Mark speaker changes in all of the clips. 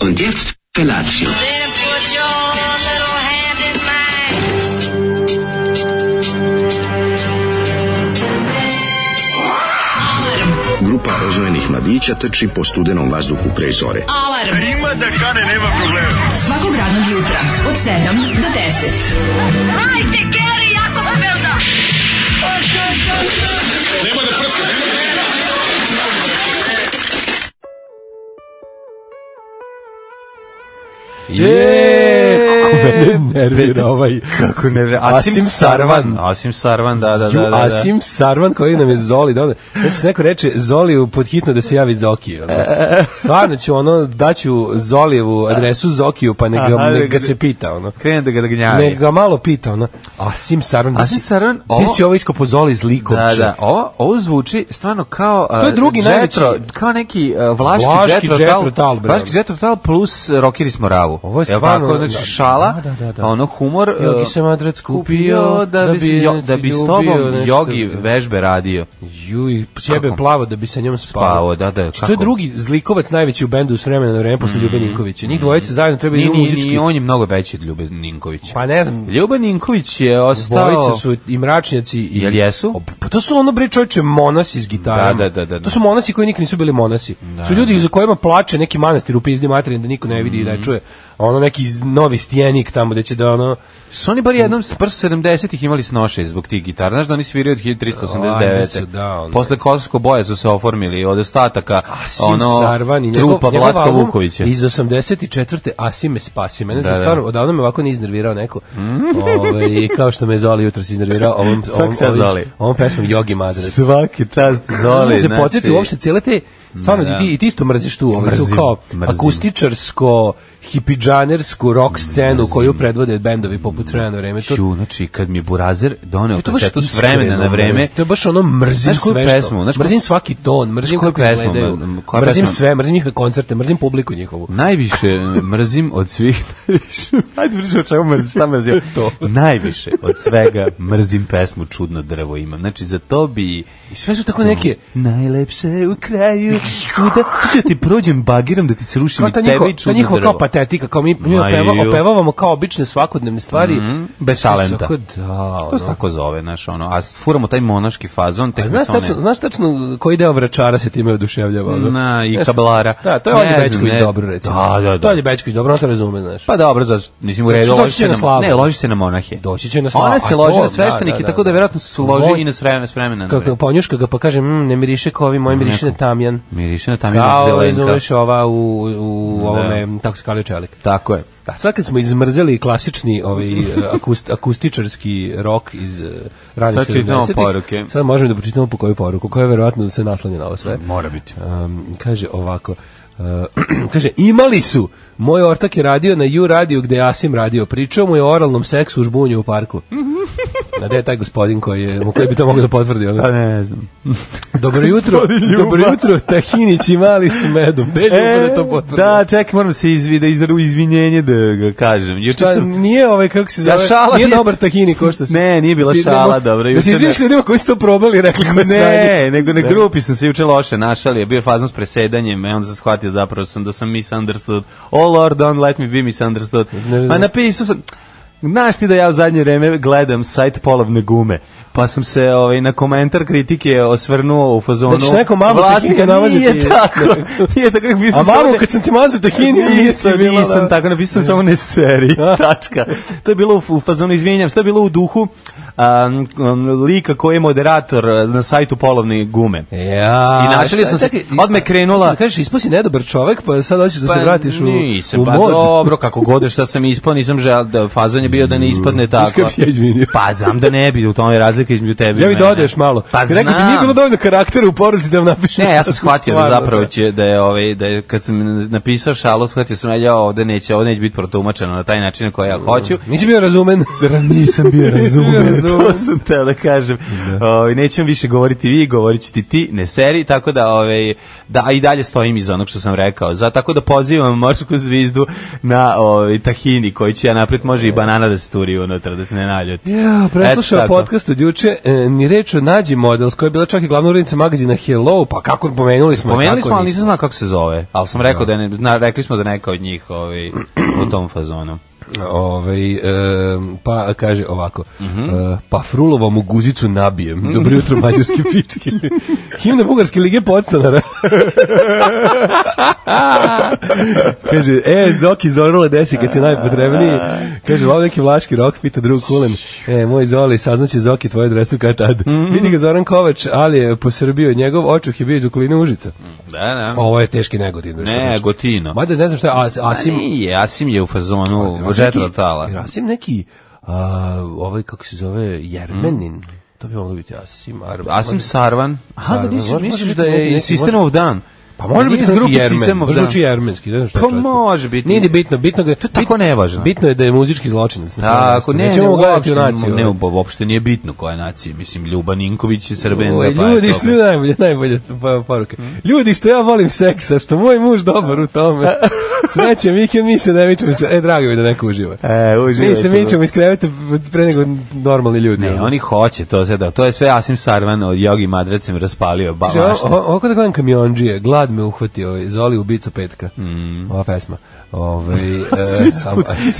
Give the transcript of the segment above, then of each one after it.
Speaker 1: Und jetzt Felatio.
Speaker 2: Then put your little hand in mine.
Speaker 3: Grupa rozvojenih mladića trči po studenom vazduhu pre zore.
Speaker 4: Alarm. Ima da kane, nema problema. Svakog radnog jutra, od 7 do 10.
Speaker 5: Je,
Speaker 6: kako mene nervira ovaj
Speaker 5: Kako ne,
Speaker 6: Asim Sarvan.
Speaker 5: Asim Sarvan, da, da,
Speaker 6: Ju,
Speaker 5: da. da.
Speaker 6: Asim Sarvan koji nam je Zoli donio. Znači, neko reče Zoliju podhitno da se javi Zoki. Ono. Stvarno ću ono, daću Zolijevu adresu Zokiju, pa nek ga,
Speaker 5: Aha,
Speaker 6: nek ga
Speaker 5: da-
Speaker 6: se pita. Ono.
Speaker 5: Krene da ga da gnjavi.
Speaker 6: Nek ga malo pita. Ono. Asim Sarvan.
Speaker 5: Asim Sarvan,
Speaker 6: ovo... Gde
Speaker 5: ovo-
Speaker 6: si ovo iskopo Zoli iz Likovča?
Speaker 5: Da, da, ovo, ovo zvuči stvarno kao uh,
Speaker 6: To je drugi
Speaker 5: džetro,
Speaker 6: najveći-
Speaker 5: kao neki uh, vlaški,
Speaker 6: Vlaški
Speaker 5: džetro,
Speaker 6: džetro tal, bre.
Speaker 5: vlaški džetro tal plus uh, rokiri smo ravu.
Speaker 6: Ovo je
Speaker 5: Jel
Speaker 6: stvarno-
Speaker 5: tako, znači šala,
Speaker 6: da, da, da, da.
Speaker 5: ono humor. uh,
Speaker 6: Jogi se madrac kupio,
Speaker 5: da bi,
Speaker 6: da bi
Speaker 5: jo, da bi s
Speaker 6: ljubio
Speaker 5: tobom
Speaker 6: nešto.
Speaker 5: jogi vežbe radio.
Speaker 6: Juj, sjebe
Speaker 5: Kako?
Speaker 6: plavo da bi sa njom spavao.
Speaker 5: Spavao, da, da,
Speaker 6: To je
Speaker 5: kako? Mm.
Speaker 6: drugi zlikovac najveći u bendu s vremena na vreme posle Ljube Ninkovića. Njih dvojice zajedno treba
Speaker 5: Ni,
Speaker 6: idu
Speaker 5: ni, ni,
Speaker 6: muzički.
Speaker 5: on je mnogo veći od Ljube Ninkovića.
Speaker 6: Pa ne znam,
Speaker 5: Ljuba Ninković je ostao...
Speaker 6: Bojica su i mračnjaci i
Speaker 5: Jel jesu?
Speaker 6: O, Pa to su ono bre čoveče monasi s gitarom.
Speaker 5: Da, da, da, da, da.
Speaker 6: To su monasi koji nikad nisu bili monasi. su ljudi za kojima plače neki manastir u pizdi materin da niko ne vidi
Speaker 5: Mhm.
Speaker 6: i ne čuje. A ono neki novi stjenik tamo gde će da ono
Speaker 5: Su oni bar jednom s prsu 70-ih imali snoše zbog tih gitara. Znaš da oni sviraju od 1389.
Speaker 6: Oni su, da, ono.
Speaker 5: Posle Kosovsko boje su se oformili od ostataka
Speaker 6: Asim
Speaker 5: ono,
Speaker 6: Sarvan i njegov,
Speaker 5: trupa
Speaker 6: njegov
Speaker 5: Vlatka
Speaker 6: album
Speaker 5: Vukovića.
Speaker 6: Iz 84. Asim me spasi. Mene da,
Speaker 5: da. Mhm.
Speaker 6: stvarno, odavno me ovako ne iznervirao neko. Ove, kao što me je Zoli jutro se iznervirao ovom,
Speaker 5: Svaki
Speaker 6: ovom,
Speaker 5: čas
Speaker 6: ovom,
Speaker 5: Zoli.
Speaker 6: ovom pesmom Jogi Madrac.
Speaker 5: Svaki čast znači-
Speaker 6: Zoli, se podsjeti uopšte cijele te, stvarno,
Speaker 5: Da.
Speaker 6: ti, i ti isto mrziš tu, ovaj, tu
Speaker 5: Mrzim,
Speaker 6: kao
Speaker 5: mrzim.
Speaker 6: akustičarsko, hipidžanersku rock scenu koju predvode bendovi poput Sremena vreme. To,
Speaker 5: Ču, znači, kad mi je Burazer doneo
Speaker 6: to je baš
Speaker 5: kasetu s
Speaker 6: iskreno
Speaker 5: vremena na vreme,
Speaker 6: mrzim. To je baš ono mrzim
Speaker 5: Znaš koju
Speaker 6: sve što.
Speaker 5: pesmu? Znaš koju-
Speaker 6: mrzim svaki ton, mrzim
Speaker 5: koju
Speaker 6: kako
Speaker 5: pesmu?
Speaker 6: izgledaju.
Speaker 5: Koja
Speaker 6: Mrzim
Speaker 5: pesma?
Speaker 6: sve, mrzim njihove koncerte, mrzim publiku njihovu.
Speaker 5: najviše mrzim od svih najviše ajde pričaj o čemu mrzim šta mrzim to najviše od svega mrzim pesmu čudno drvo imam znači za to bi
Speaker 6: I sve su tako neke,
Speaker 5: najlepše u kraju svuda ću ti prođem bagirom da ti se rušim
Speaker 6: kao
Speaker 5: i
Speaker 6: ta
Speaker 5: tebi
Speaker 6: njihova,
Speaker 5: i
Speaker 6: ta
Speaker 5: čudno
Speaker 6: njihova
Speaker 5: drvo
Speaker 6: kao patetika, kao mi, mi
Speaker 5: Ma
Speaker 6: opeva,
Speaker 5: ju.
Speaker 6: opevavamo kao obične svakodnevne stvari.
Speaker 5: Mhm, bez
Speaker 6: Sve su
Speaker 5: talenta.
Speaker 6: tako, Da,
Speaker 5: to se tako zove znaš ono a furamo taj monaški fazon tek
Speaker 6: A znaš
Speaker 5: mi to ne-
Speaker 6: tačno, znaš tačno koji deo vračara se time oduševljava? ono?
Speaker 5: Na, i
Speaker 6: Znaš šta?
Speaker 5: kablara.
Speaker 6: Da, to je
Speaker 5: Ne
Speaker 6: Olje
Speaker 5: znam,
Speaker 6: Bećković
Speaker 5: ne.
Speaker 6: dobro, recimo.
Speaker 5: Da, da, da.
Speaker 6: To je Olje Bećković dobro, on to razume, znaš.
Speaker 5: Pa dobro, zato, mislim u
Speaker 6: Zato što
Speaker 5: redu,
Speaker 6: Znači, doći
Speaker 5: loži
Speaker 6: će
Speaker 5: se
Speaker 6: na
Speaker 5: na,
Speaker 6: slavu.
Speaker 5: ne, loži se na monahe.
Speaker 6: Doći će na slavu.
Speaker 5: Ona se
Speaker 6: A
Speaker 5: loži
Speaker 6: to-
Speaker 5: na sveštenike,
Speaker 6: da, da,
Speaker 5: tako da
Speaker 6: da.
Speaker 5: vjerojatno se loži
Speaker 6: Voj-
Speaker 5: i na s vremena, s vremena. na
Speaker 6: Kako
Speaker 5: vreme.
Speaker 6: ponjuška ga pa kaže, mm, ne miriše kao ovi moji, miriše na
Speaker 5: Neko.
Speaker 6: tamjan.
Speaker 5: Miriše na tamjenu
Speaker 6: Kao,
Speaker 5: zelenka.
Speaker 6: razumeš, ova u, u ovome, tako se kalio čelik.
Speaker 5: Tako je.
Speaker 6: Da, sad kad smo izmrzeli klasični ovaj, akust, akustičarski rok iz eh, ranih
Speaker 5: Sad čitamo
Speaker 6: 70-ih,
Speaker 5: poruke.
Speaker 6: Sad možemo da pročitamo po koju poruku, koja je verovatno se naslanja na ovo sve.
Speaker 5: E, Mora biti.
Speaker 6: Um, kaže ovako, uh, kaže, imali su, moj ortak je radio na U radiju gde je Asim radio, pričao mu je o oralnom seksu u žbunju u parku. A gde je taj gospodin koji je, koji bi to mogao da potvrdi? Ono?
Speaker 5: Pa ne znam.
Speaker 6: Dobro jutro, dobro jutro, tahinići mali su medom. Gde je Ljuba da E, to potvrdi?
Speaker 5: E, da, čekaj, moram se izvide, izveru izvinjenje da ga kažem. Juče
Speaker 6: Šta,
Speaker 5: sam...
Speaker 6: nije ovaj, kako se zove,
Speaker 5: Da, šala
Speaker 6: nije
Speaker 5: nije-
Speaker 6: dobar tahini ko što se...
Speaker 5: Ne, nije bila
Speaker 6: Si-
Speaker 5: šala,
Speaker 6: nemo-
Speaker 5: dobro,
Speaker 6: Da
Speaker 5: juče
Speaker 6: se
Speaker 5: ne.
Speaker 6: izviniš ljudima koji su to probali i rekli ko je sranje.
Speaker 5: Ne, nego na grupi sam se juče loše našali, je bio je fazon s presedanjem, i onda sam shvatio zapravo sam da sam misunderstood. Oh Lord, don't let me be misunderstood.
Speaker 6: Ne znam.
Speaker 5: Pa napisao sam, znaš ti da ja u zadnje vreme gledam sajt polovne gume, pa sam se ovaj, na komentar kritike osvrnuo u fazonu.
Speaker 6: Znači, nekom mamu tehnike nalaziti.
Speaker 5: Nije tako, nije tako, kako
Speaker 6: A
Speaker 5: mislim. samo
Speaker 6: mamu
Speaker 5: da-
Speaker 6: kad sam ti mazao tahini, nisi
Speaker 5: Nisam,
Speaker 6: bila...
Speaker 5: nisam tako napisao, samo ne seri, tačka. To je bilo u, u fazonu, izvinjam, to je bilo u duhu a, m, m, lika koji je moderator a, na sajtu polovne gume.
Speaker 6: Ja,
Speaker 5: I našalio sam se, odmah je krenula-
Speaker 6: Šta kažeš, ispo si nedobar čovek, pa sad hoćeš da se vratiš u,
Speaker 5: nisam,
Speaker 6: u
Speaker 5: pa
Speaker 6: mod.
Speaker 5: dobro, kako godeš, šta sam ispao, nisam žel, da fazon je bio da ne ispadne tako.
Speaker 6: Viš kako ja izvinio.
Speaker 5: Pa znam da ne bi, u tome je razlika između tebe i
Speaker 6: Ja mi
Speaker 5: mene.
Speaker 6: dodaješ malo.
Speaker 5: Pa znam.
Speaker 6: Rekao bi, nije bilo dovoljno karaktera u poruci da vam napišem.
Speaker 5: Ne, ja sam shvatio da
Speaker 6: Stvarno,
Speaker 5: zapravo će da je ovaj da je, kad sam napisao šalu, shvatio sam ja ovde
Speaker 6: Mm.
Speaker 5: neće, ovde neće biti protumačeno na taj način na koji ja hoću.
Speaker 6: Nisi bio razumen.
Speaker 5: Nisam bio
Speaker 6: Nisi bio razumem.
Speaker 5: to sam teo da kažem. Ovaj nećem više govoriti vi, govorit ću ti ti, ne seri, tako da, ovaj da, a i dalje stojim iz onog što sam rekao. Za, tako da pozivam morsku zvizdu na ovaj, tahini koji će ja napred može i banana da se turi unutra, da se ne naljuti.
Speaker 6: Ja, preslušao
Speaker 5: Eto tako.
Speaker 6: podcast od juče, e, ni reč o Nađi Models, koja je bila čak i glavna urednica magazina Hello, pa kako pomenuli smo je,
Speaker 5: Pomenuli
Speaker 6: kako
Speaker 5: smo, ali
Speaker 6: nismo.
Speaker 5: nisam znao kako se zove, ali sam rekao da ne, na, rekli smo da neka od njih ovaj, u tom fazonu.
Speaker 6: Ovaj, e, pa kaže ovako, e, pa Frulova mu guzicu nabijem. Dobro jutro, mađarske pičke. Himna Bugarske lige podstanara. kaže, e, Zoki Zorule desi kad si najpotrebniji. Kaže, ovo neki vlaški rok, pita drug kulen. E, moj Zoli, saznaće Zoki tvoju adresu kad tad. Vidi ga Zoran Kovač, ali je posrbio njegov očuh je bio iz okoline Užica.
Speaker 5: Da, da.
Speaker 6: Ovo je teški negodin.
Speaker 5: Ne, Gotino.
Speaker 6: Mada ne znam šta je, As- Asim,
Speaker 5: Asim, nije, Asim je u fazonu žetva tala.
Speaker 6: Rasim neki, a, ovaj kako se zove, Jermenin. To bi moglo biti Asim Arman.
Speaker 5: Asim Sarvan. Aha, da
Speaker 6: Sarvan,
Speaker 5: nisi,
Speaker 6: može-
Speaker 5: misliš
Speaker 6: može
Speaker 5: da
Speaker 6: biti neki-
Speaker 5: je
Speaker 6: neki-
Speaker 5: System of Dan.
Speaker 6: Pa može biti iz
Speaker 5: Nije
Speaker 6: grupe
Speaker 5: neki Jermen,
Speaker 6: Jermen.
Speaker 5: možda.
Speaker 6: Zvuči jermenski, ne znam šta
Speaker 5: Pa
Speaker 6: je čovjek.
Speaker 5: može biti.
Speaker 6: Nije ni bitno, bitno je, to je
Speaker 5: tako nevažno.
Speaker 6: Bitno je da je muzički zločinac.
Speaker 5: Tako, ne, ne,
Speaker 6: Nećemo ga gledati u
Speaker 5: uopšte,
Speaker 6: naciju.
Speaker 5: ne, u- uopšte nije bitno koja je nacija. Mislim, Ljuba Ninković je srben.
Speaker 6: Oj, ovaj, ljudi što pa je najbolje, najbolje pa- poruke. Ljudi što ja volim seksa, što moj muž dobar u tome. Srećem vikend, mi se ne mičemo. iz- E, drago mi je da neko uživa.
Speaker 5: E,
Speaker 6: Mi se mičemo iz kreveta pre nego normalni ljudi. ono,
Speaker 5: Ne, oni hoće to sve da, to je sve Asim Sarvan od Jogi Madracem raspalio, ba,
Speaker 6: Kaže,
Speaker 5: mašta.
Speaker 6: o- o- Ovako da gledam kamionđije, glad me uhvatio, ovaj, Zoli ubicu petka.
Speaker 5: Mm.
Speaker 6: Ova pesma. Ove, svi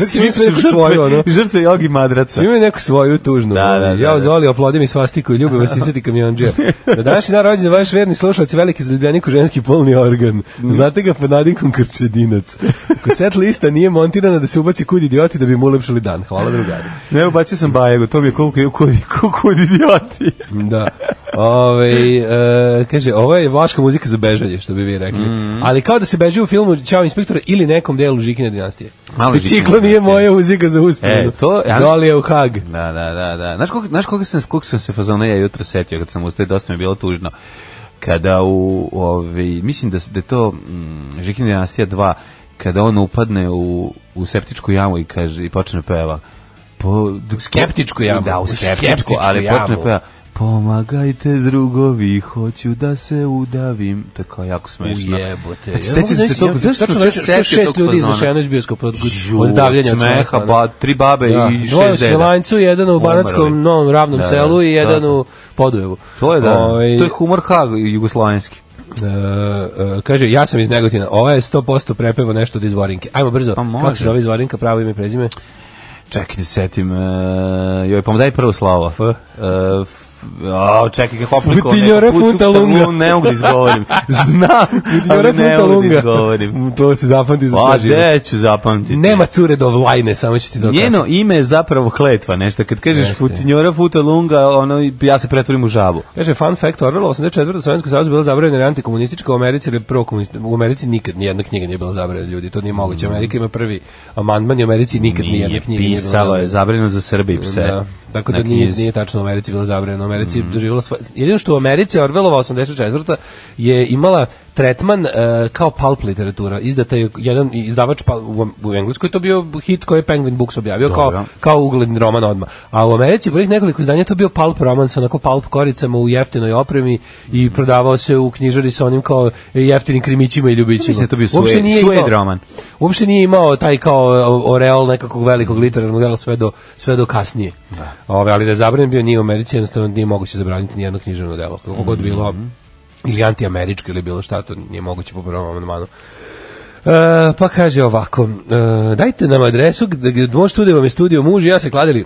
Speaker 6: svi,
Speaker 5: su
Speaker 6: svi svoju, ono.
Speaker 5: žrtve Jogi Madraca.
Speaker 6: Svi imaju neku svoju tužnu.
Speaker 5: Da, da, da,
Speaker 6: ja
Speaker 5: da.
Speaker 6: Zoli oplodim i svastiku i ljubim vas iseti kamionđija. Na današnji dan rođen vaš verni slušalac i veliki zaljubljenik u ženski polni organ.
Speaker 5: Mm.
Speaker 6: Znate ga pod nadimkom krčedinac. Ako set lista nije montirana da se ubaci kud idioti da bi mu ulepšali dan. Hvala drugari.
Speaker 5: Ne, ubacio sam Bajegu, to mi je koliko kudi, kudi idioti.
Speaker 6: Da. Ove, e, kaže, ovo je vlaška muzika za bežanje, što bi vi rekli.
Speaker 5: Mhm.
Speaker 6: Ali kao da se beže u filmu Ćao inspektore ili nekom delu Žikine dinastije.
Speaker 5: Malo
Speaker 6: Biciklo
Speaker 5: Žikine
Speaker 6: nije
Speaker 5: dinastije.
Speaker 6: moja uzika za uspjeh.
Speaker 5: E, to- ja-
Speaker 6: Zoli je u Hag.
Speaker 5: Da, da, da, da. Znaš koga, znaš koga sam, koga sam se fazona ja jutro setio kad sam ustao, dosta mi je bilo tužno. Kada u, ovi, mislim da, s- da je to mm, Žikina dinastija 2, kada on upadne u, u septičku jamu i kaže, i počne peva. Po, d-
Speaker 6: skeptičku
Speaker 5: po-
Speaker 6: jamu.
Speaker 5: Da, u
Speaker 6: U
Speaker 5: skeptičku,
Speaker 6: skeptičku
Speaker 5: ali
Speaker 6: jamu.
Speaker 5: počne peva. Pomagajte drugovi, hoću da se udavim. To je kao jako smešno.
Speaker 6: Ujebote.
Speaker 5: Znači, sećam se tog, zašto sam se setio tog
Speaker 6: šest ljudi
Speaker 5: fazona?
Speaker 6: iznešeno iz bioskopa od,
Speaker 5: Žu,
Speaker 6: od davljenja od
Speaker 5: smeha,
Speaker 6: smeha,
Speaker 5: ba, tri babe
Speaker 6: da.
Speaker 5: i
Speaker 6: Dvoje u
Speaker 5: šest deda.
Speaker 6: Svilanjcu, jedan u Banatskom
Speaker 5: Umrli.
Speaker 6: novom ravnom
Speaker 5: Da,
Speaker 6: selu i
Speaker 5: da,
Speaker 6: jedan
Speaker 5: da.
Speaker 6: u Podujevu.
Speaker 5: To je da,
Speaker 6: Ovaj,
Speaker 5: to je humor Hag jugoslovenski.
Speaker 6: E, e, kaže, ja sam iz Negotina, ova je 100% prepevo nešto od izvorinke. Ajmo brzo,
Speaker 5: Pa može.
Speaker 6: kako se zove izvorinka, pravo ime i prezime?
Speaker 5: Čekaj da se setim, uh, joj, pa mu daj prvo slavo. F. Uh, f a, čekaj, kako opliko.
Speaker 6: Futiljora Funta Lunga.
Speaker 5: Ne mogu da izgovorim. Znam, ali ne mogu da izgovorim.
Speaker 6: to se zapamti za
Speaker 5: Pa,
Speaker 6: sve život.
Speaker 5: gde ću zapamtiti?
Speaker 6: Nema cure do vlajne, samo ću ti to kasnije.
Speaker 5: Njeno ime je zapravo kletva, nešto. Kad kažeš
Speaker 6: Jeste.
Speaker 5: Futinjora Futa Lunga, ono, ja se pretvorim u žabu.
Speaker 6: Kaže, fun fact, Orwell, 84. Sovjetsko savjez bila zabranjena jer je antikomunistička u Americi, ili prokomunistička, u Americi nikad nijedna knjiga nije bila zabranjena ljudi, to nije moguće. Amerika ima prvi amandman i u Americi nikad nijedna
Speaker 5: Mm. Nije
Speaker 6: knjiga nije bila
Speaker 5: pisalo, je
Speaker 6: zabranjena.
Speaker 5: zabrinuo za Srbi pse.
Speaker 6: Da, tako da
Speaker 5: Na
Speaker 6: nije,
Speaker 5: knjizi. Mhm.
Speaker 6: nije tačno u Americi bila zabranjena. U Americi mm. doživjela sva... Jedino što u Americi Orvelova 84. je imala tretman e, kao pulp literatura. Izdata je jedan izdavač pa, u, u Engleskoj to bio hit koji je Penguin Books objavio kao,
Speaker 5: Dobro.
Speaker 6: kao ugledni roman odma. A u Americi prvih nekoliko izdanja je to bio pulp roman sa onako pulp koricama u jeftinoj opremi i prodavao se u knjižari sa onim kao jeftinim krimićima i ljubićima.
Speaker 5: Mislim da je to bio
Speaker 6: Uopšte
Speaker 5: sued-
Speaker 6: nije imao-
Speaker 5: sued roman.
Speaker 6: uopšte nije imao taj kao o- oreol nekakvog velikog literarnog dela sve do, sve do kasnije. Ove, ali da je zabranjen bio nije u Americi, jednostavno nije moguće zabraniti nijedno književno delo. Kako god bilo ili antiameričko ili bilo šta, to nije moguće po prvom amandmanu. E, pa kaže ovako, e, dajte nam adresu, gde, gde, možete tu da vam je studio muž i ja se kladili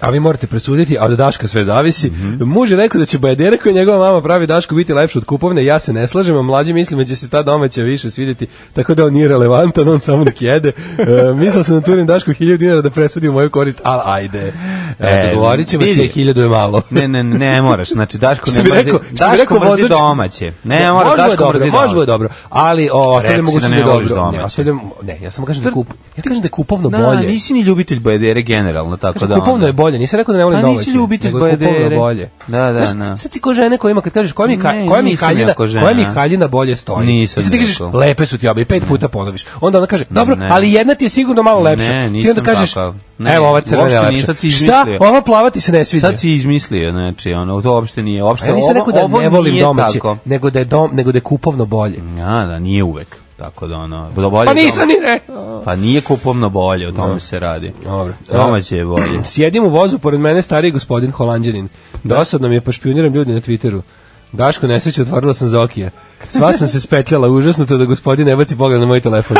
Speaker 6: a vi morate presuditi, a od Daška sve zavisi. Muž je rekao da će bajadera koju njegova mama pravi Dašku biti lepša od kupovne, ja se ne slažem, a mlađi mislim da će se ta domaća više svidjeti, tako da on nije relevantan, on samo nek jede. E, mislio sam da turim Dašku 1000 dinara da presudi u moju korist, ali ajde. E,
Speaker 5: E,
Speaker 6: dogovorit ćemo se,
Speaker 5: vidi.
Speaker 6: 1000 je malo.
Speaker 5: Ne, ne, ne, ne moraš. Znači Daško
Speaker 6: Što
Speaker 5: ne
Speaker 6: bi
Speaker 5: mrzi.
Speaker 6: rekao, što bi
Speaker 5: Daško
Speaker 6: rekao
Speaker 5: mrzi
Speaker 6: vozač-
Speaker 5: domaće. Ne, mora
Speaker 6: možda je
Speaker 5: Daško
Speaker 6: dobro,
Speaker 5: mrzi
Speaker 6: možda
Speaker 5: domaće.
Speaker 6: je dobro, ali o, ostavljamo
Speaker 5: Reci
Speaker 6: mogućnost
Speaker 5: da
Speaker 6: da
Speaker 5: ne
Speaker 6: je
Speaker 5: voliš
Speaker 6: dobro. Ne,
Speaker 5: domaće.
Speaker 6: ostavljam, ne, ja samo kažem da je kup, ja ti kažem da je kupovno
Speaker 5: Da,
Speaker 6: bolje.
Speaker 5: nisi ni ljubitelj Bajadere generalno, tako
Speaker 6: Kažem,
Speaker 5: Pa da. ono,
Speaker 6: kupovno
Speaker 5: onda-
Speaker 6: je bolje, nisam rekao da ne volim
Speaker 5: Pa
Speaker 6: domaće.
Speaker 5: nisi ljubitelj
Speaker 6: nego je
Speaker 5: Bajadere.
Speaker 6: Kupovno bolje.
Speaker 5: Da, da,
Speaker 6: Znaš,
Speaker 5: da.
Speaker 6: sad si ko žene koja ima, kad kažeš koja mi, ka,
Speaker 5: Ne,
Speaker 6: koja mi
Speaker 5: nisam
Speaker 6: haljina,
Speaker 5: ja ko žena.
Speaker 6: koja mi haljina bolje stoji.
Speaker 5: Nisam
Speaker 6: I sad ti kažeš,
Speaker 5: rekao.
Speaker 6: lepe su ti obe i pet puta ponoviš. Onda ona kaže, dobro,
Speaker 5: Ne.
Speaker 6: ali jedna ti je sigurno malo lepša.
Speaker 5: Ne,
Speaker 6: ti onda
Speaker 5: nisam
Speaker 6: kažeš,
Speaker 5: takav. Ne,
Speaker 6: Evo ova crvena
Speaker 5: uopšte
Speaker 6: je
Speaker 5: nije,
Speaker 6: lepša.
Speaker 5: sad si
Speaker 6: Šta?
Speaker 5: izmislio.
Speaker 6: Ova plava ti se ne sviđa?
Speaker 5: Sad si izmislio, znači, ono, to uopšte nije, uopšte,
Speaker 6: A Pa ja nisam
Speaker 5: ovo-
Speaker 6: rekao da
Speaker 5: ovo
Speaker 6: ne volim
Speaker 5: nije
Speaker 6: domaće,
Speaker 5: tako.
Speaker 6: nego da je dom, nego da je kupovno bolje.
Speaker 5: Ja, da, nije uvek. Tako da, ono, da bolje
Speaker 6: Pa nisam
Speaker 5: doma-
Speaker 6: ni rekao.
Speaker 5: Pa nije kupovno bolje, o tome se radi.
Speaker 6: Dobro.
Speaker 5: Domaće je bolje.
Speaker 6: Sjedim u vozu, pored mene stariji gospodin Holandjanin. Dosadno mi je, pa špioniram ljudi na Twitteru. Daško, nesreće, otvorila sam Zokija. Sva sam se spetljala, užasno to da gospodin ne baci pogled na moj telefon.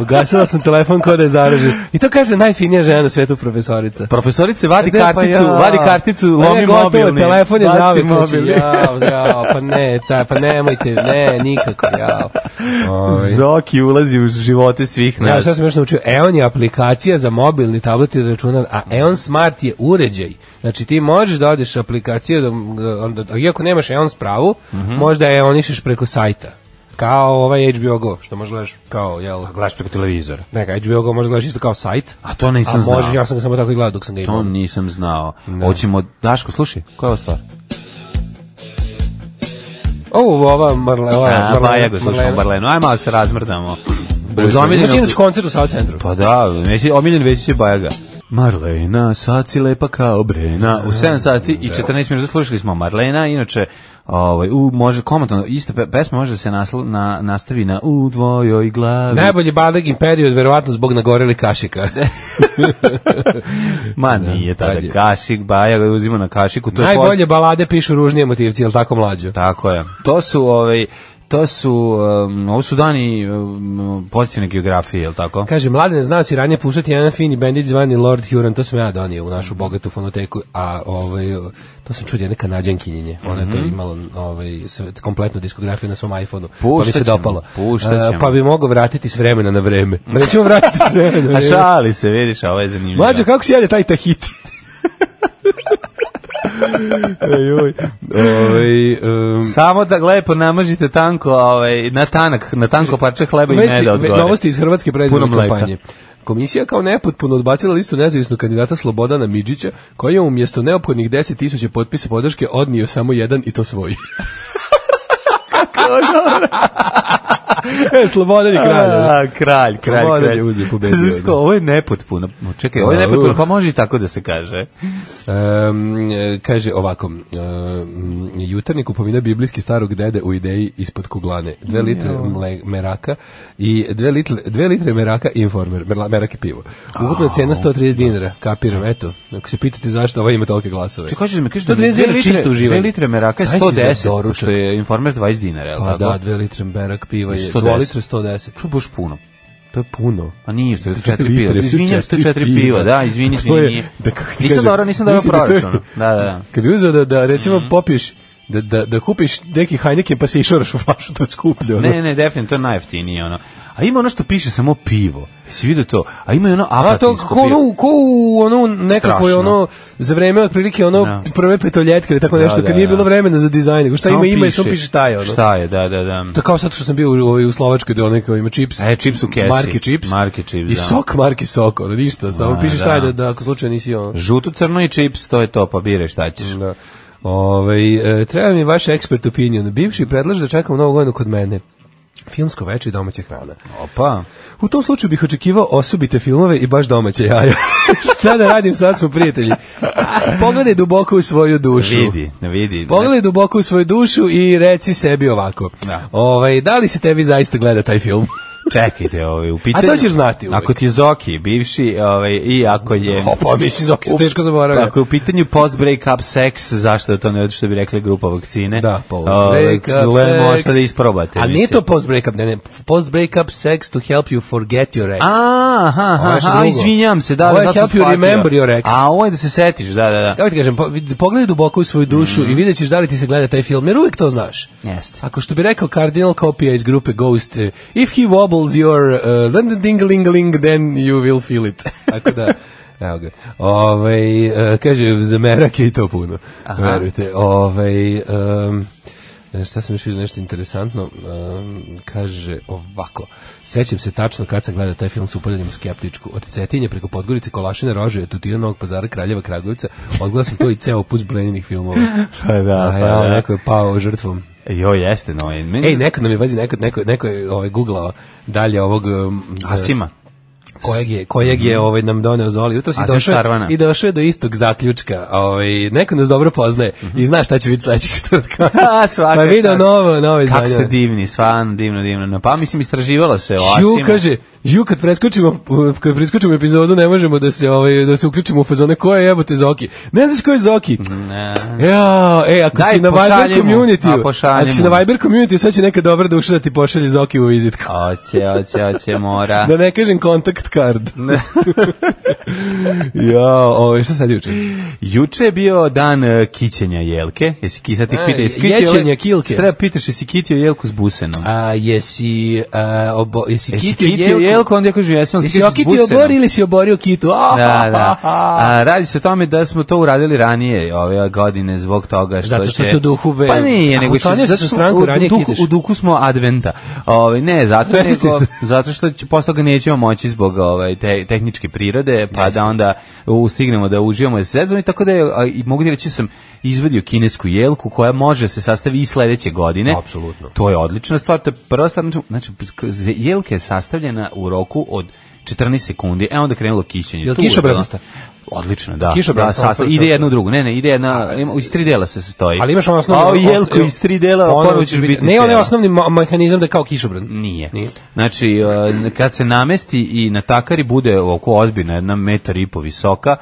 Speaker 6: Ugasila sam telefon kod je zaražen. I to kaže najfinija žena na svetu profesorica.
Speaker 5: Profesorice, vadi
Speaker 6: Ne, pa
Speaker 5: karticu,
Speaker 6: ja.
Speaker 5: vadi karticu,
Speaker 6: Pa ne,
Speaker 5: lomi
Speaker 6: gotovo,
Speaker 5: mobilni.
Speaker 6: Telefon je
Speaker 5: Baci
Speaker 6: zavek.
Speaker 5: mobilni.
Speaker 6: Jao, jao, pa ne, taj, pa nemojte, ne, nikako, jao. Ovaj.
Speaker 5: Zoki ulazi u živote svih
Speaker 6: Ja,
Speaker 5: nas.
Speaker 6: šta sam još naučio? EON je aplikacija za mobilni tablet i računar, a EON Smart je uređaj. Znači ti možeš da odeš aplikaciju, da, eh, onda, iako nemaš EON spravu,
Speaker 5: Mhm.
Speaker 6: možda EONišeš preko sajta. Kao ovaj HBO Go, što možeš gledaš kao, jel?
Speaker 5: Gledaš preko televizora.
Speaker 6: Neka, HBO Go možeš gledaš isto kao sajt.
Speaker 5: A to nisam
Speaker 6: A može,
Speaker 5: znao.
Speaker 6: ja sam ga samo tako i gledao dok sam ga imao.
Speaker 5: To nisam znao. Hoćemo, Daško, slušaj, koja je ova stvar?
Speaker 6: O, ova Marle, ova
Speaker 5: A, pa
Speaker 6: Marlena-
Speaker 5: Bajago, slušamo
Speaker 6: Marlena.
Speaker 5: Barlenu. Ajde malo se razmrdamo. Uz
Speaker 6: Imaš
Speaker 5: omiljenu...
Speaker 6: inače koncert u South Centru.
Speaker 5: Pa da, Vesi- omiljen Vesić je Bajaga. Marlena, sad si lepa kao brena. U 7 sati i 14 minuta slušali smo Marlena, inače ovaj, u, može komentno, ista pe- pesma može da se nasl, na, nastavi na u dvojoj glavi.
Speaker 6: Najbolji Badegin period, verovatno zbog nagoreli kašika.
Speaker 5: Ma nije tada
Speaker 6: tad je.
Speaker 5: kašik, Bajaga je uzima na kašiku. To je post-
Speaker 6: Najbolje balade pišu ružnije motivci, jel tako mlađo?
Speaker 5: Tako je. To su ovaj to su um, ovo su dani um, pozitivne geografije, je l' tako?
Speaker 6: Kaže, mladine, znao si ranije puštati jedan fini bendić zvani Lord Huron, to sam ja donio u našu bogatu fonoteku, a ovaj, to sam čuo od jedne kanadjankinjenje. Ona je to imala ovaj, sve- kompletnu diskografiju na svom iPhoneu, pa mi se
Speaker 5: Puštat ćemo,
Speaker 6: dopalo.
Speaker 5: puštat
Speaker 6: E,
Speaker 5: ćemo.
Speaker 6: pa bi mogao vratiti s vremena na vreme. Ma Nećemo vratiti s vremena na
Speaker 5: A
Speaker 6: vreme.
Speaker 5: šali se, vidiš, a ovo je zanimljivo.
Speaker 6: Mlađo, kako si jede taj tahiti?
Speaker 5: joj.
Speaker 6: Ovaj, um,
Speaker 5: Samo da lepo namažite tanko, ovaj, na tanak, na tanko parče hleba i
Speaker 6: Vesti,
Speaker 5: meda od
Speaker 6: ve-
Speaker 5: gore.
Speaker 6: novosti iz Hrvatske
Speaker 5: Puno
Speaker 6: predizborne
Speaker 5: mleka.
Speaker 6: kampanje. Komisija kao nepotpuno odbacila listu nezavisnog kandidata Slobodana Midžića, koji je umjesto neophodnih 10.000 potpisa podrške odnio samo jedan i to svoj. e, Slobodan je kralj. ono.
Speaker 5: A, kralj, kralj,
Speaker 6: Slobodan
Speaker 5: kralj.
Speaker 6: je uzeo, pobedio,
Speaker 5: Znaš ko,
Speaker 6: da.
Speaker 5: ovo je nepotpuno. Čekaj, ovo je
Speaker 6: Da, uh.
Speaker 5: nepotpuno,
Speaker 6: u.
Speaker 5: pa može i tako da se kaže.
Speaker 6: Em, e, kaže ovako, um, jutarnji kupovina biblijski starog dede u ideji ispod kuglane, dve litre mle, meraka i dve litre, dve litre meraka i informer, merla- merak i pivo. Ukupna cena 130 dinara, kapiram, eto, ako se pitate zašto ovaj ima tolike glasove.
Speaker 5: Čekaj, kažeš mi, kažeš da
Speaker 6: 130
Speaker 5: dve
Speaker 6: dinara
Speaker 5: litre,
Speaker 6: čisto
Speaker 5: dve
Speaker 6: uživanje.
Speaker 5: litre meraka je
Speaker 6: Sad si za
Speaker 5: 110,
Speaker 6: doručak.
Speaker 5: što je informer 20 dinara, je l'
Speaker 6: Pa
Speaker 5: tako?
Speaker 6: da, dve litre merak piva je,
Speaker 5: 110.
Speaker 6: 2 litre 110.
Speaker 5: To je baš puno.
Speaker 6: To je puno.
Speaker 5: Pa nije, to je četiri
Speaker 6: Litre,
Speaker 5: piva. Izvinjam se, to je četiri piva. Da, izvini,
Speaker 6: To je,
Speaker 5: izvini. nije.
Speaker 6: da kako ti
Speaker 5: Nisam
Speaker 6: kažem,
Speaker 5: dobro, nisam dobro
Speaker 6: mislim da to je-
Speaker 5: proračunao. Da, da, da.
Speaker 6: Kad bi uzeo da, da recimo popiješ da, da, da kupiš neki Heineken pa se išoraš u flašu, to je skuplje. ono.
Speaker 5: Ne, ne, definitivno, to je najjeftinije, ono. A ima ono što piše samo pivo. Jesi vidio to? A ima i ono
Speaker 6: A to
Speaker 5: apatinsko
Speaker 6: ko ono,
Speaker 5: pivo.
Speaker 6: ko u ono nekako je
Speaker 5: Strašno.
Speaker 6: ono za vreme otprilike ono
Speaker 5: Da.
Speaker 6: prve petoljetke ili tako
Speaker 5: Da,
Speaker 6: nešto
Speaker 5: da,
Speaker 6: kad nije
Speaker 5: da.
Speaker 6: bilo vremena za dizajn, nego šta
Speaker 5: Samo
Speaker 6: ima ima i samo piše šta je ono.
Speaker 5: Šta je, da, da, da.
Speaker 6: To je kao sad što sam bio u, ovaj, u Slovačkoj gde onaj kao ima čips.
Speaker 5: E, čips u kesi.
Speaker 6: Marke čips.
Speaker 5: Marke čips,
Speaker 6: I
Speaker 5: da.
Speaker 6: sok marke sok, ono ništa, samo
Speaker 5: A,
Speaker 6: piše šta je
Speaker 5: da.
Speaker 6: da, da ako slučajno nisi ono.
Speaker 5: Žuto, crno i čips, to je to, pa biraj šta ćeš.
Speaker 6: Da. Ove, e, treba mi vaš expert opinion. Bivši predlaže da čekam novu godinu kod mene. Filmsko veče i domaća hrana.
Speaker 5: Opa.
Speaker 6: U tom slučaju bih očekivao osobite filmove i baš domaće jaja. Šta da radim, sad smo prijatelji. A, Pogledaj duboko u svoju dušu.
Speaker 5: Vidi, ne vidi.
Speaker 6: Pogledaj duboko u svoju dušu i reci sebi ovako.
Speaker 5: Da.
Speaker 6: Ovaj, da li se tebi zaista gleda taj film?
Speaker 5: Čekajte, ovaj, u pitanju.
Speaker 6: A to ćeš znati uvek.
Speaker 5: Ako ti je Zoki, bivši, ovaj, i ako je...
Speaker 6: Opa, mislim, Zoki se teško zaboravlja.
Speaker 5: Tako Pa je u pitanju post break up sex, zašto je to ne što bi rekli grupa vakcine.
Speaker 6: Da, post
Speaker 5: Ovaj,
Speaker 6: break up
Speaker 5: le-
Speaker 6: sex.
Speaker 5: Možete da isprobate.
Speaker 6: A nije
Speaker 5: mislim.
Speaker 6: to post break up, ne, ne. Post break up sex to help you forget your ex.
Speaker 5: A, aha,
Speaker 6: Ovo je
Speaker 5: aha,
Speaker 6: nešto
Speaker 5: aha,
Speaker 6: drugo.
Speaker 5: izvinjam se, da,
Speaker 6: Ovo
Speaker 5: da,
Speaker 6: je
Speaker 5: zato
Speaker 6: help you
Speaker 5: shvatio.
Speaker 6: remember your ex.
Speaker 5: A ovo je da se setiš, da, da, da.
Speaker 6: Kako ti kažem, po- vid- pogledaj duboko u svoju dušu
Speaker 5: Mhm.
Speaker 6: i vidjet ćeš da li ti se gleda taj film, jer uvijek to znaš.
Speaker 5: Jeste.
Speaker 6: Ako što bi rekao Cardinal Copija iz grupe Ghost, eh, if he wobbles your uh, then ding ling ling, then you will feel it. Tako da, evo ga. Ovaj, eh, kaže, za merak je i to puno.
Speaker 5: Aha.
Speaker 6: Verujte. Ovaj, em, e, Šta sam još vidio nešto interesantno, em, kaže ovako, sećam se tačno kad sam gledao taj film s upaljenim u skeptičku, od Cetinje preko Podgorice, Kolašine, Rožuje, Tutina, Novog pazara, Kraljeva, Kragujevca, odgledao sam to i ceo opus blenjenih filmova.
Speaker 5: Pa da,
Speaker 6: A
Speaker 5: pa
Speaker 6: ja,
Speaker 5: da. E,
Speaker 6: neko je pao žrtvom.
Speaker 5: Jo, jeste, no, je, meni-
Speaker 6: Ej, neko nam je, vazi, neko, neko, neko je ovaj, googlao dalje ovog... em,
Speaker 5: Asima.
Speaker 6: e, kojeg je, kojeg je ovaj, nam doneo Zoli jutros i
Speaker 5: Azem
Speaker 6: došao,
Speaker 5: Šarvana.
Speaker 6: i došao je do istog zaključka. Ovaj, neko nas dobro poznaje i zna šta će biti sledećeg četvrtka.
Speaker 5: A, svaka
Speaker 6: pa je video
Speaker 5: čast.
Speaker 6: novo, novo izdanje.
Speaker 5: Kako ste divni, stvarno divno, divno. No, pa mislim, istraživala se o
Speaker 6: Ju
Speaker 5: Asima.
Speaker 6: kaže, ju kad preskočimo kad preskočimo epizodu ne možemo da se ovaj da se uključimo u fazone ko je jebote Zoki. Ne znaš ko je Zoki?
Speaker 5: Ne.
Speaker 6: Ja, e, ako
Speaker 5: Mm. Daj,
Speaker 6: si na Viber
Speaker 5: pošalji mu.
Speaker 6: community,
Speaker 5: A, pošalji
Speaker 6: ako si
Speaker 5: mu.
Speaker 6: na Viber community, sad će neka dobra duša da ti pošalje Zoki u vizitku.
Speaker 5: Oće, oće, oće, mora.
Speaker 6: Da ne kažem kontakt card. ja, ovaj šta sad juče?
Speaker 5: Juče je bio dan e, kićenja jelke. Jesi ki, sad ti
Speaker 6: E,
Speaker 5: pita, jesi kitio
Speaker 6: jećenja
Speaker 5: jel-
Speaker 6: kilke.
Speaker 5: Treba pitaš, jesi kitio jelku s busenom?
Speaker 6: A jesi a, obo, jesi,
Speaker 5: Jesi
Speaker 6: kitio
Speaker 5: kitio
Speaker 6: jelku?
Speaker 5: jelku, onda ja kažem, jesam li
Speaker 6: Jesi
Speaker 5: kitio s
Speaker 6: okitio
Speaker 5: busenom?
Speaker 6: obor ili si oborio kitu? A,
Speaker 5: da, da.
Speaker 6: a, a.
Speaker 5: A, radi se o tome da smo to uradili ranije ove godine zbog toga što
Speaker 6: Zato što
Speaker 5: će-
Speaker 6: ste u duhu ve-
Speaker 5: Pa nije,
Speaker 6: A,
Speaker 5: nego što
Speaker 6: učlanio si se u stranku,
Speaker 5: u,
Speaker 6: ranije
Speaker 5: duhu,
Speaker 6: kideš.
Speaker 5: u duhu smo adventa. Ove, ne, zato
Speaker 6: Jeste,
Speaker 5: nego,
Speaker 6: jeste.
Speaker 5: zato što će, posle toga nećemo moći zbog ovaj, te, tehničke prirode, pa da onda ustignemo da uživamo i sezon i tako da je, a, i mogu ti reći da sam izvadio kinesku jelku koja može se sastavi i sledeće godine.
Speaker 6: Apsolutno.
Speaker 5: To je odlična stvar, to je prva stvar, znači- znači jelka je sastavljena u roku od 14 sekundi, e onda krenulo kićenje.
Speaker 6: Jel
Speaker 5: Tu je
Speaker 6: kišobranista?
Speaker 5: bilo- Odlično, da.
Speaker 6: Kišobran
Speaker 5: da,
Speaker 6: samo
Speaker 5: sastav,
Speaker 6: prvo
Speaker 5: ide
Speaker 6: što-
Speaker 5: jedno u drugu. Ne, ne, ide jedna, ima- iz tri dela se sastoji.
Speaker 6: Ali imaš ono osnovno...
Speaker 5: A o jelku iz tri dela,
Speaker 6: Ono
Speaker 5: ponovo
Speaker 6: će
Speaker 5: ćeš biti
Speaker 6: Ne, ono je
Speaker 5: cela.
Speaker 6: osnovni ma- mehanizam da je kao kišobran.
Speaker 5: Nije.
Speaker 6: Nije.
Speaker 5: Znači, e, kad se namesti i na takari bude oko ozbiljna, jedna metar i po visoka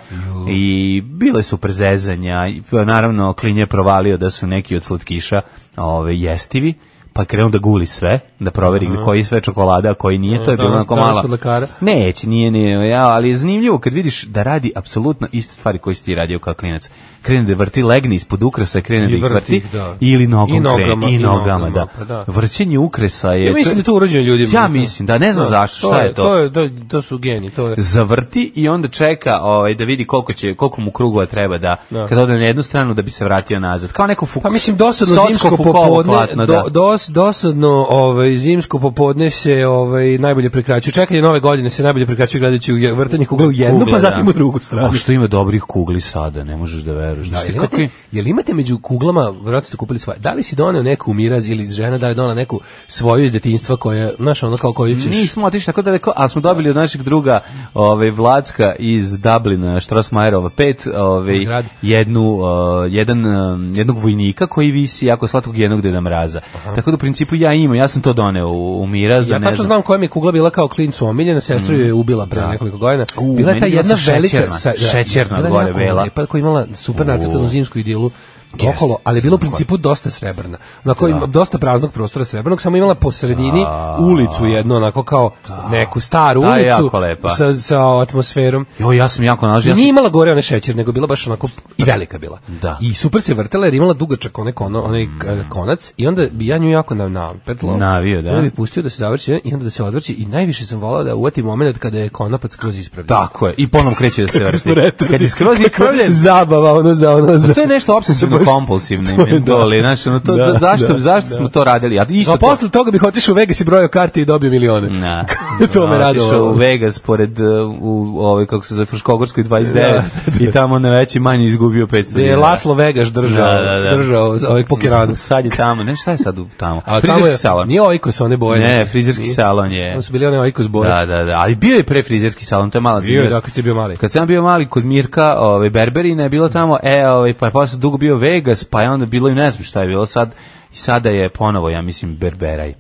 Speaker 5: i bile su prezezanja, i, e, naravno Klin je provalio da su neki od slatkiša ove, jestivi, pa je krenuo da guli sve, da proveri koji sve čokolada, a koji nije, to je bilo
Speaker 6: Danas-
Speaker 5: onako
Speaker 6: danas
Speaker 5: mala.
Speaker 6: kod lekara.
Speaker 5: Neće, nije, nije, ja, ali je zanimljivo kad vidiš da radi apsolutno iste stvari koje si ti radio kao klinac. Krene da vrti, legne ispod ukrasa, krene da ih
Speaker 6: vrti
Speaker 5: vrti,
Speaker 6: ih, da.
Speaker 5: ili nogom
Speaker 6: I
Speaker 5: krene,
Speaker 6: nogama,
Speaker 5: i
Speaker 6: i
Speaker 5: nogama, da.
Speaker 6: pa da.
Speaker 5: Vrćenje ukrasa je...
Speaker 6: Ja
Speaker 5: to-
Speaker 6: mislim da je to urađeno ljudima.
Speaker 5: ja mislim, da, ne znam zašto, šta je to?
Speaker 6: To, je, to, je- to su geni, to je...
Speaker 5: zavrti i onda čeka ovaj, da vidi koliko, će, koliko mu krugova treba da,
Speaker 6: Da.
Speaker 5: kad ode na jednu stranu da bi se vratio nazad. Kao neko fuk,
Speaker 6: Pa mislim dosadno
Speaker 5: socko
Speaker 6: zimsko
Speaker 5: Fukovo
Speaker 6: popodne,
Speaker 5: platno,
Speaker 6: do,
Speaker 5: da.
Speaker 6: dos, dosadno ovaj zimsko popodne se ovaj najbolje prekraćuje. Čekanje nove godine se najbolje prekraćuje gledajući u je- vrtanje kugle u jednu,
Speaker 5: Kugle,
Speaker 6: pa
Speaker 5: da.
Speaker 6: zatim u drugu stranu.
Speaker 5: A što ima dobrih kugli sada, ne možeš da veruješ. Da,
Speaker 6: Da, jel, imate, jel imate među kuglama, vjerojatno ste kupili svoje, da li si doneo neku miraz ili žena, da li je donela neku svoju iz detinjstva koja, znaš, ono kao koju ćeš...
Speaker 5: Nismo otišli tako daleko, ali smo dobili od našeg druga ovaj, Vlacka iz Dublina, Štrosmajerova 5, ovaj,
Speaker 6: Grad.
Speaker 5: jednu, uh, jedan, um, jednog vojnika koji visi jako slatkog jednog deda mraza. Tako da u principu ja imam, ja sam to doneo u, u Miraz.
Speaker 6: Ja
Speaker 5: ne
Speaker 6: tačno
Speaker 5: znam. Mm,
Speaker 6: znam koja mi je kugla bila kao klincu omiljena, sestru je ubila pre nekoliko godina.
Speaker 5: U,
Speaker 6: bila je ta
Speaker 5: meni je bila
Speaker 6: jedna
Speaker 5: sa
Speaker 6: velika...
Speaker 5: šećerna. Šećerna
Speaker 6: bila je
Speaker 5: od gore
Speaker 6: jako
Speaker 5: bela.
Speaker 6: Lepa, koja je imala super nacrtanu
Speaker 5: U.
Speaker 6: zimsku idilu
Speaker 5: Jeste,
Speaker 6: okolo, ali je bila u
Speaker 5: znam
Speaker 6: principu dosta srebrna. Na kojoj ima dosta praznog prostora srebrnog, samo imala po sredini ulicu jednu, onako kao neku staru
Speaker 5: Ta je
Speaker 6: ulicu
Speaker 5: jako lepa.
Speaker 6: sa, sa atmosferom.
Speaker 5: Jo, ja sam jako nalažio.
Speaker 6: Ja
Speaker 5: Ja sam
Speaker 6: nije imala gore onaj šećer, nego je bila baš onako i velika bila.
Speaker 5: Da. Mm.
Speaker 6: I super se vrtela jer je imala dugačak onaj, kono, onaj eh, konac i onda bi ja nju jako na, napetlo.
Speaker 5: Navio, da.
Speaker 6: Onda bi pustio da se završi i onda da se odvrći i najviše sam volao da uvatim moment kada je konopac skroz ispravljen.
Speaker 5: Tako je, i ponovo kreće da se
Speaker 6: Smo
Speaker 5: vrti.
Speaker 6: retardi.
Speaker 5: Kad je skroz
Speaker 6: Kako
Speaker 5: ispravljen,
Speaker 6: Zabava, ono za ono za...
Speaker 5: to je nešto obsesivno
Speaker 6: baš-
Speaker 5: kompulsivno
Speaker 6: to je, da.
Speaker 5: doli, znaš, ono to,
Speaker 6: Da,
Speaker 5: zašto,
Speaker 6: da,
Speaker 5: zašto smo to radili? A isto
Speaker 6: A
Speaker 5: to,
Speaker 6: posle toga bih otišao u Vegas i brojao karte i dobio milione.
Speaker 5: Na, ono,
Speaker 6: to me ono?
Speaker 5: Otišao
Speaker 6: radovalo.
Speaker 5: u Vegas pored uh, u ovaj kako se zove Fruškogorskoj 29 i tamo na veći manje izgubio 500
Speaker 6: Gde je
Speaker 5: dinara.
Speaker 6: Laslo Vegaš držao,
Speaker 5: Da, da, da.
Speaker 6: držao ovaj pokeranu.
Speaker 5: Sad je tamo, ne šta je sad u- tamo?
Speaker 6: A tamo
Speaker 5: Frizerski
Speaker 6: je-
Speaker 5: salon.
Speaker 6: Nije oikos one boje.
Speaker 5: Ne, frizerski salon je.
Speaker 6: Tamo su bili one oikos boje.
Speaker 5: Da, da, da. Ali bio je pre frizerski salon, to je mala
Speaker 6: Bio je,
Speaker 5: zanimljivost.
Speaker 6: da, kad si bio mali.
Speaker 5: Kad sam bio mali kod Mirka, ovaj Berberina je bilo tamo, e, ovaj pa je posle dugo bio Vegas, pa je onda bilo i ne znam šta je bilo sad. I sada je ponovo, ja mislim, Berberaj.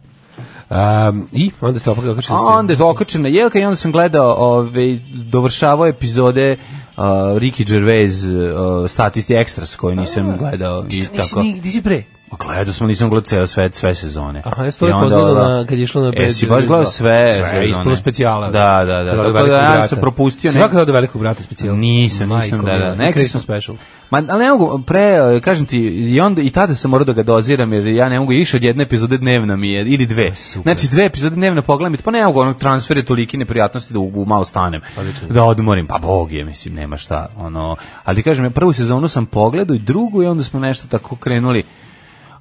Speaker 6: Um, I onda ste opet okačili
Speaker 5: A onda je okačena jelka i onda sam gledao, ovaj, dovršavao epizode uh, Ricky Gervais uh, statisti ekstras koje nisam gledao i tako.
Speaker 6: Nisi, nisi pre.
Speaker 5: Ma Gledao smo, nisam gledao ceo sve, sve sezone.
Speaker 6: Aha, jesi to
Speaker 5: I
Speaker 6: uvek
Speaker 5: onda,
Speaker 6: odgledao
Speaker 5: ono,
Speaker 6: na- kad je išlo na
Speaker 5: E, si baš
Speaker 6: 592?
Speaker 5: gledao sve,
Speaker 6: Sve,
Speaker 5: sezone.
Speaker 6: ispalo specijala.
Speaker 5: Da, da, da. Tako
Speaker 6: Kada velikog
Speaker 5: da ja
Speaker 6: brata.
Speaker 5: sam propustio.
Speaker 6: Svako da od velikog brata specijala.
Speaker 5: Nisam, nisam,
Speaker 6: Majko
Speaker 5: da, da.
Speaker 6: moja,
Speaker 5: Neki
Speaker 6: Christmas
Speaker 5: sam-
Speaker 6: special.
Speaker 5: Ma, ali ne mogu, pre, eh, kažem ti, i, onda, i tada sam morao da ga doziram, jer ja ne mogu više od jedne epizode dnevno mi je, ili dve. Znači, dve epizode dnevno pogledam, i pa ne mogu, onog transfer je toliki neprijatnosti da u, u malo stanem, da odmorim, pa bog je, mislim, nema šta, ono, ali ti kažem, ja prvu sezonu sam pogledao i drugu, i onda smo nešto tako krenuli,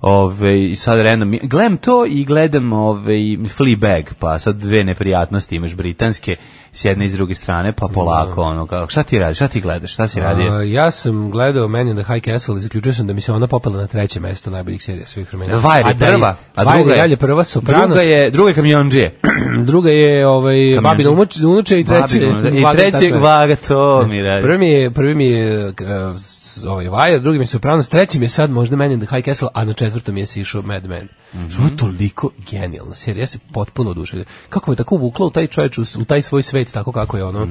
Speaker 5: Ove, I sad random, gledam to i gledam ove, Fleabag, pa sad dve neprijatnosti imaš britanske s jedne i s druge strane, pa polako, ono, kako, šta ti radiš, šta ti gledaš, šta si radio?
Speaker 6: A, ja sam gledao Man in the High Castle i zaključio sam da mi se ona popela na treće mesto najboljih serija svih vremena.
Speaker 5: Vajer je
Speaker 6: da
Speaker 5: prva, a
Speaker 6: Vajer
Speaker 5: druga
Speaker 6: je dalje
Speaker 5: je,
Speaker 6: prva, Sopranos,
Speaker 5: druga je, druga je kamionđije.
Speaker 6: druga je ovaj,
Speaker 5: Kamion.
Speaker 6: Babina unuče, unuče i treće.
Speaker 5: Babino, I
Speaker 6: Vaga,
Speaker 5: treći
Speaker 6: tako je.
Speaker 5: vaga, to mi radi.
Speaker 6: Prvi mi je, prvi mi je uh, s- ovaj Vajer, drugi mi je Sopranos, treći mi je sad možda Man in the High Castle, a na četvrtom je sišao Mad Men. Mm
Speaker 5: Mhm.
Speaker 6: -hmm. Što je toliko genijalna serija, ja se potpuno oduševio. Kako me tako vuklo u taj čovječ, u, s- u taj svoj svet, tako kako je ono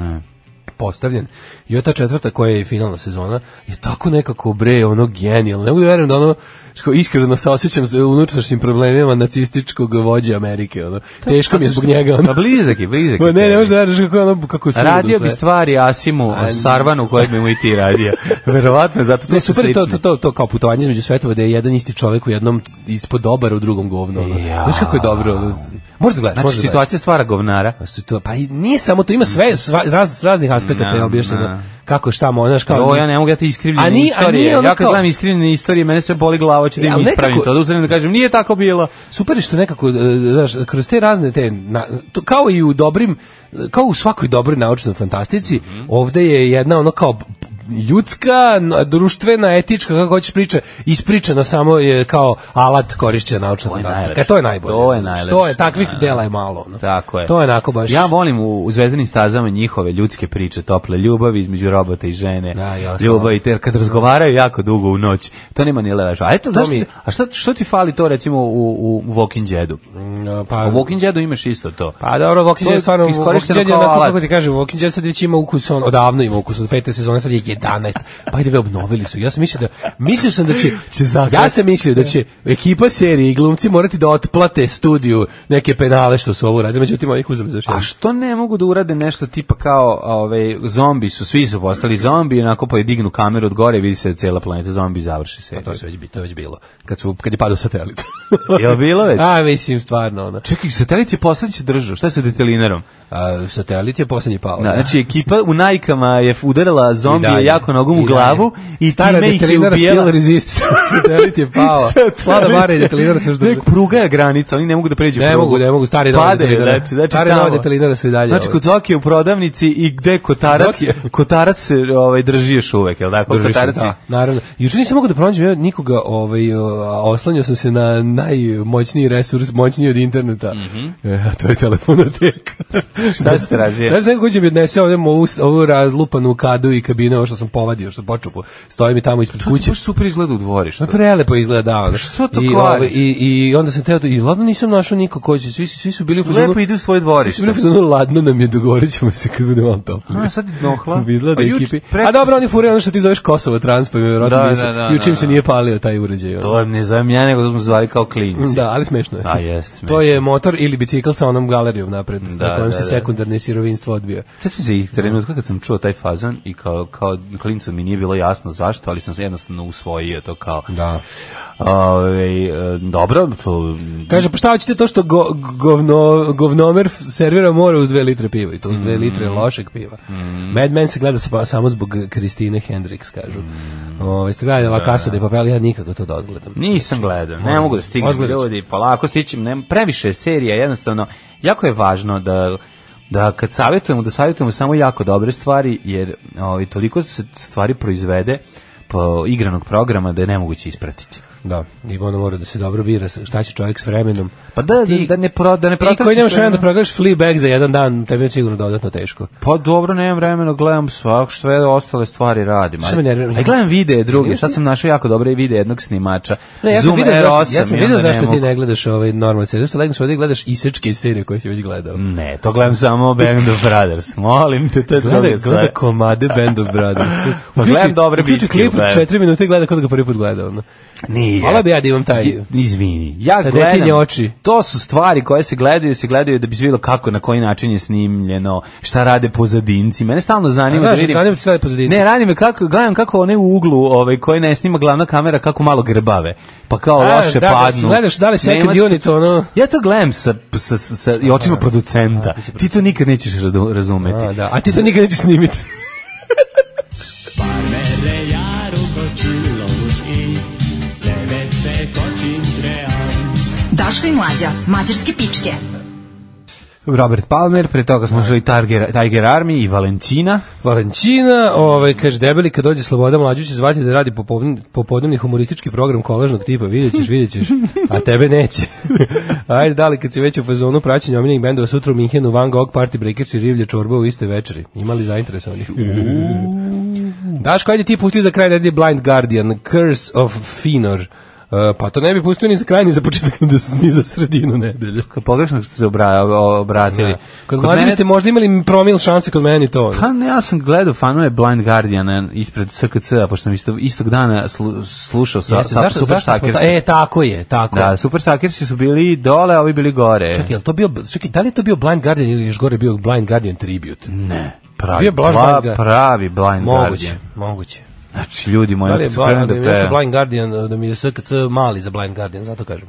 Speaker 6: postavljen. I ova ta četvrta koja je finalna sezona je tako nekako bre ono genijalno. Ne mogu da verujem da ono što iskreno se osjećam sa unutrašnjim problemima nacističkog vođe Amerike. Ono. Teško mi je zbog njega.
Speaker 5: Pa
Speaker 6: Ono.
Speaker 5: blizak je, blizak je.
Speaker 6: Ma Ne, ne
Speaker 5: tebi.
Speaker 6: možeš da veriš kako je ono, kako je suludo
Speaker 5: Radio bi
Speaker 6: sve.
Speaker 5: stvari Asimu,
Speaker 6: A,
Speaker 5: Sarvanu kojeg bi mu i ti radio. Verovatno, zato to
Speaker 6: Ne,
Speaker 5: su
Speaker 6: super je
Speaker 5: slični.
Speaker 6: to, to, to, to kao putovanje između svetova da je jedan isti čovjek u jednom ispod dobar, u drugom govno. Ono.
Speaker 5: Ja.
Speaker 6: Znaš kako je dobro? Ono? Možeš da gledaš,
Speaker 5: Znači,
Speaker 6: možeš da gledaš.
Speaker 5: situacija stvara govnara.
Speaker 6: Pa su to, pa i nije samo to, ima sve, sva, raz, s raznih aspekata
Speaker 5: Na,
Speaker 6: je objašnjeno.
Speaker 5: na.
Speaker 6: Kako, šta, mo, znaš, kao...
Speaker 5: Ovo ja ne mogu ja te iskrivljene
Speaker 6: A ni- a
Speaker 5: istorije.
Speaker 6: nije ono
Speaker 5: ja kad
Speaker 6: kao-
Speaker 5: gledam iskrivljene istorije, mene sve boli glava, hoću da
Speaker 6: E,
Speaker 5: im
Speaker 6: ali
Speaker 5: ispravim
Speaker 6: nekako-
Speaker 5: to. Da uzmem da kažem, nije tako bilo.
Speaker 6: Super je što nekako, e, znaš, kroz te razne te, na, to, kao i u dobrim, kao u svakoj dobroj naučnoj fantastici,
Speaker 5: Mhm.
Speaker 6: ovde je jedna ono kao b- ljudska, n- društvena, etička, kako hoćeš priče, ispričana samo je kao alat korišćena naučna fantastika.
Speaker 5: najlepše.
Speaker 6: E, to je najbolje.
Speaker 5: To je
Speaker 6: Znaš,
Speaker 5: najlepše.
Speaker 6: To je, takvih
Speaker 5: Da, da.
Speaker 6: dela je malo. Ono.
Speaker 5: Tako je.
Speaker 6: To je onako baš...
Speaker 5: Ja volim u, u zvezdanim stazama njihove ljudske priče, tople ljubavi između robota i žene.
Speaker 6: Da, i ostalo.
Speaker 5: ljubav i te, kad razgovaraju jako dugo u noć, to nema ni levaša. A eto, zašto
Speaker 6: mi-
Speaker 5: se- a šta, što ti fali to recimo u, u Walking Deadu?
Speaker 6: Mm, Pa,
Speaker 5: U Walking Deadu imaš isto to.
Speaker 6: Pa dobro, Walking
Speaker 5: To je
Speaker 6: Dead stvarno, Walking
Speaker 5: iskorišteno
Speaker 6: Dead je
Speaker 5: kao
Speaker 6: onako,
Speaker 5: alat.
Speaker 6: kako ti kažem, Walking Dead sad već ima ukus, on, odavno ima ukus, od pete sezone sad je 11, pa ide ve obnovili su, ja sam mislio da, mislio sam da će,
Speaker 5: Će zaklati.
Speaker 6: ja sam mislio da će ekipa serije i glumci morati da otplate studiju neke penale što su ovo uradili, međutim ovih uzeli za što.
Speaker 5: A što ne mogu da urade nešto tipa kao ovaj, zombi su, svi su postali zombi, onako pa i dignu kameru od gore i vidi se cela planeta zombi i završi se.
Speaker 6: Pa To se već, bi- to je već bilo, kad, su, kad je padao satelit.
Speaker 5: Jel bilo već?
Speaker 6: A, mislim, stvarno, ono.
Speaker 5: Čekaj, satelit je poslednji se držao, šta je sa detelinarom?
Speaker 6: A, satelit je poslednji pao.
Speaker 5: Da, znači ekipa u najkama je udarila zombije
Speaker 6: dalje.
Speaker 5: jako nogom u
Speaker 6: I dalje.
Speaker 5: glavu i
Speaker 6: Stara
Speaker 5: time ih je
Speaker 6: detelinara
Speaker 5: ubijela.
Speaker 6: still resist. Satelit je pao. Slada bara i detelinara se još
Speaker 5: Nek,
Speaker 6: drži.
Speaker 5: pruga je granica, oni ne mogu da pređu
Speaker 6: Ne
Speaker 5: prugu.
Speaker 6: mogu, ne mogu, stari nova
Speaker 5: Padaju,
Speaker 6: detelinara.
Speaker 5: znači, znači
Speaker 6: Stari
Speaker 5: tamo.
Speaker 6: nova detelinara su i dalje,
Speaker 5: Znači,
Speaker 6: ovaj.
Speaker 5: kod Zokije u prodavnici i gde kotarac,
Speaker 6: Zokije.
Speaker 5: kotarac se ovaj, drži još uvek, jel tako?
Speaker 6: Drži se,
Speaker 5: kotarac je-
Speaker 6: da, naravno. Juče nisam mogao da pronađem ja nikoga, ovaj, o, a oslanjao sam se na najmoćniji resurs, moćniji od interneta,
Speaker 5: Mhm.
Speaker 6: e, a to je telefonoteka.
Speaker 5: Šta Znači, si tražio?
Speaker 6: Znaš neko će mi odnese ovdje ovu, ovu razlupanu kadu i kabinu, ovo što sam povadio, što sam počupo, stoji mi tamo ispred
Speaker 5: To ti
Speaker 6: kuće.
Speaker 5: baš super izgleda u dvorištu.
Speaker 6: Pa prelepo izgleda, da. ono.
Speaker 5: što to
Speaker 6: I,
Speaker 5: kvari?
Speaker 6: ovaj, i, I onda sam teo, to- i ladno nisam našao niko ko će, svi, svi su bili u fazonu- Znači,
Speaker 5: Lepo ide u svoje
Speaker 6: Svi su
Speaker 5: dvorište.
Speaker 6: bili u fazonu, ladno nam je, dogovorit ćemo se kad bude malo toplije.
Speaker 5: A, sad je dohla.
Speaker 6: Izgleda
Speaker 5: A Pa juč-
Speaker 6: ekipi.
Speaker 5: preko-
Speaker 6: A dobro, oni furaju ono što ti zoveš Kosovo trans, pa mi vjerojatno
Speaker 5: Da, da,
Speaker 6: da,
Speaker 5: da,
Speaker 6: jučim
Speaker 5: da,
Speaker 6: se
Speaker 5: da.
Speaker 6: nije palio taj uređaj. ono.
Speaker 5: To je ne zovem ja, nego da smo zvali kao klinci.
Speaker 6: Da, ali smešno je.
Speaker 5: A, jest, smešno.
Speaker 6: To je motor ili bicikl sa onom galerijom napred, na kojem
Speaker 5: da,
Speaker 6: se
Speaker 5: da.
Speaker 6: sekundarne sirovinstvo odbija.
Speaker 5: Sećam se ih trenutka kad sam čuo taj fazon i kao, kao klincu mi nije bilo jasno zašto, ali sam se jednostavno usvojio to kao.
Speaker 6: Da.
Speaker 5: Ove, e, dobro, to...
Speaker 6: Kaže, pa šta hoćete to što go, govno, govnomer f- servira mora uz dve litre piva i to uz dve
Speaker 5: Mm.
Speaker 6: litre lošeg piva. Mad Men se gleda sa, samo zbog Kristine Hendricks, kažu. Mm. Ove, ste gledali La Casa de Papel, ja nikako to da odgledam.
Speaker 5: Nisam gledao, ne mogu da stignem
Speaker 6: Odgledat ću.
Speaker 5: ljudi, polako stićem, ne, previše je serija, jednostavno, jako je važno da da kad savjetujemo, da savjetujemo samo jako dobre stvari, jer ovaj, toliko se stvari proizvede po igranog programa da je nemoguće ispratiti.
Speaker 6: Da, i ono mora da se dobro bira sa- šta će čovjek s vremenom.
Speaker 5: Pa da,
Speaker 6: Ti-
Speaker 5: da, da ne, pro, da ne
Speaker 6: Ti koji
Speaker 5: protračiš
Speaker 6: nemaš vremena da
Speaker 5: vremena.
Speaker 6: progledaš Fleabag za jedan dan, tebi je sigurno dodatno teško.
Speaker 5: Pa dobro, nemam vremena, gledam svak, sve ostale stvari radim.
Speaker 6: Šta me nervira?
Speaker 5: Aj, gledam videe druge, sad sam našao jako dobre videe jednog snimača.
Speaker 6: Ne, ja sam
Speaker 5: Zoom
Speaker 6: vidio zašto,
Speaker 5: R8
Speaker 6: ja sam
Speaker 5: i
Speaker 6: vidio
Speaker 5: onda
Speaker 6: zašto ti
Speaker 5: mogu.
Speaker 6: ne gledaš ovaj normalne serije, zašto legneš ovdje i gledaš isečke serije koje si već gledao.
Speaker 5: Ne, to gledam samo Band of Brothers, molim te, to je
Speaker 6: Gleda,
Speaker 5: druga stvar.
Speaker 6: gleda komade Band of Brothers.
Speaker 5: Pa gledam dobre
Speaker 6: uključi
Speaker 5: bitke,
Speaker 6: klip
Speaker 5: gledam.
Speaker 6: 4 minute i gleda kod ga prvi put gledao. ono.
Speaker 5: Nije.
Speaker 6: Hvala bi ja da imam taj-
Speaker 5: Je- Izvini. Ja
Speaker 6: Ta
Speaker 5: gledam.
Speaker 6: detinje oči.
Speaker 5: To su stvari koje se gledaju, se gledaju da bi se vidjelo kako, na koji način je snimljeno, šta rade pozadinci. Mene stalno zanima
Speaker 6: A znaš,
Speaker 5: da vidim.
Speaker 6: zanima te šta rade pozadinci?
Speaker 5: Ne, radi me kako, gledam kako one u uglu, ovaj koji ne snima glavna kamera kako malo grbave. Pa kao
Speaker 6: A,
Speaker 5: loše
Speaker 6: E, da, da,
Speaker 5: padnu.
Speaker 6: gledaš da li second
Speaker 5: Nema-
Speaker 6: unit, ono.
Speaker 5: Ja to gledam sa sa sa, sa i očima producenta. Ti to nikad nećeš razu- razumeti.
Speaker 6: A, da. A ti to nikad nećeš snimiti.
Speaker 1: Parmele jaru kočilovuš i levece kočim
Speaker 4: Daško i Mlađa, mađarske pičke.
Speaker 5: Robert Palmer, pre toga smo šli Tiger, Tiger Army i Valentina.
Speaker 6: Valentina, ovaj, kaže, debeli kad dođe Sloboda Mlađu će zvati da radi popodn- popodnevni humoristički program kolažnog tipa, vidjet ćeš, vidjet ćeš, a tebe neće. Ajde, dali, kad si već u fazonu praćenja omiljenih bendova sutra u Minhenu, Van Gogh, Party Breakers i Rivlja Čorba u istoj večeri. Imali zainteresovanih? Daško, ajde ti pusti za kraj da Blind Guardian, Curse of Finor. Uh, pa to ne bi pustio ni za kraj, ni za početak, ni za sredinu nedelje.
Speaker 5: Kad pogrešno ste se obra, obratili.
Speaker 6: Da. Kod, kod mlađe ste možda imali promil šanse kod meni to. ono.
Speaker 5: Pa ne, ja sam gledao fanove Blind Guardiana ispred SKC-a, pošto sam isto, istog dana slu, slušao sa,
Speaker 6: Jeste,
Speaker 5: sa
Speaker 6: zašto-
Speaker 5: Super
Speaker 6: zašto smo
Speaker 5: Suckers.
Speaker 6: ta- E, tako je, tako.
Speaker 5: Da, Super Suckersi su bili dole, a ovi bili gore.
Speaker 6: Čekaj, jel to bio, čekaj, da li je to bio Blind Guardian ili još gore bio Blind Guardian Tribute?
Speaker 5: Ne, pravi,
Speaker 6: Bio je baš
Speaker 5: pla-
Speaker 6: Blind Guardian.
Speaker 5: pravi Blind
Speaker 6: Moguće,
Speaker 5: Guardian.
Speaker 6: moguće.
Speaker 5: Znači, ljudi moji,
Speaker 6: Da li je
Speaker 5: ako su krenuli
Speaker 6: Blind,
Speaker 5: da
Speaker 6: da mi je nešto
Speaker 5: peva.
Speaker 6: Blind Guardian, da mi je SKC mali za Blind Guardian, zato kažem.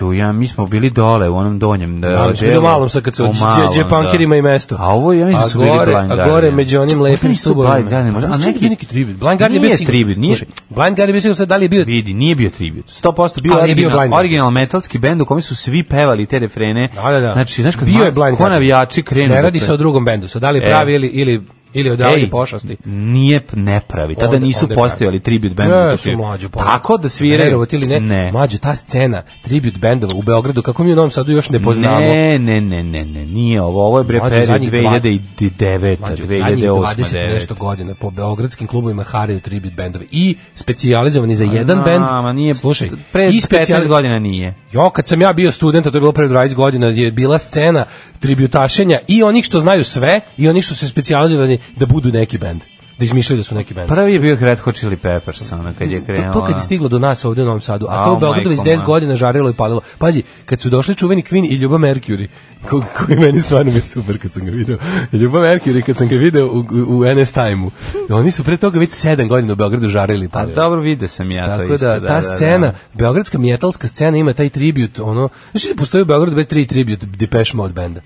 Speaker 5: Ju, ja, mi smo bili dole u onom donjem. Da,
Speaker 6: Da, mi smo bili u malom SKC,
Speaker 5: E, U
Speaker 6: gdje-
Speaker 5: malom,
Speaker 6: gdje punkirima i mesto.
Speaker 5: A ovo, ja mislim,
Speaker 6: A
Speaker 5: da su bili
Speaker 6: gore-
Speaker 5: Blind
Speaker 6: a
Speaker 5: Guardian.
Speaker 6: gore među onim
Speaker 5: Možda
Speaker 6: lepim
Speaker 5: nisu
Speaker 6: stubovima.
Speaker 5: Blind Guardian, možda,
Speaker 6: Možda
Speaker 5: a
Speaker 6: je bio
Speaker 5: neki...
Speaker 6: neki tribut. Blind Guardian je bio
Speaker 5: Nije
Speaker 6: sigurno-
Speaker 5: tribut, nije-
Speaker 6: Slušaj, Blind Guardian je bio sigurno sad da li je bio
Speaker 5: Vidi, nije bio tribut. 100% bio,
Speaker 6: Ali je bio
Speaker 5: original,
Speaker 6: Blind Guardian.
Speaker 5: original metalski bend u kome su svi pevali te refrene.
Speaker 6: Da, da, da.
Speaker 5: Znači, znaš, kad
Speaker 6: bio
Speaker 5: ma-
Speaker 6: je Blind
Speaker 5: ko
Speaker 6: Guardian.
Speaker 5: navijači krenu.
Speaker 6: Ne
Speaker 5: da
Speaker 6: radi
Speaker 5: pe-
Speaker 6: se o drugom bendu, sad da li je
Speaker 5: E.
Speaker 6: pravi ili, ili, ili odavlji
Speaker 5: Ej,
Speaker 6: pošasti.
Speaker 5: Nije p- nepravi. Tada
Speaker 6: Onda-
Speaker 5: nisu
Speaker 6: onda je
Speaker 5: postojali tribut bendovi.
Speaker 6: Ne,
Speaker 5: to
Speaker 6: su mlađu pa.
Speaker 5: Tako da sviraju.
Speaker 6: Verovati ili ne,
Speaker 5: Ne.
Speaker 6: ne. mlađu, ta scena, tribute bendova u Beogradu, kako mi u Novom Sadu još ne poznamo.
Speaker 5: Ne, ne, ne, ne, ne, nije ovo, ovo je bre
Speaker 6: Mlađe,
Speaker 5: period
Speaker 6: zadnjih dva-
Speaker 5: 2009. 2008.
Speaker 6: Mlađu, zadnjih 20
Speaker 5: 2009.
Speaker 6: nešto godina po beogradskim klubovima haraju tribute bendovi i specijalizovani za jedan
Speaker 5: A,
Speaker 6: bend.
Speaker 5: ma nije,
Speaker 6: slušaj,
Speaker 5: pre
Speaker 6: i
Speaker 5: 15
Speaker 6: specijali-
Speaker 5: godina nije.
Speaker 6: Jo, kad sam ja bio student, a to je bilo pre 20 godina, je bila scena tributašenja i onih što znaju sve i onih što se specijalizovani da budu neki bend, da izmišljaju da su neki bend.
Speaker 5: Prvi je bio Red Hot Chili Peppers, ono, kad je krenuo.
Speaker 6: Pa To, to kad je
Speaker 5: ono.
Speaker 6: stiglo do nas ovde u Novom Sadu, a to
Speaker 5: Au,
Speaker 6: u Beogradu već
Speaker 5: majko
Speaker 6: 10
Speaker 5: moja.
Speaker 6: godina žarilo i palilo. Pazi, kad su došli čuveni Queen i Ljuba Mercury, ko, koji meni stvarno bio super kad sam ga video. Ljuba Mercury kad sam ga video u, u, u NS Time-u. Oni su pre toga već 7 godina u Beogradu žarili i
Speaker 5: A
Speaker 6: palili.
Speaker 5: Pa dobro, vide sam ja to
Speaker 6: Tako
Speaker 5: isto.
Speaker 6: da, ta scena, beogradska metalska scena ima taj tribut, ono, znači da postoji u Beogradu već tri tribut Depeche Mode benda.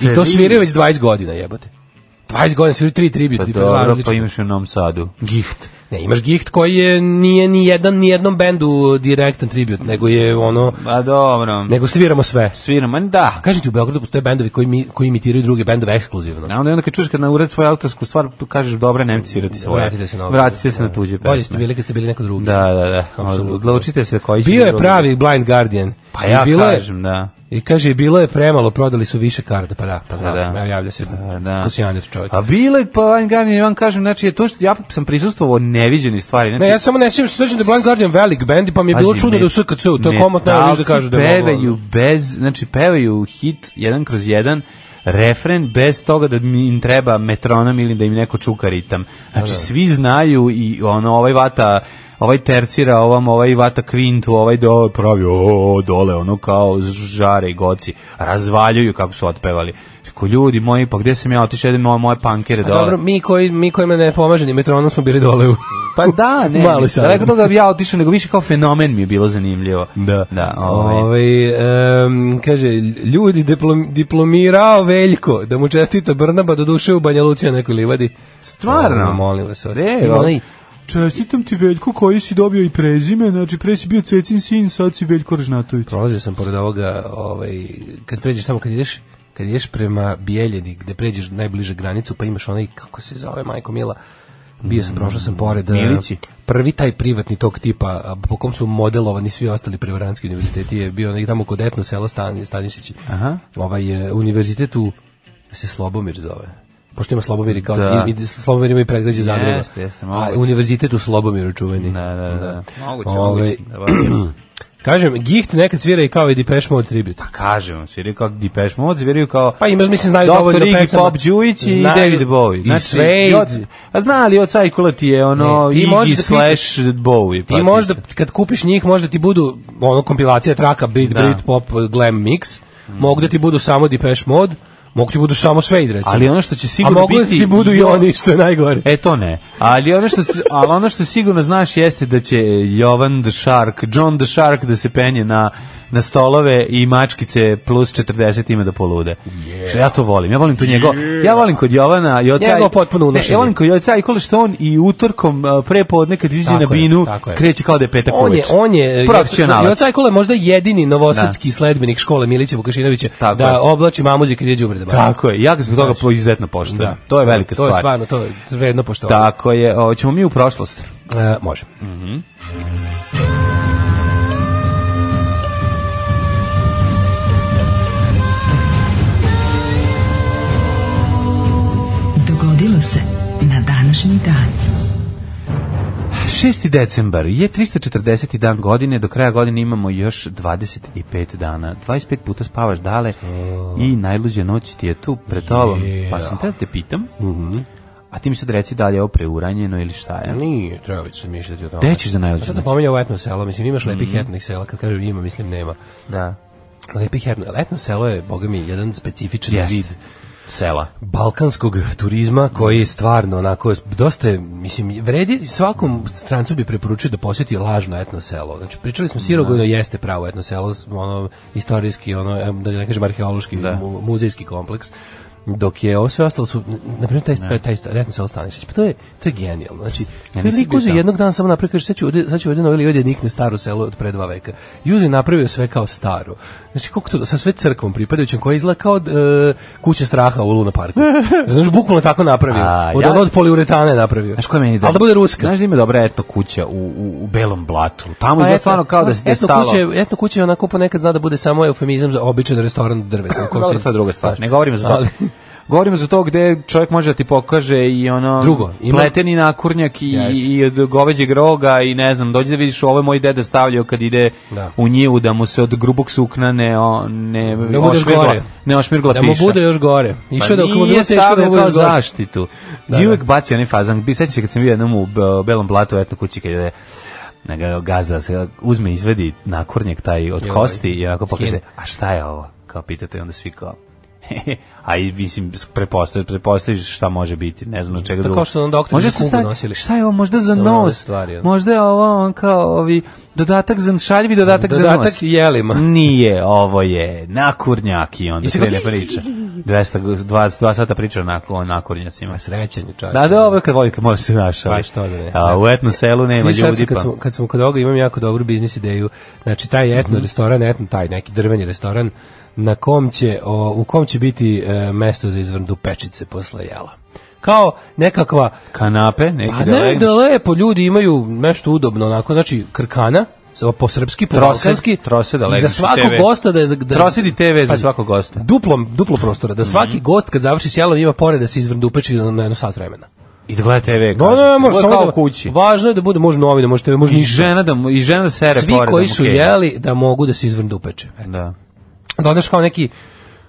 Speaker 6: I to
Speaker 5: Tri-
Speaker 6: sviraju već 20 godina, jebote. 20 godina sviraju tri tribute.
Speaker 5: Pa
Speaker 6: i
Speaker 5: dobro,
Speaker 6: različite.
Speaker 5: pa imaš u Novom Sadu. Gift.
Speaker 6: Ne, imaš Gicht koji je nije ni jedan ni jednom bendu direktan tribut, nego je ono
Speaker 5: Pa dobro.
Speaker 6: nego sviramo sve.
Speaker 5: Sviram, an da.
Speaker 6: A kažem ti u Beogradu postoje bendovi koji mi, koji imitiraju druge bendove ekskluzivno.
Speaker 5: A onda, onda kad čuješ kad na ured svoju autorsku stvar, tu kažeš dobro, nemci svirati svoje.
Speaker 6: Vratite se na ovo.
Speaker 5: Vratite se na tuđe pesme.
Speaker 6: Bolje ste bili kad ste bili neko drugi.
Speaker 5: Da, da, da.
Speaker 6: Apsolutno.
Speaker 5: Odlučite se koji će
Speaker 6: Bio je
Speaker 5: drugi.
Speaker 6: pravi Blind Guardian.
Speaker 5: Pa ja
Speaker 6: I bilo je-
Speaker 5: kažem, da.
Speaker 6: I kaže, bilo je premalo, prodali su više karta, pa da, pa znao
Speaker 5: da.
Speaker 6: sam, evo javlja se
Speaker 5: Pa
Speaker 6: da.
Speaker 5: da.
Speaker 6: kosijaner čovjek.
Speaker 5: A bilo je pa Van Garnier, ja vam kažem, znači je to što ja sam prisustvovao neviđene stvari. Znači,
Speaker 6: Ne, ja samo ne sjećam se sećam da je Blind Guardian velik bend, pa mi je bilo
Speaker 5: pazi,
Speaker 6: čudno
Speaker 5: met-
Speaker 6: da je u SKC-u, to je komotno, ja viš da
Speaker 5: metalci
Speaker 6: kažu da je ono. moglo.
Speaker 5: pevaju bez, znači pevaju hit jedan kroz jedan, refren bez toga da mi- im treba metronom ili da im neko čuka ritam. Znači svi znaju i ono ovaj vata ovaj tercira ovam, ovaj vata kvintu, ovaj do pravi o, dole, ono kao žare i goci, razvaljuju kako su otpevali. Rekao, ljudi moji, pa gde sam ja otišao, jedem moje, moje pankere
Speaker 6: A
Speaker 5: dole.
Speaker 6: Pa Dobro, mi koji mi kojima ne pomaže ni metronom smo bili dole u.
Speaker 5: Pa da, ne,
Speaker 6: Malo
Speaker 5: Malo
Speaker 6: sam.
Speaker 5: mislim, rekao toga bi ja otišao, nego više kao fenomen mi je bilo zanimljivo. Da, ovaj.
Speaker 6: Ovaj, em, kaže, ljudi diplom, diplomirao Veljko, da mu čestita Brnaba do duše u Banja Lucija nekoj livadi.
Speaker 5: Stvarno? E, ovaj,
Speaker 6: Ovo, molim vas. ovo.
Speaker 5: De,
Speaker 6: Ima onaj-
Speaker 5: Čestitam ti Veljko koji si dobio i prezime, znači pre si bio Cecin sin, sad si Veljko Režnatović.
Speaker 6: Prolazio sam pored ovoga, ovaj, kad pređeš tamo, kad ideš, kad ideš prema Bijeljini, gde pređeš najbliže granicu, pa imaš onaj, kako se zove, majko Mila, bio sam, prošao sam pored... eh,
Speaker 5: Mm. Milici?
Speaker 6: Prvi taj privatni tog tipa, a po kom su modelovani svi ostali prevarantski univerziteti, je bio negdje tamo kod etno sela Stan, Stanišići.
Speaker 5: Aha.
Speaker 6: Ovaj, eh, univerzitet u, se Slobomir zove. Pošto ima Slobomir i kao,
Speaker 5: Da.
Speaker 6: i, i Slobomir ima i predgrađe Zagreba.
Speaker 5: Jeste, jeste,
Speaker 6: A
Speaker 5: moguće.
Speaker 6: univerzitet u Slobomiru čuveni.
Speaker 5: Da, da, da. Moguće,
Speaker 6: Ovaj,
Speaker 5: moguće. Da, valjda.
Speaker 6: Kažem, Gicht nekad svira i kao i Depeche Mode tribute.
Speaker 5: Kažem vam, sviraju kao Depeche Mode, sviraju kao...
Speaker 6: Pa ima, mislim, znaju
Speaker 5: Dr.
Speaker 6: dovoljno
Speaker 5: Iggy
Speaker 6: pesama.
Speaker 5: Pop Đujić i
Speaker 6: Znaju-
Speaker 5: David Bowie. Znači,
Speaker 6: I Suede.
Speaker 5: i od- a znali, od Sajkula ti je ono
Speaker 6: Ne, ti možeš
Speaker 5: Iggy
Speaker 6: da
Speaker 5: slash Bowie. pa
Speaker 6: Ti možda, kad kupiš njih, možda ti budu ono kompilacija traka Brit,
Speaker 5: Da.
Speaker 6: Brit, Pop, Glam Mix. Mogu da ti budu samo Depeche Mode, mogu ti budu samo Suede, recimo.
Speaker 5: Ali ono što će
Speaker 6: A
Speaker 5: sigurno
Speaker 6: mogu da
Speaker 5: biti-
Speaker 6: ti budu i oni, što je najgore.
Speaker 5: E to ne. Ali ono što si- ali e, ono što sigurno znaš jeste da će Jovan the Shark, John the Shark da se penje na na stolove i mačkice plus 40 ima da polude. Yeah. Što ja to volim. Ja volim to njegov. Ja volim kod Jovana i oca.
Speaker 6: Njegovo potpuno
Speaker 5: ne,
Speaker 6: unošenje.
Speaker 5: ja volim kod oca i kole što on i utorkom a, prepodne kad izađe
Speaker 6: Tako
Speaker 5: na
Speaker 6: je,
Speaker 5: binu
Speaker 6: tako je.
Speaker 5: kreće kao da je petak
Speaker 6: on je,
Speaker 5: uveče.
Speaker 6: on je e,
Speaker 5: profesionalac.
Speaker 6: Joca Ajkula je možda jedini novosadski da. sledbenik škole Milića Vukašinovića
Speaker 5: Tako
Speaker 6: da
Speaker 5: je.
Speaker 6: oblači mamuzi kad ide u brda.
Speaker 5: Tako je. Ja ga zbog toga po izuzetno poštujem. To je velika
Speaker 6: Znači. To je
Speaker 5: stvar.
Speaker 6: stvarno, to je vredno poštovanja.
Speaker 5: Tako je. Hoćemo mi u prošlost.
Speaker 6: E, može.
Speaker 4: Dogodilo se na današnji dan.
Speaker 5: 6. decembar je 340. dan godine, do kraja godine imamo još 25 dana. 25 puta spavaš dale
Speaker 6: Oh.
Speaker 5: i najluđa noć ti je tu pred tobom. Pa sam te da te pitam,
Speaker 6: Mhm.
Speaker 5: a ti mi sad reci da li je ovo preuranjeno ili šta je.
Speaker 6: Nije, treba već se mišljati o tome.
Speaker 5: Gde ćeš za Mhm. najluđu
Speaker 6: Sad
Speaker 5: noć?
Speaker 6: sam pominjao etno selo, mislim imaš lepih etnih sela, kad kažem ima, mislim nema.
Speaker 5: Da.
Speaker 6: Lepih etno, etno selo je, boga mi, jedan specifičan
Speaker 5: Jest.
Speaker 6: vid
Speaker 5: Sela.
Speaker 6: balkanskog turizma koji je stvarno onako dosta je, mislim vredi svakom strancu bi preporučio da posjeti lažno etno selo. Znači pričali smo Sirogojno jeste pravo etno selo, ono istorijski, ono em, da ne kažem arheološki, mu- muzejski kompleks dok je ovo sve ostalo su na primjer taj taj taj sta- etno selo Stanišić. Pa to je to je genijalno. Znači to je
Speaker 5: nisam
Speaker 6: liko
Speaker 5: bio
Speaker 6: za
Speaker 5: tamo.
Speaker 6: jednog dana samo napravi kaže sad ću ovde sad ću ovde novi ovde nikne staro selo od pre dva veka. I uzeo i napravio sve kao staro. Znači koliko to sa sve crkvom pripadajućim koja izgleda kao od, e, kuća straha u Luna parku. Znaš bukvalno tako napravio.
Speaker 5: A,
Speaker 6: od
Speaker 5: ja-
Speaker 6: ja... od poliuretana je napravio.
Speaker 5: Znaš koja meni
Speaker 6: Ali da bude ruska. Pa
Speaker 5: Znaš da ima dobra etno kuća u, u, u belom blatu. Tamo je stvarno kao da se da je
Speaker 6: etno
Speaker 5: stalo.
Speaker 6: kuće, etno kuće je onako ponekad zna da bude samo eufemizam za običan restoran od drveta. u kom
Speaker 5: Dobro,
Speaker 6: se-
Speaker 5: to je druga stvar.
Speaker 6: znaš.
Speaker 5: Ne govorimo za to.
Speaker 6: Ali-
Speaker 5: Govorimo za to gde čovjek može da ti pokaže i ono
Speaker 6: Drugo, ima-
Speaker 5: pleteni nakurnjak i,
Speaker 6: Jeste.
Speaker 5: i od goveđeg roga i ne znam, dođi da vidiš ovo je moj deda stavljao kad ide
Speaker 6: Da.
Speaker 5: u njivu da mu se od grubog sukna ne, o, ne,
Speaker 6: Da mu bude još
Speaker 5: ošmirgla-
Speaker 6: gore.
Speaker 5: ne ošmirgla
Speaker 6: Da mu
Speaker 5: piša.
Speaker 6: bude još gore.
Speaker 5: Pa
Speaker 6: Išao da mu
Speaker 5: nije
Speaker 6: bilo teško da mu
Speaker 5: stavio
Speaker 6: bude
Speaker 5: kao
Speaker 6: još gore.
Speaker 5: zaštitu.
Speaker 6: Da,
Speaker 5: I
Speaker 6: da.
Speaker 5: uvek bacio onaj fazan. Bi sećaš se kad sam bio jednom u Be- Belom blatu etno kući kad je na ga- gazda se uzme izvedi nakurnjak taj od
Speaker 6: Joj.
Speaker 5: kosti i onako pokaže,
Speaker 6: Skine.
Speaker 5: a šta je ovo? Kao pitate i onda svi kao a i mislim prepostaviš prepostaviš šta može biti ne znam od čega
Speaker 6: To kao što nam doktori za kugu
Speaker 5: stavi-
Speaker 6: nosili.
Speaker 5: šta je ovo možda za
Speaker 6: Samo one
Speaker 5: nos
Speaker 6: stvari, ono.
Speaker 5: možda je ovo on kao ovi dodatak za šaljivi dodatak, za nos
Speaker 6: Dodatak jelima.
Speaker 5: nije, ovo je nakurnjak i onda
Speaker 6: I sve
Speaker 5: krene
Speaker 6: kao-
Speaker 5: priča. 200, 22 sata priča o nako- o nakurnjacima.
Speaker 6: A srećan je čovjek.
Speaker 5: Da, dobro, kad voli, kad može se našao.
Speaker 6: Pa što da ne.
Speaker 5: A, u etno selu nema
Speaker 6: Svi sad
Speaker 5: ljudi,
Speaker 6: kad
Speaker 5: pa...
Speaker 6: Smo, kad smo kod ovoga imam jako dobru biznis ideju. Znači, taj etno
Speaker 5: Mhm.
Speaker 6: restoran, etno, taj neki drveni restoran, na kom će, o, u kom će biti e, mesto za izvrndu pečice posle jela. Kao nekakva,
Speaker 5: Kanape, neki
Speaker 6: pa
Speaker 5: da
Speaker 6: ne,
Speaker 5: legne.
Speaker 6: da lepo, ljudi imaju nešto udobno, onako, znači, krkana, sa- po srpski, po
Speaker 5: Trose,
Speaker 6: balkanski,
Speaker 5: trose da
Speaker 6: i za
Speaker 5: legneš u
Speaker 6: svakog
Speaker 5: TV.
Speaker 6: gosta da je... za- Da,
Speaker 5: Trosidi TV za
Speaker 6: Pazi,
Speaker 5: svakog gosta. Mhm.
Speaker 6: Duplo, duplo prostora, da svaki gost kad završi s jelom ima pored da se izvrndu peči na, na jedno sat vremena.
Speaker 5: I da gleda TV.
Speaker 6: No,
Speaker 5: kažem.
Speaker 6: no, može
Speaker 5: Ovo je
Speaker 6: samo
Speaker 5: kao
Speaker 6: da,
Speaker 5: kući.
Speaker 6: Važno je da bude, može novine, može TV, može
Speaker 5: I
Speaker 6: ništa.
Speaker 5: žena da, mu- i žena da sere
Speaker 6: Svi
Speaker 5: pored
Speaker 6: koji
Speaker 5: da mu
Speaker 6: su
Speaker 5: keva.
Speaker 6: jeli da mogu da se izvrnu upeče.
Speaker 5: Da.
Speaker 6: Dodaš kao neki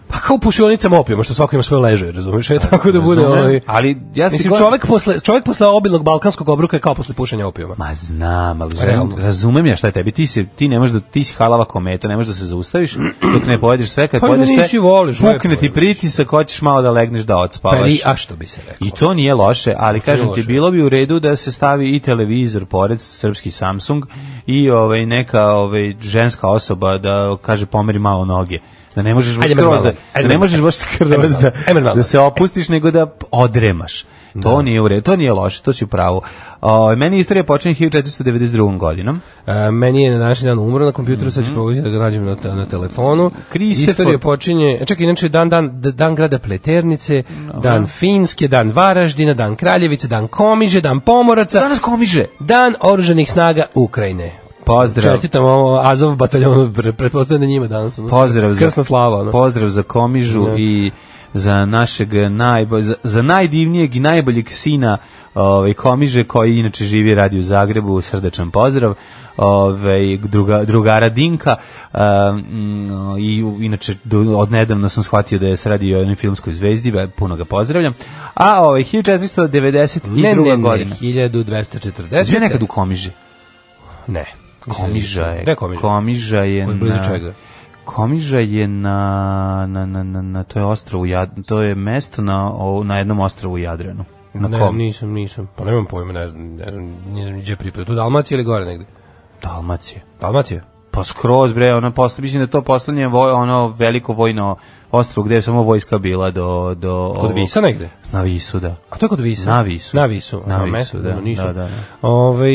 Speaker 6: Pa kao u pušionicama opijama, što svako ima svoje leže, razumiješ? E, tako da bude
Speaker 5: Razumem,
Speaker 6: ovaj...
Speaker 5: ali ja se
Speaker 6: Mislim,
Speaker 5: gledam-
Speaker 6: čovjek posle, čovjek posle obilnog balkanskog obruka je kao posle pušenja opijuma.
Speaker 5: Ma znam, ali želim-
Speaker 6: Realno.
Speaker 5: razumem ja šta je tebi. Ti, si, ti ne možeš da, ti si halava kometa, ne možeš da se zaustaviš dok ne pojedeš sve. Kad
Speaker 6: Pa
Speaker 5: pojedeš
Speaker 6: nisi
Speaker 5: sve,
Speaker 6: voliš, lepo
Speaker 5: pukne
Speaker 6: je,
Speaker 5: ti
Speaker 6: mislim.
Speaker 5: pritisak, hoćeš malo da legneš da odspavaš.
Speaker 6: Pa, i- a što bi se rekao?
Speaker 5: I to nije loše, ali
Speaker 6: nije
Speaker 5: kažem ti
Speaker 6: loše?
Speaker 5: bilo bi u redu da se stavi i televizor pored srpski Samsung i ovaj neka ovaj ženska osoba da kaže pomeri malo noge. Da ne možeš baš
Speaker 6: Ajde,
Speaker 5: skroz
Speaker 6: malo,
Speaker 5: da,
Speaker 6: ajde,
Speaker 5: da ne
Speaker 6: malo.
Speaker 5: možeš baš
Speaker 6: Ajde,
Speaker 5: skroz
Speaker 6: malo,
Speaker 5: da,
Speaker 6: ajde, malo.
Speaker 5: da se opustiš nego da p- odremaš. To nije u redu, to nije loše, to si u pravu. Ovaj, meni istorija počinje 1492. godinom.
Speaker 6: E, meni je na današnji dan umro na kompjuteru, sad ću
Speaker 5: Mhm.
Speaker 6: pokušati da ga nađem na, te- na telefonu.
Speaker 5: Kristofor-
Speaker 6: Istorija počinje, e, čekaj, inače je dan, dan, d- dan grada Pleternice, dan Finske, dan Varaždina, dan Kraljevice, dan Komiže, dan Pomoraca,
Speaker 5: Danas komiže.
Speaker 6: dan Oruženih snaga Ukrajine.
Speaker 5: Pozdrav.
Speaker 6: Čestitam ovo Azov bataljonu, pre- pretpostavljam da njima danas. ono.
Speaker 5: Pozdrav za
Speaker 6: Krsna slava. Ono.
Speaker 5: Pozdrav za Komižu
Speaker 6: Da.
Speaker 5: i za našeg najbo, za, za najdivnijeg i najboljeg sina ovaj Komiže koji inače živi i radi u Zagrebu, srdečan pozdrav. Ovaj druga drugara Dinka um, i u- inače do- odnedavno sam shvatio da je se radi o jednoj filmskoj zvezdi, ba- puno ga pozdravljam. A ovaj 1492.
Speaker 6: Ne, ne, ne,
Speaker 5: godina.
Speaker 6: 1240.
Speaker 5: Sve nekad u Komiži.
Speaker 6: Ne.
Speaker 5: Komiža je.
Speaker 6: Gde je Komiža?
Speaker 5: Komiža je
Speaker 6: Koji je blizu
Speaker 5: na-
Speaker 6: čega?
Speaker 5: Komiža je na, na, na, na, na to je ostrovu Jad, to je mesto na, o- na jednom ostrovu Jadranu. Na
Speaker 6: ne,
Speaker 5: kom?
Speaker 6: nisam, nisam. Pa nemam pojma, ne znam, ne znam, ne znam gdje pripada. Tu Dalmacija ili gore negde?
Speaker 5: Dalmacija.
Speaker 6: Dalmacija?
Speaker 5: Pa skroz bre, ona posle mislim da je to poslednje voj, ono veliko vojno ostrvo gde je samo vojska bila do do
Speaker 6: Kod
Speaker 5: ovog-
Speaker 6: Visa negde?
Speaker 5: Na Visu, da.
Speaker 6: A to je kod Visa?
Speaker 5: Na Visu.
Speaker 6: Na Visu.
Speaker 5: Na
Speaker 6: aha,
Speaker 5: Visu,
Speaker 6: mesto,
Speaker 5: da,
Speaker 6: u Nišu.
Speaker 5: da, da, da.
Speaker 6: Ovaj,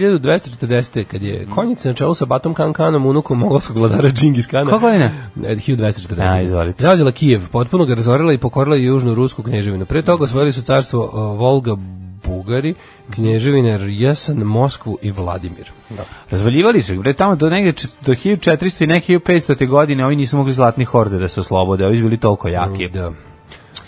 Speaker 6: 1240. kad
Speaker 5: Mm.
Speaker 6: je konjic na čelu sa Batom Kankanom, unukom mongolskog vladara Džingis Kana.
Speaker 5: Koje godine?
Speaker 6: E, 1240.
Speaker 5: A, izvolite.
Speaker 6: Zauzela Kijev, potpuno ga razorila i pokorila južnu rusku knježevinu. Pre toga osvojili su carstvo e, Volga Bugari, knježevine Rjesan, Moskvu i Vladimir. Da.
Speaker 5: Razvaljivali su ih, bre, tamo do negde čet- do 1400 i neke 1500. godine ovi nisu mogli zlatni horde da se oslobode, ovi su bili toliko jaki.
Speaker 6: da.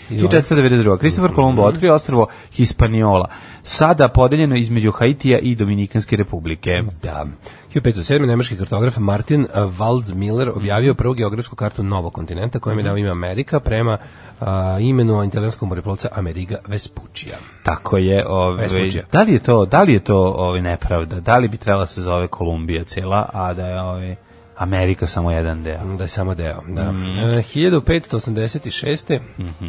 Speaker 6: I onda-
Speaker 5: 1492. Kristofor Kolumbo otkrio ostrvo Hispaniola, sada podeljeno između Haitija i Dominikanske republike.
Speaker 6: Da. 1507. nemački kartograf Martin eh, Waldmiller objavio prvu geografsku kartu novog kontinenta kojom je dao ime Amerika prema a, imenu italijanskog moreplovca Ameriga Vespuccija.
Speaker 5: Tako je, ovaj
Speaker 6: Vespuđe.
Speaker 5: da li je to, da li je to ovaj nepravda? Da li bi trebala se zove Kolumbija cela, a da je ovaj Amerika samo jedan deo?
Speaker 6: Da je samo deo. Da. E, 1586.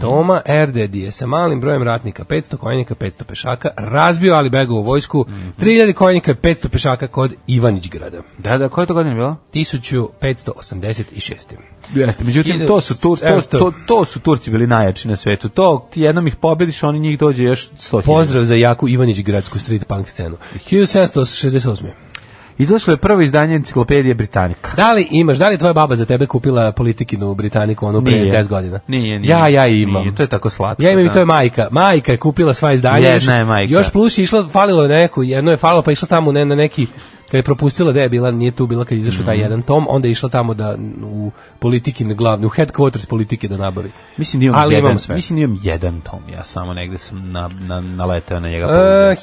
Speaker 6: Toma Erdedi je sa malim brojem ratnika, 500 konjnika, 500 pešaka, razbio Alibegovu vojsku, 3000 konjnika i 500 pešaka kod Ivanićgrada.
Speaker 5: Da, da, koja je to godina bila?
Speaker 6: 1586.
Speaker 5: Jeste, međutim, to su, Tur, to,
Speaker 6: Evo to.
Speaker 5: to, to su Turci bili najjači na svetu. To, ti jednom ih pobediš, oni njih dođe još 100.000.
Speaker 6: Pozdrav za jaku Ivanićgradsku street punk scenu. 1768.
Speaker 5: Izašlo je prvo izdanje enciklopedije Britanika.
Speaker 6: Da li imaš, da li je tvoja baba za tebe kupila politikinu Britaniku ono pre
Speaker 5: Nije.
Speaker 6: 10 godina?
Speaker 5: Nije, nije.
Speaker 6: Ja, ja imam.
Speaker 5: Nije, to je tako slatko,
Speaker 6: Ja imam i
Speaker 5: da.
Speaker 6: to je majka. Majka je kupila sva izdanja.
Speaker 5: Jedna
Speaker 6: još-
Speaker 5: je majka.
Speaker 6: Još plus je išla, falilo je neku, jedno je falilo pa je išla tamo ne, na neki kad je propustila da je bila, nije tu bila kad je izašao taj
Speaker 5: Mhm.
Speaker 6: jedan tom, onda je išla tamo da u politiki na glavni, u headquarters politike da nabavi.
Speaker 5: Mislim da imam
Speaker 6: Ali
Speaker 5: jedan,
Speaker 6: imam sve.
Speaker 5: mislim da imam jedan tom, ja samo negde sam na, na, naletao na njega.
Speaker 6: E,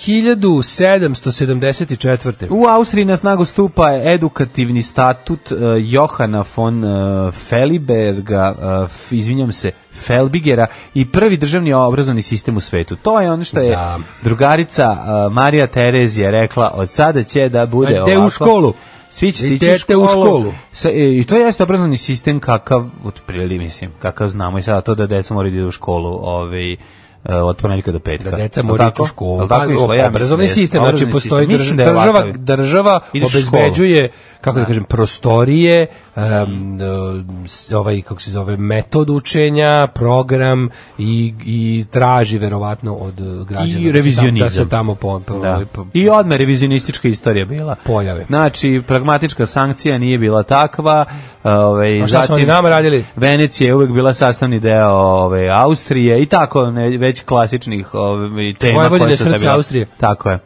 Speaker 6: 1774.
Speaker 5: U Austriji na snagu stupa edukativni statut uh, Johana von uh, Feliberga, uh, f- izvinjam se, Felbigera i prvi državni obrazovni sistem u svetu. To je ono što je
Speaker 6: Da.
Speaker 5: drugarica uh, Marija Terezija rekla, od sada će da bude
Speaker 6: Idete u
Speaker 5: ovako.
Speaker 6: školu.
Speaker 5: Svi ćete ići u
Speaker 6: Idete
Speaker 5: školu.
Speaker 6: u školu.
Speaker 5: Sa, e, I to jeste obrazovni sistem kakav, otprilike mislim, kakav znamo i sada to da deca moraju da idu u školu, ovaj, e, od ponedjeljka do petka.
Speaker 6: da deca
Speaker 5: Jel
Speaker 6: moraju ići
Speaker 5: tako?
Speaker 6: u školu. pa
Speaker 5: Jel tako išlo? Ja mislim da
Speaker 6: obrazovni
Speaker 5: jeste.
Speaker 6: sistem, znači
Speaker 5: Obrazovni
Speaker 6: postoji
Speaker 5: sistem. Mislim
Speaker 6: država,
Speaker 5: da je
Speaker 6: država,
Speaker 5: ovakav.
Speaker 6: država
Speaker 5: Ideš u školu.
Speaker 6: obezbeđuje, kako da kažem, prostorije, em, s- ovaj, kako se zove, metod učenja, program i, i traži verovatno od eh, građana.
Speaker 5: I revizionizam.
Speaker 6: Da se tamo po, po,
Speaker 5: Da.
Speaker 6: ovaj, po-
Speaker 5: I odme revizionistička istorija bila.
Speaker 6: Pojave.
Speaker 5: Znači, pragmatička sankcija nije bila takva. Ovaj,
Speaker 6: A šta su
Speaker 5: zatim
Speaker 6: oni nama radili?
Speaker 5: Venecija je uvek bila sastavni deo ovaj, Austrije i tako ne, već klasičnih ovaj, tema.
Speaker 6: Vojvodina
Speaker 5: koje
Speaker 6: je
Speaker 5: su tada
Speaker 6: srce
Speaker 5: bila.
Speaker 6: Austrije.
Speaker 5: Tako je.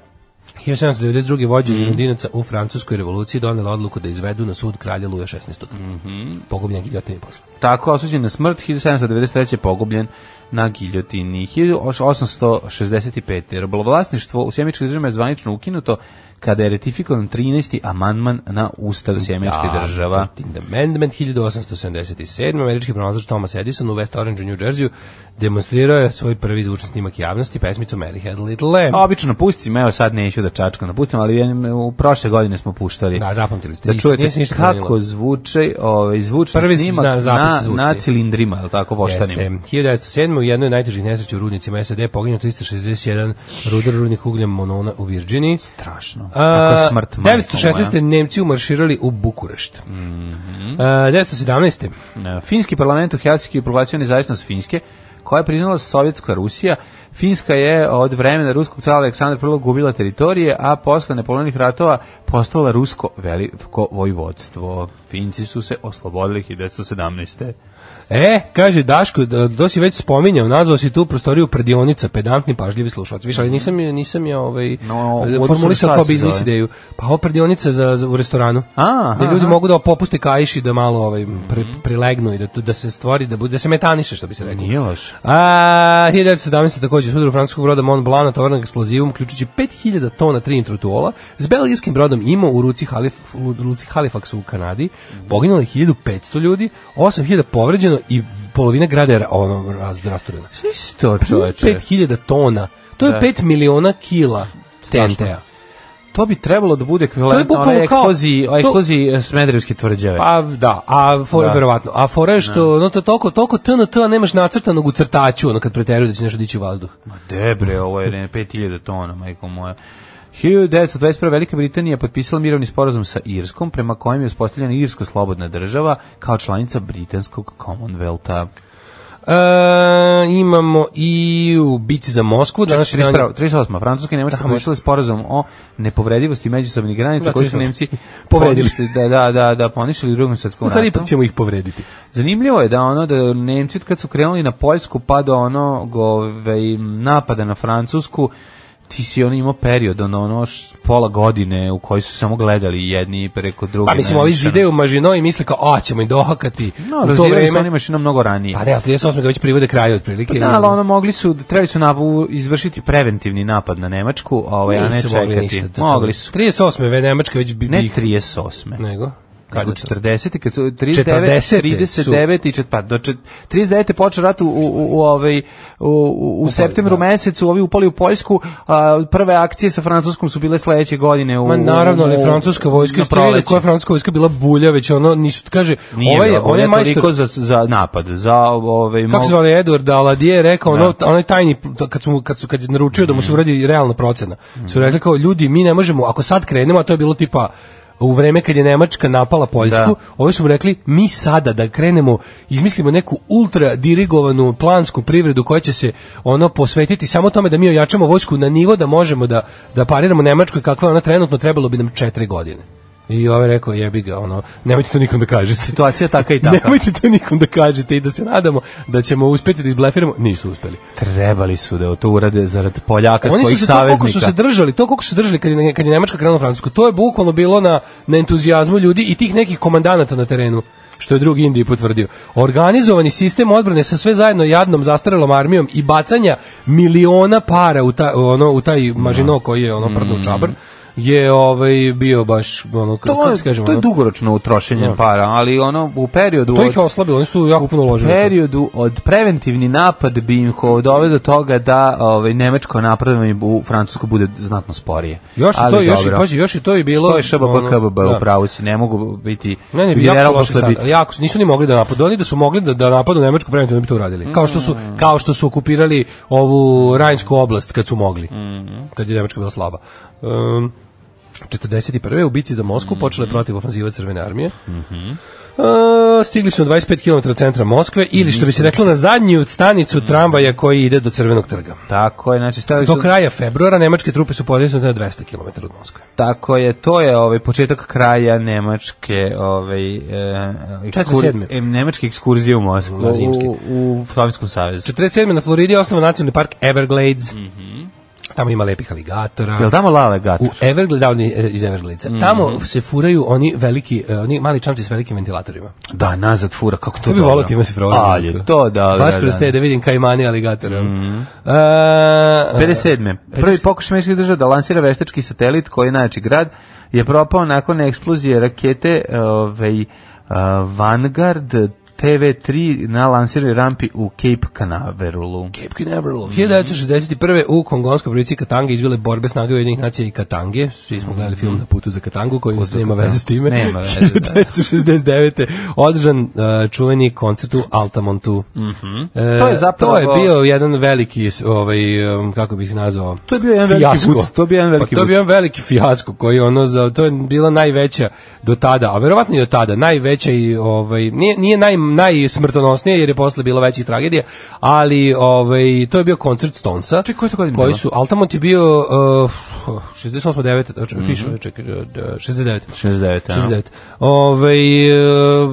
Speaker 6: 1792. vođe
Speaker 5: Mhm.
Speaker 6: Žundinaca u Francuskoj revoluciji donela odluku da izvedu na sud kralja Luja 16.
Speaker 5: Mhm.
Speaker 6: Pogubljen giljotine posle.
Speaker 5: Tako, osuđen na smrt, 1793. pogubljen na giljotini. 1865. Robovlasništvo u sjemičkoj državi je zvanično ukinuto kada je ratifikovan 13. amandman na ustav sjemičke država.
Speaker 6: 13th Amendment 1877. Američki pronalazač Thomas Edison u West Orange u New Jersey demonstrirao je svoj prvi zvučni snimak javnosti pesmicu Mary Had a Little Lamb.
Speaker 5: A, Obično pustim, evo sad neću da čačkam da pustim, ali jednim- u prošle godine smo puštali.
Speaker 6: Da, zapamtili ste.
Speaker 5: Da
Speaker 6: Nis-
Speaker 5: čujete
Speaker 6: nije se ništa
Speaker 5: kako
Speaker 6: promenilo.
Speaker 5: zvuče ovaj, zvučni
Speaker 6: Prvi
Speaker 5: snimak
Speaker 6: zna- zapis
Speaker 5: na,
Speaker 6: zvučni.
Speaker 5: na cilindrima, je li tako, voštanim?
Speaker 6: Jeste. 1907. u jednoj od najtežih nesreća u rudnicima SAD poginuo 361 rudar rudnik ugljem Monona u Virginiji.
Speaker 5: Strašno.
Speaker 6: A,
Speaker 5: Kako smrt. majko
Speaker 6: 916. Nemci umarširali u Bukurešt. Mm
Speaker 5: Mhm.
Speaker 6: 917.
Speaker 5: moja. E, Finski parlament u Helsinki proglašio nezavisnost Finske, koja je priznala Sovjetska Rusija. Finska je od vremena ruskog cara Aleksandra I gubila teritorije, a posle nepolovnih ratova postala rusko veliko vojvodstvo. Finci su se oslobodili 1917.
Speaker 6: E, kaže Daško, da- to si već spominjao, nazvao si tu prostoriju predionica, pedantni pažljivi slušalac. Više, ali nisam, je- nisam je ovaj,
Speaker 5: Mhm. No,
Speaker 6: eh,
Speaker 5: odnosno
Speaker 6: formulisao
Speaker 5: šta
Speaker 6: kao
Speaker 5: se
Speaker 6: biznis
Speaker 5: zove?
Speaker 6: ideju. Pa ovo predionica za, za, u restoranu.
Speaker 5: A,
Speaker 6: da
Speaker 5: aha,
Speaker 6: ljudi
Speaker 5: aha.
Speaker 6: mogu da popuste kaiš i da malo ovaj, pre, prilegnu i da, tu- da se stvori, da, bude, da se metaniše, što bi se reklo.
Speaker 5: Nije loš.
Speaker 6: A, 1917. takođe sudar francuskog broda Mont Blanc natovaran eksplozivom, uključujući 5000 tona trinitrotuola, s belgijskim brodom Imo u Ruci, Halif, u Ruci Halifaxu u Kanadi, poginulo je 1500 ljudi, 8000 povređeno i polovina grada je ra- ono, raz, rasturena.
Speaker 5: Isto, čoveče.
Speaker 6: 5000 tona, to je
Speaker 5: Da.
Speaker 6: 5 miliona kila
Speaker 5: Strašno.
Speaker 6: TNT-a.
Speaker 5: To bi trebalo da bude
Speaker 6: To je
Speaker 5: ekvivalentno
Speaker 6: bukvalno
Speaker 5: onaj
Speaker 6: kao-
Speaker 5: eksploziji,
Speaker 6: to-
Speaker 5: eksploziji e, smederevske tvrđave.
Speaker 6: Pa da, a fora
Speaker 5: Da.
Speaker 6: da. verovatno. A fora je što no to toliko toliko TNT -a nemaš nacrtanog u crtaću, ono kad preteruje da će nešto dići u vazduh.
Speaker 5: Debre, ovo je ne, 5000 tona, majko moja. 1921. Velika Britanija potpisala mirovni sporazum sa Irskom, prema kojem je uspostavljena Irska slobodna država kao članica britanskog Commonwealtha.
Speaker 6: E, imamo i u bici za Moskvu. Danas je dan-
Speaker 5: 31, 38. Francuska i Nemačka
Speaker 6: Da,
Speaker 5: potpisale sporazum o nepovredivosti međusobnih granica
Speaker 6: Da,
Speaker 5: koji su
Speaker 6: 38.
Speaker 5: Nemci
Speaker 6: Povredili.
Speaker 5: poništili- Da, da, da, da, ponišili u drugom svetskom
Speaker 6: Sad
Speaker 5: ratu.
Speaker 6: ipak ćemo ih povrediti.
Speaker 5: Zanimljivo je da ono da Nemci kad su krenuli na Poljsku pa do ono ovaj napada na Francusku ti si ono imao period ono, ono š- pola godine u kojoj su samo gledali jedni preko drugi.
Speaker 6: Pa mislim, ovi žideju u Mažino i misle kao, a, ćemo ih dohakati
Speaker 5: no,
Speaker 6: u to
Speaker 5: razvijali su oni
Speaker 6: vreme.
Speaker 5: mašina mnogo ranije.
Speaker 6: Pa ne, ali 38. ga već privode kraju otprilike.
Speaker 5: Da, ali ono mogli su, trebali su nabu, izvršiti preventivni napad na Nemačku, ovaj, a ne
Speaker 6: Nisu mogli
Speaker 5: čekati.
Speaker 6: ništa da-
Speaker 5: Mogli su.
Speaker 6: 38. ve Nemačka već bi...
Speaker 5: Ne
Speaker 6: bi-
Speaker 5: 38.
Speaker 6: Nego?
Speaker 5: Kada
Speaker 6: Kada
Speaker 5: su
Speaker 6: to?
Speaker 5: 40. kad su 39,
Speaker 6: 40-te
Speaker 5: 39 i čet, pa do čet, 39 je počeo rat u u u u ovaj u, u, u septembru
Speaker 6: da.
Speaker 5: mesecu, ovi upali u Poljsku, a prve akcije sa francuskom su bile sledeće godine u
Speaker 6: Ma naravno, ali
Speaker 5: u-
Speaker 6: francuska vojska,
Speaker 5: na
Speaker 6: ste vidjeli
Speaker 5: proleće.
Speaker 6: koja je francuska vojska bila bulja, već ono, nisu, kaže,
Speaker 5: Nije
Speaker 6: ovaj,
Speaker 5: bila,
Speaker 6: on
Speaker 5: ona
Speaker 6: je
Speaker 5: je
Speaker 6: majstor,
Speaker 5: toliko za, za napad, za ovaj
Speaker 6: kako se
Speaker 5: mog-
Speaker 6: zvali Edward Daladier je rekao ono onaj tajni kad su mu- kad su kad je naručio da mu se uradi realna procena. Su rekli kao ljudi mi ne možemo ako sad krenemo a to je bilo tipa u vreme kad je Nemačka napala Poljsku,
Speaker 5: Da.
Speaker 6: ovi su mu rekli mi sada da krenemo, izmislimo neku ultra dirigovanu plansku privredu koja će se ono posvetiti samo tome da mi ojačamo vojsku na nivo da možemo da, da pariramo Nemačkoj kakva je ona trenutno trebalo bi nam četiri godine. I ovaj rekao jebi ga, ono, nemojte to nikom da kažete.
Speaker 5: situacija taka i taka.
Speaker 6: Nemojte to nikom da kažete i da se nadamo da ćemo uspeti da izblefiramo. Nisu uspeli.
Speaker 5: Trebali su da to urade zarad Poljaka
Speaker 6: Oni
Speaker 5: svojih
Speaker 6: su se to koliko
Speaker 5: saveznika.
Speaker 6: su se držali, to koliko su se držali kad je, kad je Nemačka krenula u Francusku. To je bukvalno bilo na, na entuzijazmu ljudi i tih nekih komandanata na terenu što je drugi Indiji potvrdio. Organizovani sistem odbrane sa sve zajedno jadnom zastarelom armijom i bacanja miliona para u, ta, ono, u taj mažino koji je ono prdno u čabr je ovaj bio baš ono kako
Speaker 5: to,
Speaker 6: se kaže
Speaker 5: je, to je
Speaker 6: ono,
Speaker 5: dugoročno utrošenje para, ali ono u periodu
Speaker 6: to
Speaker 5: od-
Speaker 6: ih je oslabilo, oni su tu jako puno uložili.
Speaker 5: periodu od preventivni napad bi im ho- doveo do toga da ovaj nemačko napredovanje u Francusku bude znatno sporije.
Speaker 6: Još je
Speaker 5: Ali
Speaker 6: to, još i
Speaker 5: dobro.
Speaker 6: pazi, još i to je bilo.
Speaker 5: Što je ŠBB,
Speaker 6: ono,
Speaker 5: KBB,
Speaker 6: da.
Speaker 5: u pravu si, ne mogu biti
Speaker 6: Ne, ne, jako
Speaker 5: general
Speaker 6: su loše
Speaker 5: posle
Speaker 6: stali.
Speaker 5: bitke.
Speaker 6: Jako su, nisu ni mogli da napadu. Oni da su mogli da, da napadu Nemačku preventivno bi to uradili. Kao što su,
Speaker 5: Mm.
Speaker 6: kao što su okupirali ovu Rajnsku oblast kad su mogli.
Speaker 5: Mm-hmm.
Speaker 6: Kad je Nemačka bila slaba. Um, 41. u bici za Moskvu
Speaker 5: Mm-hmm.
Speaker 6: počela je protiv ofanziva Crvene armije. E, stigli su na 25 km od centra Moskve ili što bi se reklo na zadnju stanicu tramvaja koji ide do Crvenog trga.
Speaker 5: Tako je, znači stavili
Speaker 6: Do
Speaker 5: Mm-hmm. su,
Speaker 6: kraja februara nemačke trupe su podesnute na 200 km od Moskve.
Speaker 5: tako je, to je ovaj početak kraja nemačke, ovaj e, ekskur,
Speaker 6: 47..
Speaker 5: e, nemačke ekskurzije u Moskvu,
Speaker 6: Na zimske.
Speaker 5: u, u Sovjetskom savezu.
Speaker 6: 47. na Floridi je osnovan nacionalni park Everglades. Tamo ima lepih aligatora.
Speaker 5: Mhm. Jel Mhm. tamo lava gata?
Speaker 6: U Everglades, da, oni e, iz Evergladesa. Tamo se furaju oni veliki, e, oni mali čamci s velikim ventilatorima.
Speaker 5: Da, nazad fura, kako to
Speaker 6: To bi
Speaker 5: dobro.
Speaker 6: volao time se provoditi.
Speaker 5: Ali je to da,
Speaker 6: Baš
Speaker 5: da,
Speaker 6: kroz
Speaker 5: da. Mhm.
Speaker 6: te da vidim kajmani aligatora. e, Mm
Speaker 5: Uh, 57. Prvi pokušaj američkih država da lansira veštački satelit koji je najjači grad je propao nakon eksplozije rakete ovaj, uh, Vanguard TV3 na lansiranoj rampi u Cape Canaverulu.
Speaker 6: Cape Canaveral. 1961. u Kongonskoj provinciji Katange izbile borbe snage Ujedinjenih nacija i Katange. Svi smo gledali
Speaker 5: Mhm.
Speaker 6: film Na putu za Katangu koji nema veze s time.
Speaker 5: Nema veze, da.
Speaker 6: 1969. održan uh, čuveni koncert u Altamontu. E,
Speaker 5: Mhm. To je zapravo-
Speaker 6: To je bio jedan veliki, s- ovaj, um, kako bih nazvao,
Speaker 5: To je bio jedan veliki
Speaker 6: fijasko.
Speaker 5: vuc, to je bio jedan veliki
Speaker 6: pa, to je bio
Speaker 5: vuc.
Speaker 6: jedan veliki fijasko koji ono za to je bila najveća do tada, a verovatno i do tada najveća i ovaj nije nije naj najsmrtonosnije jer je posle bilo većih tragedija, ali ovaj to je bio koncert Stonesa.
Speaker 5: Čekaj, koja je to godina
Speaker 6: koji
Speaker 5: bila?
Speaker 6: su Altamont je bio uh, 68 9 tačno
Speaker 5: Mhm.
Speaker 6: piše ovdje, čekaj, uh, 69.
Speaker 5: 69.
Speaker 6: 69. Ovaj,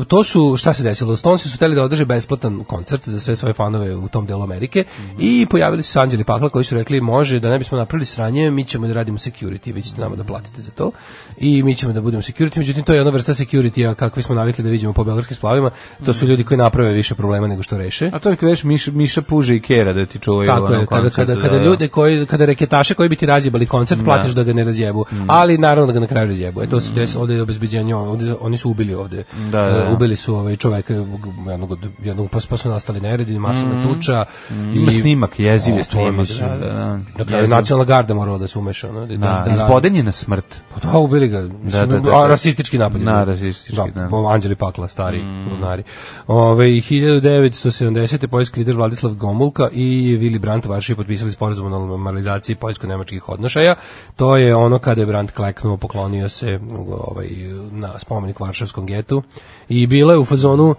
Speaker 6: e, to su, šta se desilo? Stonesi su hteli da održe besplatan koncert za sve svoje fanove u tom delu Amerike i pojavili su se Anđeli Pakla koji su rekli može da ne bismo napravili sranje, mi ćemo da radimo security, vi ćete nama da platite za to i mi ćemo da budemo security, međutim to je jedna vrsta security kakve smo navikli da vidimo po beogradskim splavima, to su ljudi koji naprave više problema nego što reše.
Speaker 5: A to je kada veš Miša, Miša Puže i Kera da ti čuvaju.
Speaker 6: Tako
Speaker 5: ono,
Speaker 6: je, kada,
Speaker 5: koncert,
Speaker 6: kada,
Speaker 5: da,
Speaker 6: kada
Speaker 5: da.
Speaker 6: ljude koji, kada reketaše koji bi ti razjebali koncert, platiš da ga ne razjebu.
Speaker 5: Mm.
Speaker 6: Ali naravno da ga na kraju razjebu. E, to se desilo, ovde je obezbeđenje, ovde, oni su ubili ovde.
Speaker 5: Da, da, da.
Speaker 6: E, Ubili su ovaj čoveka, jednog, od- jednog pa, pa su nastali neredi, masovna tuča.
Speaker 5: Mm. Ima snimak, jeziv je
Speaker 6: O,
Speaker 5: stvar,
Speaker 6: snimak,
Speaker 5: mislim,
Speaker 6: da,
Speaker 5: da, da.
Speaker 6: Na kraju
Speaker 5: Jeziv.
Speaker 6: nacionalna garda morala da se umeša. ono, da,
Speaker 5: Da,
Speaker 6: da, da,
Speaker 5: izboden je na smrt.
Speaker 6: pa da, ubili ga. Mislim,
Speaker 5: da, da,
Speaker 6: a,
Speaker 5: da.
Speaker 6: rasistički napad. je
Speaker 5: Da,
Speaker 6: bio.
Speaker 5: rasistički, da.
Speaker 6: po Anđeli Pakla, stari mm. lunari. Ove, 1970. poljski lider Vladislav Gomulka i Willy Brandt u Varšavi potpisali sporazum o normalizaciji poljsko-nemačkih odnošaja. To je ono kada je Brandt kleknuo, poklonio se ovaj, na spomenik Varšavskom getu i bila je u fazonu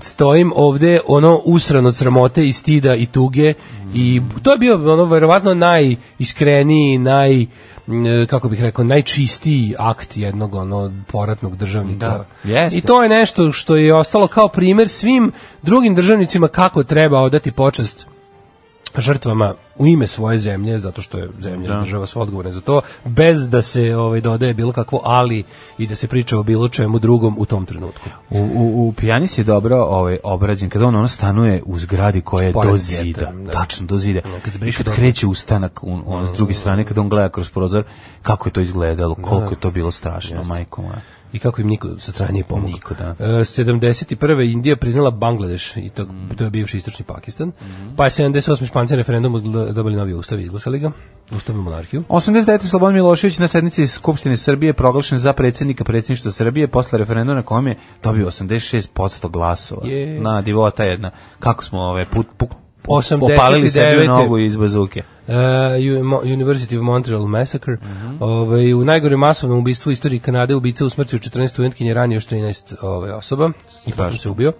Speaker 6: stojim ovde ono usran od sramote i stida i tuge i to je bio ono verovatno najiskreniji, naj m, kako bih rekao, najčistiji akt jednog ono poratnog državnika.
Speaker 5: Da, jeste.
Speaker 6: I to je nešto što je ostalo kao primer svim drugim državnicima kako treba odati počast žrtvama u ime svoje zemlje zato što je zemlja da. država sva odgovorna za to bez da se ovaj dodaje bilo kakvo ali i da se priča o bilo čemu drugom u tom trenutku.
Speaker 5: U, u, u Pijanis je dobro ovaj, obrađen, kada on ono stanuje u zgradi koja je
Speaker 6: Pored
Speaker 5: do
Speaker 6: geta,
Speaker 5: zida,
Speaker 6: da. Ono,
Speaker 5: tačno do zida.
Speaker 6: kad se
Speaker 5: I
Speaker 6: briše
Speaker 5: kad
Speaker 6: dobro. Mm.
Speaker 5: kreće ustanak on, on, s druge strane, kada on gleda kroz prozor, kako je to izgledalo, koliko je to bilo strašno, majko moja.
Speaker 6: i kako im niko sa strane nije pomogao.
Speaker 5: Niko, da.
Speaker 6: E, 71. Indija priznala Bangladeš i to,
Speaker 5: Mm.
Speaker 6: to je bivši istočni Pakistan. Pa je 78. španci referendum uzgla- dobili novi ustav i izglasali ga, ustavnu monarhiju.
Speaker 5: 89. Slobodan Milošević na sednici Skupštine Srbije proglašen za predsjednika predsjedništva Srbije posle referenduma na kojem je dobio 86% glasova.
Speaker 6: Je.
Speaker 5: Na divota jedna. Kako smo ove put, put
Speaker 6: 89.
Speaker 5: opalili sebi u nogu iz bazuke.
Speaker 6: E, Ju- Mo- University of Montreal Massacre. Ovaj, u najgorem masovnom ubistvu istoriji Kanade ubica u smrti u 14 studentkinje ranio još 13 ovaj, osoba i potom se ubio.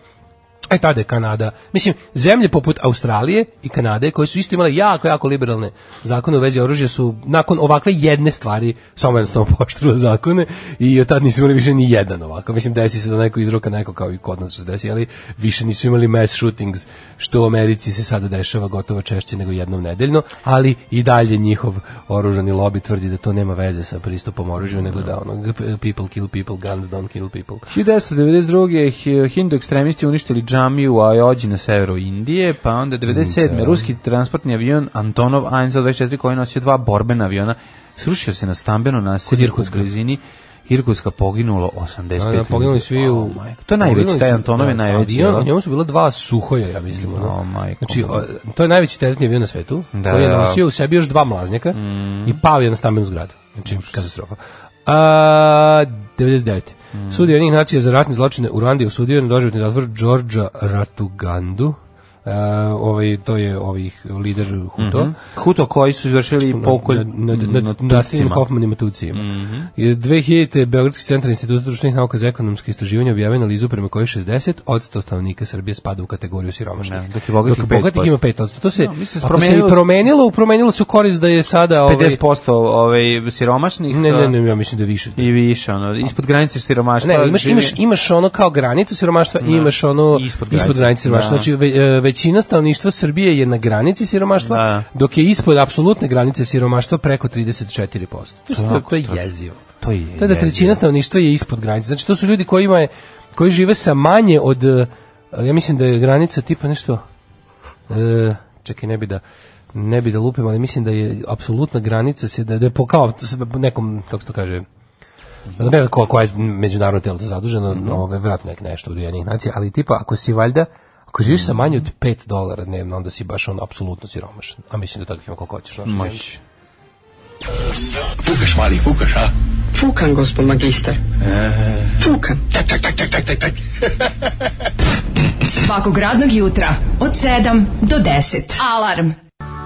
Speaker 6: E tada je Kanada, mislim, zemlje poput Australije i Kanade, koje su isto imale jako, jako liberalne zakone u vezi oružja, su nakon ovakve jedne stvari samo jednostavno poštrile zakone i od tad nisu imali više ni jedan ovako. Mislim, desi se da neko izroka neko kao i kod nas što se desi, ali više nisu imali mass shootings, što u Americi se sada dešava gotovo češće nego jednom nedeljno, ali i dalje njihov oružani lobby tvrdi da to nema veze sa pristupom oružju, nego da ono, people kill people, guns don't kill people.
Speaker 5: 1992. hi- hindu ekstremisti uništili džamiju u Ajođi na severu Indije, pa onda 97.
Speaker 6: Mm,
Speaker 5: ruski transportni avion Antonov AN-124 koji je nosio dva borbena aviona srušio se na stambeno naselje u
Speaker 6: Irkutska.
Speaker 5: blizini Irkutska poginulo 85
Speaker 6: Da, da, poginuli
Speaker 5: ljudi.
Speaker 6: svi u...
Speaker 5: O, majko. To je najveći,
Speaker 6: poginuli
Speaker 5: taj
Speaker 6: su-
Speaker 5: Antonov je
Speaker 6: da,
Speaker 5: najveći.
Speaker 6: Avion,
Speaker 5: jel?
Speaker 6: u njemu su bila dva suhoja, ja mislim. ono.
Speaker 5: O, majko.
Speaker 6: Znači, o, to je najveći teretni avion na svetu,
Speaker 5: Da,
Speaker 6: koji je
Speaker 5: da. Mm.
Speaker 6: nosio u sebi još dva mlaznjaka i pao je na stambenu zgradu. Znači, katastrofa. A, 99. Mm. Sudi jednih nacija za ratne zločine u Rwandi osudio je na doživotni zatvor Đorđa Ratugandu. E, ovaj, to je ovih lider Huto.
Speaker 5: Mhm. Huto koji su izvršili pokolj
Speaker 6: nad, nad, nad, nad
Speaker 5: tucima. Mhm.
Speaker 6: Hoffman i Matucijima. Mm -hmm. 2000. Beogradski centar instituta društvenih nauka za ekonomske istraživanja objavio analizu prema kojoj 60 odsto stanovnika Srbije spada u kategoriju siromašnih.
Speaker 5: Ne, dok je bogatih 5%.
Speaker 6: ima 5 To se,
Speaker 5: No, mislim,
Speaker 6: ako se
Speaker 5: promenilo-
Speaker 6: i promenilo, promenilo se u korist da je sada... Ovaj,
Speaker 5: 50% ovaj, siromašnih
Speaker 6: Ne,
Speaker 5: da,
Speaker 6: ne, ne, ja mislim da je više.
Speaker 5: i više, ono, ispod granice siromaštva.
Speaker 6: Ne, imaš,
Speaker 5: živi-
Speaker 6: imaš, imaš ono kao granicu siromaštva i imaš ono
Speaker 5: Ispod
Speaker 6: ispod,
Speaker 5: granice.
Speaker 6: granice siromaštva.
Speaker 5: Da.
Speaker 6: Znači, ve, e, većina stanovništva Srbije je na granici siromaštva,
Speaker 5: Da.
Speaker 6: dok je ispod apsolutne granice siromaštva preko 34%. To, je- to, to je jezivo.
Speaker 5: To je
Speaker 6: To je da trećina stanovništva je ispod granice. Znači, to su ljudi koji, ima, koji žive sa manje od, e, ja mislim da je granica tipa nešto, e, čekaj, ne bi da ne bi da lupim, ali mislim da je apsolutna granica se da, da je po kao nekom, kako se to kaže, ne znam ko, koja je međunarodno telo to zaduženo,
Speaker 5: Mhm.
Speaker 6: mm -hmm. ove, vratno nek nešto udijenih nacija, ali tipa, ako si valjda, ako živiš sa manje od 5 dolara dnevno, onda si baš on apsolutno siromašan. A mislim da takvih ima koliko hoćeš. znaš.
Speaker 5: Moć.
Speaker 1: Fukaš, mali, fukaš, a?
Speaker 7: Fukan, gospod magister. Fukan.
Speaker 1: Tak, tak, tak, tak, tak, tak, tak.
Speaker 4: Svakog radnog jutra od 7 do 10. Alarm.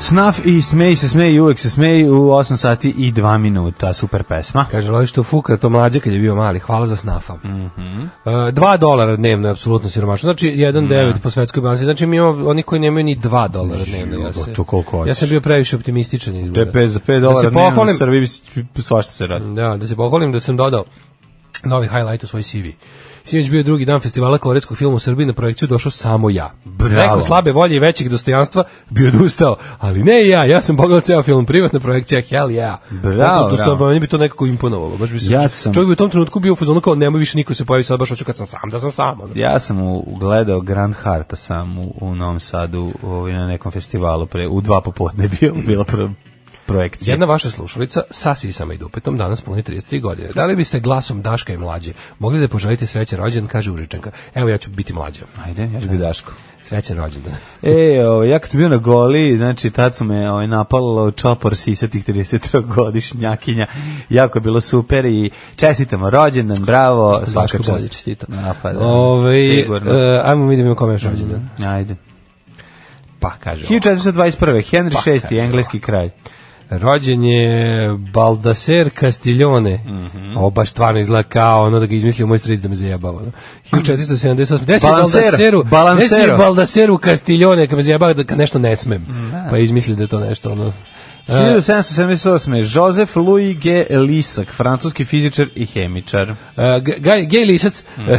Speaker 5: Snaf i smej se smej i uvek se smej u 8 sati i 2 minuta. Super pesma.
Speaker 6: Kaže, lovi što fuka, to mlađe kad je bio mali. Hvala za snafa. Mm
Speaker 5: Mhm.
Speaker 6: -hmm. e, 2 dolara dnevno je apsolutno siromašno. Znači, 1,9 po svetskoj balansi. Znači, mi imamo oni koji nemaju ni 2 dolara dnevno. Ja,
Speaker 5: Živo,
Speaker 6: se,
Speaker 5: to koliko hoćeš.
Speaker 6: ja sam bio previše optimističan izgleda.
Speaker 5: za 5
Speaker 6: dolara dnevno u Srbiji
Speaker 5: Srbiji svašta se radi.
Speaker 6: Da, da se pohvalim da sam dodao novi highlight u svoj CV. Sinoć bio drugi dan festivala korejskog filma u Srbiji, na projekciju došao samo ja.
Speaker 5: Bravo.
Speaker 6: Neko slabe volje i većeg dostojanstva bi odustao, ali ne ja, ja sam pogledao ceo film, privatna projekcija, hell yeah.
Speaker 5: Bravo,
Speaker 6: Tako da
Speaker 5: bravo.
Speaker 6: dostojan- Meni bi to nekako imponovalo. Baš bi se,
Speaker 5: Ja sam-
Speaker 6: Čovjek bi u tom trenutku bio u fazonu kao, nemoj više niko se pojavi, sad baš hoću kad sam sam, da sam sam. Ono.
Speaker 5: Ja sam u, gledao Grand Harta sam u, u Novom Sadu ovaj, na nekom festivalu pre, u dva popodne je bio, bila prva projekcije.
Speaker 6: Jedna vaša slušalica sa sisama i dupetom danas puni 33 godine. Da li biste glasom Daška i mlađe mogli da poželite srećan rođendan, kaže Užičanka. Evo ja ću biti mlađa.
Speaker 5: Ajde, ja ću biti Daško.
Speaker 6: Srećan rođendan.
Speaker 5: E, ovaj, ja kad sam bio na goli, znači tad su me ovaj, napalo čopor sisatih 33-godišnjakinja. Jako je bilo super i čestitamo rođendan, bravo, svaka
Speaker 6: Daško bolje
Speaker 5: čast.
Speaker 6: čestita.
Speaker 5: A, pa da,
Speaker 6: Ove,
Speaker 5: sigurno. Mhm.
Speaker 6: e, ajmo mi da vidimo kome je još rođendan.
Speaker 5: Ajde.
Speaker 6: Pa kaže ovako.
Speaker 5: 1421. Henry
Speaker 6: Pa,
Speaker 5: VI,
Speaker 6: kaže
Speaker 5: engleski kralj.
Speaker 6: Rođen je Baldaser Castiglione. Mm
Speaker 5: Mhm.
Speaker 6: -hmm. Ovo baš stvarno izgleda kao ono da ga izmislio moj stric da me zajebava. ono. 1478. Gde si
Speaker 5: Balansero,
Speaker 6: Baldaseru? Gde si
Speaker 5: Balansero.
Speaker 6: Baldaseru Castiglione kad me zajebava da kad nešto ne smem?
Speaker 5: Mhm.
Speaker 6: Pa izmisli da je to nešto ono... A,
Speaker 5: 1778. Joseph Louis G. Lisak, francuski fizičar i hemičar.
Speaker 6: a, E, G- Gaj- Gej Lisac,
Speaker 5: Mhm.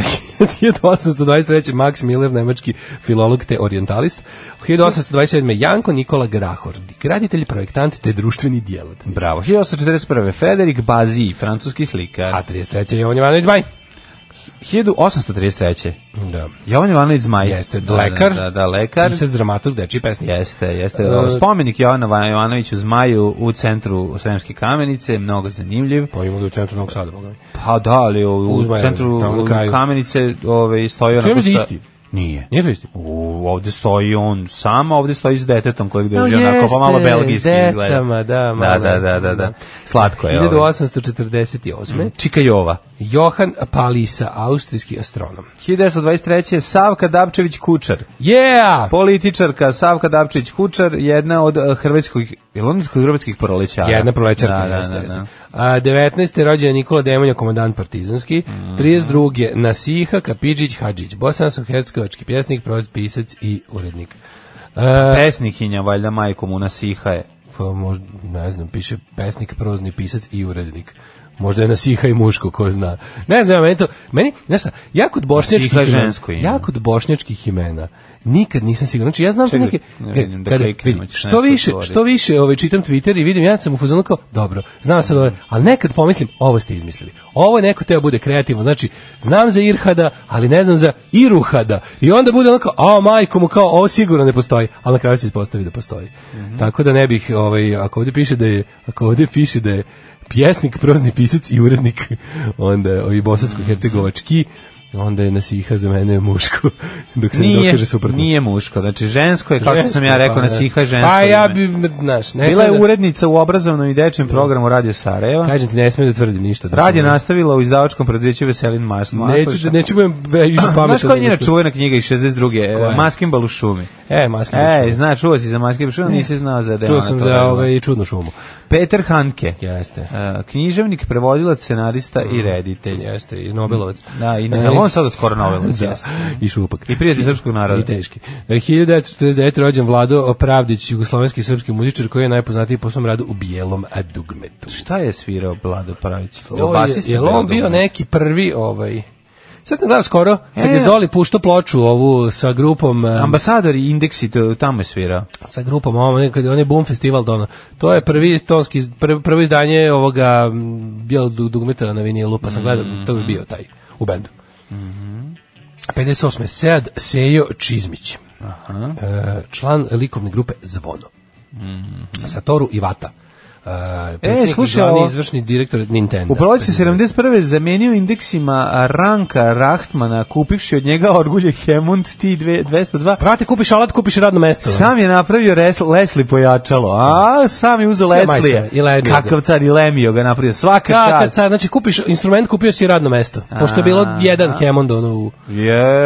Speaker 6: 1823. Max Miller, nemački filolog te orientalist. 1827. Janko Nikola Grahordi, graditelj, projektant te društveni djelatnik.
Speaker 5: Bravo. 1841. Federik Bazi, francuski slikar.
Speaker 6: A 33. Jovan Jovanović Baj.
Speaker 5: 1833.
Speaker 6: Da.
Speaker 5: Jovan Jovanović Zmaj.
Speaker 6: Jeste,
Speaker 5: da,
Speaker 6: lekar.
Speaker 5: Da, da, da lekar.
Speaker 6: Pisac, dramaturg, dečiji pesnik.
Speaker 5: Jeste, jeste.
Speaker 6: E,
Speaker 5: Spomenik Jovana Va- Jovanoviću Zmaju u centru Sremske kamenice, mnogo zanimljiv.
Speaker 6: Pa imamo da je u centru Novog Sada, boga mi.
Speaker 5: Pa da, ali u, u
Speaker 6: Zmajevi,
Speaker 5: centru
Speaker 6: tamo na kraju.
Speaker 5: kamenice ove, stoji
Speaker 6: Čujem
Speaker 5: onako
Speaker 6: da je
Speaker 5: sa-
Speaker 6: isti.
Speaker 5: Nije.
Speaker 6: Nije to isti?
Speaker 5: U, ovde stoji on sam, a ovde stoji s detetom kojeg drži onako, pa malo belgijski izgleda.
Speaker 6: Decama, da,
Speaker 5: Da,
Speaker 6: malo.
Speaker 5: da, da, da, da. Slatko Pa je Mhm. ovo.
Speaker 6: 1848.
Speaker 5: Čika Jova.
Speaker 6: Johan Palisa, austrijski astronom.
Speaker 5: 1923. Savka Dabčević Kučar.
Speaker 6: Yeah!
Speaker 5: Političarka Savka Dabčević Kučar, jedna od eh, hrvatskih, je li on iz hrvatskih prolećara?
Speaker 6: Pa, Jedna prolećarka,
Speaker 5: da,
Speaker 6: jeste,
Speaker 5: da, da,
Speaker 6: jeste.
Speaker 5: da.
Speaker 6: A, 19. rođen je Nikola Demonja, komandant partizanski.
Speaker 5: Mhm.
Speaker 6: 32. Nasiha Kapidžić Hadžić, bosansko-hercegovački pjesnik, prost pisac i urednik. E,
Speaker 5: Pesnikinja, valjda majkom u Nasiha je.
Speaker 6: pa možda, ne znam, piše pesnik, prozni pisac i urednik. Možda je nasiha i muško, ko zna. Ne znam, meni to, meni, znaš šta, ja kod bošnjačkih
Speaker 5: Nasiha je
Speaker 6: imena,
Speaker 5: žensko ime.
Speaker 6: ja kod bošnjačkih imena, nikad nisam siguran. Znači, ja znam
Speaker 5: Čekaj,
Speaker 6: neke,
Speaker 5: ne vidim da
Speaker 6: kada-
Speaker 5: kliknem,
Speaker 6: vidi,
Speaker 5: hoćeš
Speaker 6: što
Speaker 5: nešto
Speaker 6: više,
Speaker 5: odgovoriti.
Speaker 6: što više ovaj, čitam Twitter i vidim, ja sam u fuzonu kao, dobro, znam sad ovo, ali nekad pomislim, ovo ste izmislili. Ovo je neko teo bude kreativno, znači, znam za Irhada, ali ne znam za Iruhada. I onda bude ono kao, a majko mu kao, ovo sigurno ne postoji, ali na kraju se ispostavi da postoji.
Speaker 5: Mhm.
Speaker 6: Tako da ne bih, ovaj, ako ovdje piše da je, ako ovdje piše da je pjesnik, prozni pisac i urednik, onda je ovaj bosansko-hercegovački, onda je nasiha za mene muško, dok se ne
Speaker 5: Nije,
Speaker 6: dokaže suprotno.
Speaker 5: nije muško, znači žensko je, kako sam ja
Speaker 6: Žensko,
Speaker 5: rekao,
Speaker 6: pa,
Speaker 5: Nasiha je
Speaker 6: da.
Speaker 5: žensko
Speaker 6: Pa ja
Speaker 5: ime.
Speaker 6: bi, m, znaš, ne
Speaker 5: Bila je
Speaker 6: smijem da-
Speaker 5: urednica u obrazovnom i dečjem programu Radio Sarajeva.
Speaker 6: Kažem ti, ne smijem da tvrdim ništa. Da
Speaker 5: Rad je nastavila u izdavačkom preduzeću Veselin Mas.
Speaker 6: Neću, da, neću budem be- više pametan.
Speaker 5: Znaš koja je njena
Speaker 6: nego što-
Speaker 5: čuvena knjiga iz 62.
Speaker 6: Koja
Speaker 5: Koja?
Speaker 6: je?
Speaker 5: Maskimbal u šumi.
Speaker 6: E, maske.
Speaker 5: E, zna, čuo si za Maskimbal u šumi, nisi znao za da je
Speaker 6: Čuo
Speaker 5: ona
Speaker 6: sam
Speaker 5: to
Speaker 6: za
Speaker 5: radila.
Speaker 6: ove i čudnu šumu.
Speaker 5: Peter Hanke.
Speaker 6: Jeste.
Speaker 5: E, književnik, prevodilac, scenarista i reditelj.
Speaker 6: Jeste, i Nobelovac.
Speaker 5: Da, i ne,
Speaker 6: Mm. E,
Speaker 5: jel on sad od skoro novelovac.
Speaker 6: da,
Speaker 5: jeste?
Speaker 6: i šupak.
Speaker 5: I prijatelj srpskog naroda.
Speaker 6: I teški. E, 1949. rođen Vlado Pravdić, jugoslovenski i srpski muzičar koji je najpoznatiji po svom radu u bijelom dugmetu.
Speaker 5: Šta je svirao Vlado Pravić?
Speaker 6: Ovo je- Jel on bio neki prvi ovaj... Sad sam gledao skoro, kad je
Speaker 5: E.
Speaker 6: Zoli puštao ploču ovu sa grupom... em,
Speaker 5: Ambasador i indeksi, to- tamo je svirao.
Speaker 6: sa grupom ovo nekad on je Boom Festival dono. To je prvi tonski prvi, prvo izdanje ovoga m, bijelog du- dugmeta na vinilu, pa sam gledao, to
Speaker 5: Mhm.
Speaker 6: bi bio taj u bendu. A 58. Sead Sejo Čizmić. E, član likovne grupe Zvono. Satoru Ivata. E, predsjednik i
Speaker 5: Mhm. slušaj,
Speaker 6: glavni
Speaker 5: ovo-
Speaker 6: izvršni direktor Nintendo.
Speaker 5: U proleće 71. zamenio indeksima Ranka Rahtmana, kupivši od njega orgulje Hemund T202.
Speaker 6: Prate, kupiš alat, kupiš i radno mesto. ono.
Speaker 5: Sam je napravio res, Leslie pojačalo. A, sam je uzeo
Speaker 6: Sve
Speaker 5: Leslie.
Speaker 6: majstore, i lemio ga.
Speaker 5: Kakav car i lemio ga napravio. Svaka
Speaker 6: Ka, kad
Speaker 5: čast.
Speaker 6: sad, znači kupiš instrument, kupio si i radno mesto. Pošto je bilo
Speaker 5: A,
Speaker 6: jedan Hammond ono u
Speaker 5: Je,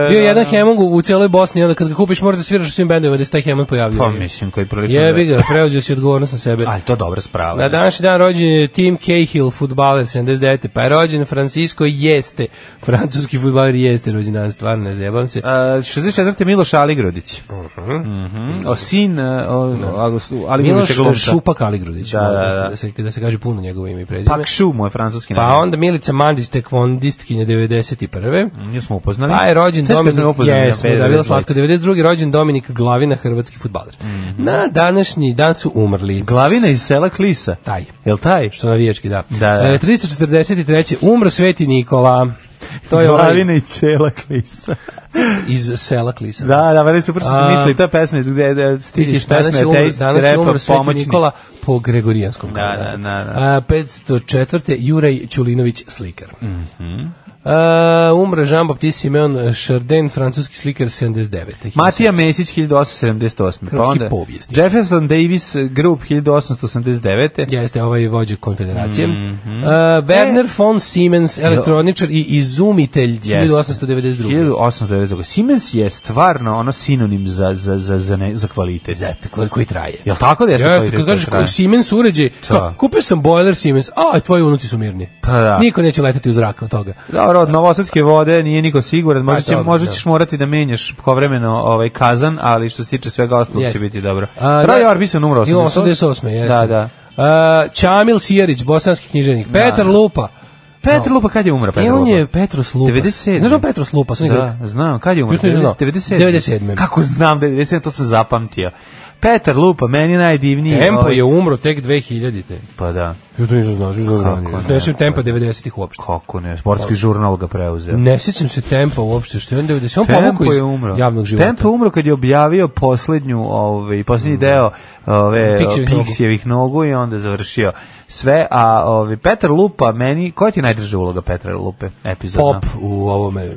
Speaker 6: Bio je jedan Hemong u- u celoj Bosni, onda kad ga kupiš možeš da sviraš u svim bendovima da se taj Hemong pojavljuje.
Speaker 5: Pa mislim koji prilično.
Speaker 6: Jebi ga, preuzeo si odgovornost na sebe.
Speaker 5: Ali to dobra sprava.
Speaker 6: Na današnji dan rođen je Tim Cahill, futbaler 79. Pa je rođen Francisco Jeste, francuski futbaler Jeste rođen dan, stvarno ne zajebam se.
Speaker 5: Uh, 64. Miloš Aligrodić. Uh O sin uh, o, Agostu- Aligrodića
Speaker 6: Mhm. Miloš
Speaker 5: glumca.
Speaker 6: Šupak Aligrodić,
Speaker 5: Da,
Speaker 6: molim
Speaker 5: da,
Speaker 6: vas,
Speaker 5: da.
Speaker 6: se, da se kaže puno njegovo ime i prezime.
Speaker 5: Pak Šu mu je francuski
Speaker 6: pa
Speaker 5: naziv.
Speaker 6: onda Milica Mandić, tekvondistkinja 91.
Speaker 5: Nju smo upoznali.
Speaker 6: Pa je rođen
Speaker 5: Teško
Speaker 6: Dominik,
Speaker 5: smo je upoznali na
Speaker 6: jesmo, da
Speaker 5: pet-
Speaker 6: je bilo
Speaker 5: dvadeset.
Speaker 6: slatko, 92. rođen Dominik Glavina, hrvatski futbaler. Na današnji dan su umrli.
Speaker 5: Mhm. Glavina iz sela Klisa.
Speaker 6: Taj.
Speaker 5: Jel taj?
Speaker 6: Što navijački, da.
Speaker 5: Da, da.
Speaker 6: E, 343. umro Sveti Nikola. To je ovaj
Speaker 5: Glavina i cela klisa.
Speaker 6: iz sela Klisa.
Speaker 5: Da, da, vrlo super što se
Speaker 6: A-
Speaker 5: misli, ta pesma gde da stikiš
Speaker 6: Vidiš, danas
Speaker 5: pesme
Speaker 6: je umro,
Speaker 5: Taste
Speaker 6: danas je
Speaker 5: Repa
Speaker 6: umro Sveti
Speaker 5: pomoćni.
Speaker 6: Nikola po Gregorijanskom.
Speaker 5: Da,
Speaker 6: kalendaru. E,
Speaker 5: da, da, da.
Speaker 6: A, 504. Jurej Ćulinović slikar. Mm
Speaker 5: Mhm.
Speaker 6: umre Jean-Baptiste Simeon Chardin, francuski slikar 79.
Speaker 5: Matija Mesić 1878. Pa
Speaker 6: Hrvatski
Speaker 5: onda
Speaker 6: povjesnik.
Speaker 5: Jefferson Davis Group 1889.
Speaker 6: Jeste, ovaj vođe konfederacije.
Speaker 5: Mhm.
Speaker 6: Uh, Werner von Siemens, elektroničar i izumitelj
Speaker 5: Jeste.
Speaker 6: 1892.
Speaker 5: 1892. Siemens je stvarno ono sinonim za, za, za, za, ne, za kvalitet.
Speaker 6: Zato, koji, koji traje.
Speaker 5: Jel tako da jeste
Speaker 6: Jeste,
Speaker 5: kvalitet
Speaker 6: kad
Speaker 5: koji
Speaker 6: kažeš
Speaker 5: traje?
Speaker 6: koji Siemens uređaj, kao, kupio sam bojler Siemens, a tvoji unuci su mirni.
Speaker 5: Pa da.
Speaker 6: Niko neće leteti u zrak od toga.
Speaker 5: Dobro, od novosadske vode nije niko siguran, možda,
Speaker 6: Pa,
Speaker 5: će,
Speaker 6: dobro,
Speaker 5: možda
Speaker 6: da.
Speaker 5: ćeš morati da menjaš povremeno ovaj kazan, ali što se tiče svega ostalog
Speaker 6: Jeste.
Speaker 5: će biti dobro.
Speaker 6: A,
Speaker 5: Roy
Speaker 6: da-
Speaker 5: Orbison umro 88.
Speaker 6: 88. jeste.
Speaker 5: Da, da.
Speaker 6: A, Čamil Sijerić, bosanski književnik. Petar Lupa.
Speaker 5: Petar Lupa, kad je umro Petar
Speaker 6: E, on
Speaker 5: Lupa?
Speaker 6: je Petros Lupa.
Speaker 5: 97.
Speaker 6: Znaš on Petros Lupa? Sonic
Speaker 5: Da, znam, kad je umro?
Speaker 6: Jutro je znao.
Speaker 5: 97.
Speaker 6: 97..
Speaker 5: Kako znam da je 97, to sam zapamtio. Petar Lupa, meni je najdivniji.
Speaker 6: Tempo
Speaker 5: ovaj-
Speaker 6: je umro tek 2000-te.
Speaker 5: Pa da,
Speaker 6: Ja to nisam znao, nisam
Speaker 5: Kako
Speaker 6: znao.
Speaker 5: ne?
Speaker 6: Ne sjećam tempa 90-ih uopšte.
Speaker 5: kako ne,
Speaker 6: Pa-
Speaker 5: sportski žurnal ga preuzeo.
Speaker 6: Ne sjećam se tempa uopšte, što je on 90 On
Speaker 5: Tempo
Speaker 6: povukao iz
Speaker 5: je umro.
Speaker 6: javnog života.
Speaker 5: Tempo je umro kad je objavio poslednju, ovaj, poslednji deo ove,
Speaker 6: Piksijevih nogu.
Speaker 5: Piksijevih nogu i onda završio sve. A ovaj, Petar Lupa, meni, koja ti je najdrža uloga Petra Lupe? Epizodna.
Speaker 6: Pop u ovome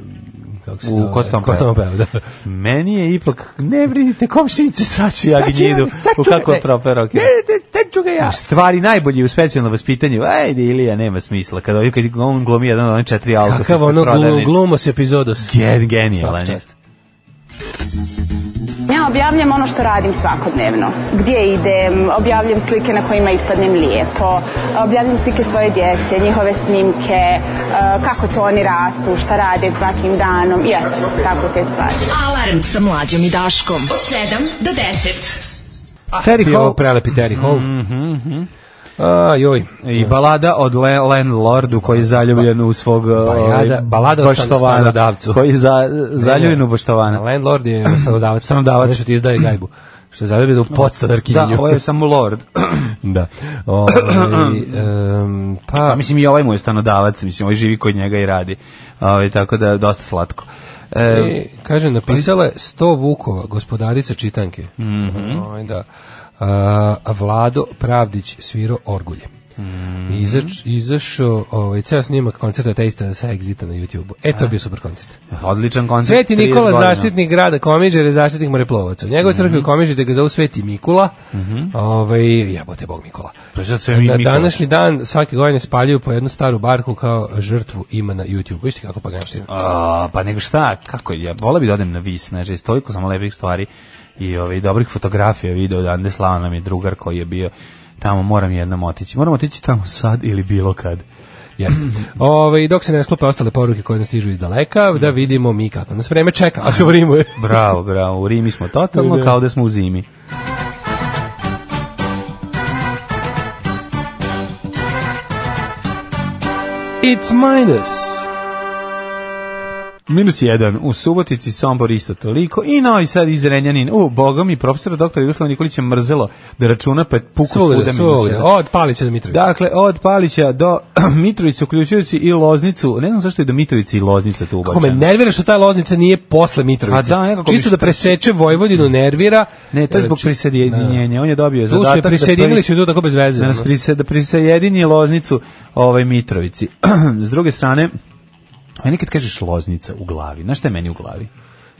Speaker 6: kako se
Speaker 5: U
Speaker 6: zove?
Speaker 5: Kotonom
Speaker 6: Kotonom
Speaker 5: peva.
Speaker 6: peva, da.
Speaker 5: Meni je ipak, ne brinite, komšinice, sad ću ja
Speaker 6: Sad ću ja-
Speaker 5: gnjidu.
Speaker 6: sad ću
Speaker 5: U
Speaker 6: ga-
Speaker 5: kako
Speaker 6: ne.
Speaker 5: proper, okej.
Speaker 6: Ne, te- tek ću ga ja.
Speaker 5: U stvari najbolji u specijalnom vaspitanju. Ajde Ilija nema smisla kad ovaj kad on glumi jedan od onih četiri auta.
Speaker 6: Kakav ono glu- glumos epizodos.
Speaker 5: Gen, genijalan
Speaker 6: Svaka
Speaker 5: je.
Speaker 6: čast.
Speaker 8: Ja objavljam ono što radim svakodnevno. Gdje idem, objavljam slike na kojima ispadnem lijepo, objavljam slike svoje djece, njihove snimke, eh, kako to oni rastu, šta rade svakim danom, i eto, tako te stvari.
Speaker 4: Alarm sa mlađom i Daškom. Od 7 do 10.
Speaker 5: Terry
Speaker 6: Ah, Bio
Speaker 5: Hall
Speaker 6: ovo prelepi Terry Hall. A, joj.
Speaker 5: i balada od Le Landlordu koji je zaljubljen u svog
Speaker 6: Bajada-
Speaker 5: ovaj,
Speaker 6: balada o stan-
Speaker 5: poštovana,
Speaker 6: stanodavcu.
Speaker 5: Koji je za, zaljubljen u poštovana.
Speaker 6: Landlord je stanodavac.
Speaker 5: Stanodavac.
Speaker 6: Nešto ti izdaje gajbu. Što je zaljubljeno u podstanarkinju.
Speaker 5: Da, ovo je samo lord.
Speaker 6: da. Ovaj, em,
Speaker 5: A
Speaker 6: pa,
Speaker 5: mislim i ovaj mu je stanodavac, mislim, ovaj živi kod njega i radi. Ovaj tako da je dosta slatko. E,
Speaker 6: E, kaže, napisala je 100 Vukova, gospodarica čitanke. Mm da. A, a Vlado Pravdić sviro orgulje. Mhm. Izač, izašao ovaj, ceo snimak koncerta Taste sa Exita na YouTube-u. E, to je bio super koncert.
Speaker 5: odličan koncert.
Speaker 6: Sveti
Speaker 5: 30
Speaker 6: Nikola,
Speaker 5: godina.
Speaker 6: zaštitnik grada Komiđer i zaštitnik moreplovaca. U njegovoj crkvi u Komiđer da ga zovu Sveti Mikula, ovaj, jebote Bog Nikola.
Speaker 5: Pa sad sve mi
Speaker 6: Na
Speaker 5: Nikola.
Speaker 6: današnji dan svake godine spaljuju po jednu staru barku kao žrtvu ima na YouTube. Vište kako paganština.
Speaker 5: A, pa nego šta, kako, ja vola bi da odem na vis, znači, iz toliko samo lepih stvari i ovaj, dobrih fotografija video odande slava nam je drugar koji je bio tamo moram jednom otići. Moram otići tamo sad ili bilo kad.
Speaker 6: Jeste. Ove, i dok se ne sklope ostale poruke koje nas stižu iz daleka, da vidimo mi kako nas vreme čeka, ako se u Rimu je.
Speaker 5: Bravo, bravo. U Rimi smo totalno
Speaker 6: Da.
Speaker 5: kao da smo u zimi.
Speaker 6: It's minus.
Speaker 5: Minus jedan. U Subotici, Sombor isto toliko. I Novi Sad iz Renjanin. U, bogom i profesora doktora Jugoslava Nikolića mrzelo da računa pa je puku svuda
Speaker 6: Svugde,
Speaker 5: minus
Speaker 6: svugde.
Speaker 5: jedan.
Speaker 6: Od Palića do Mitrovica.
Speaker 5: Dakle, od Palića do Mitrovice, uključujući i Loznicu. Ne znam zašto je do Mitrovice i Loznica tu
Speaker 6: Kako me
Speaker 5: ubačena.
Speaker 6: nervira što ta loznica nije posle Mitrovice.
Speaker 5: A Pa da, nekako
Speaker 6: Čisto
Speaker 5: bi
Speaker 6: da
Speaker 5: što-
Speaker 6: preseče Vojvodinu, nervira.
Speaker 5: Ne, to je zbog
Speaker 6: Znači,
Speaker 5: prisjedinjenja. On je dobio
Speaker 6: Tu
Speaker 5: zadatak
Speaker 6: se prisjedinili
Speaker 5: da,
Speaker 6: su i tu tako bez veze.
Speaker 5: da nas
Speaker 6: ono.
Speaker 5: prise, da prisejedini Loznicu ovaj Mitrovici. S druge strane, meni kad kažeš Loznica u glavi, znaš šta je meni u glavi?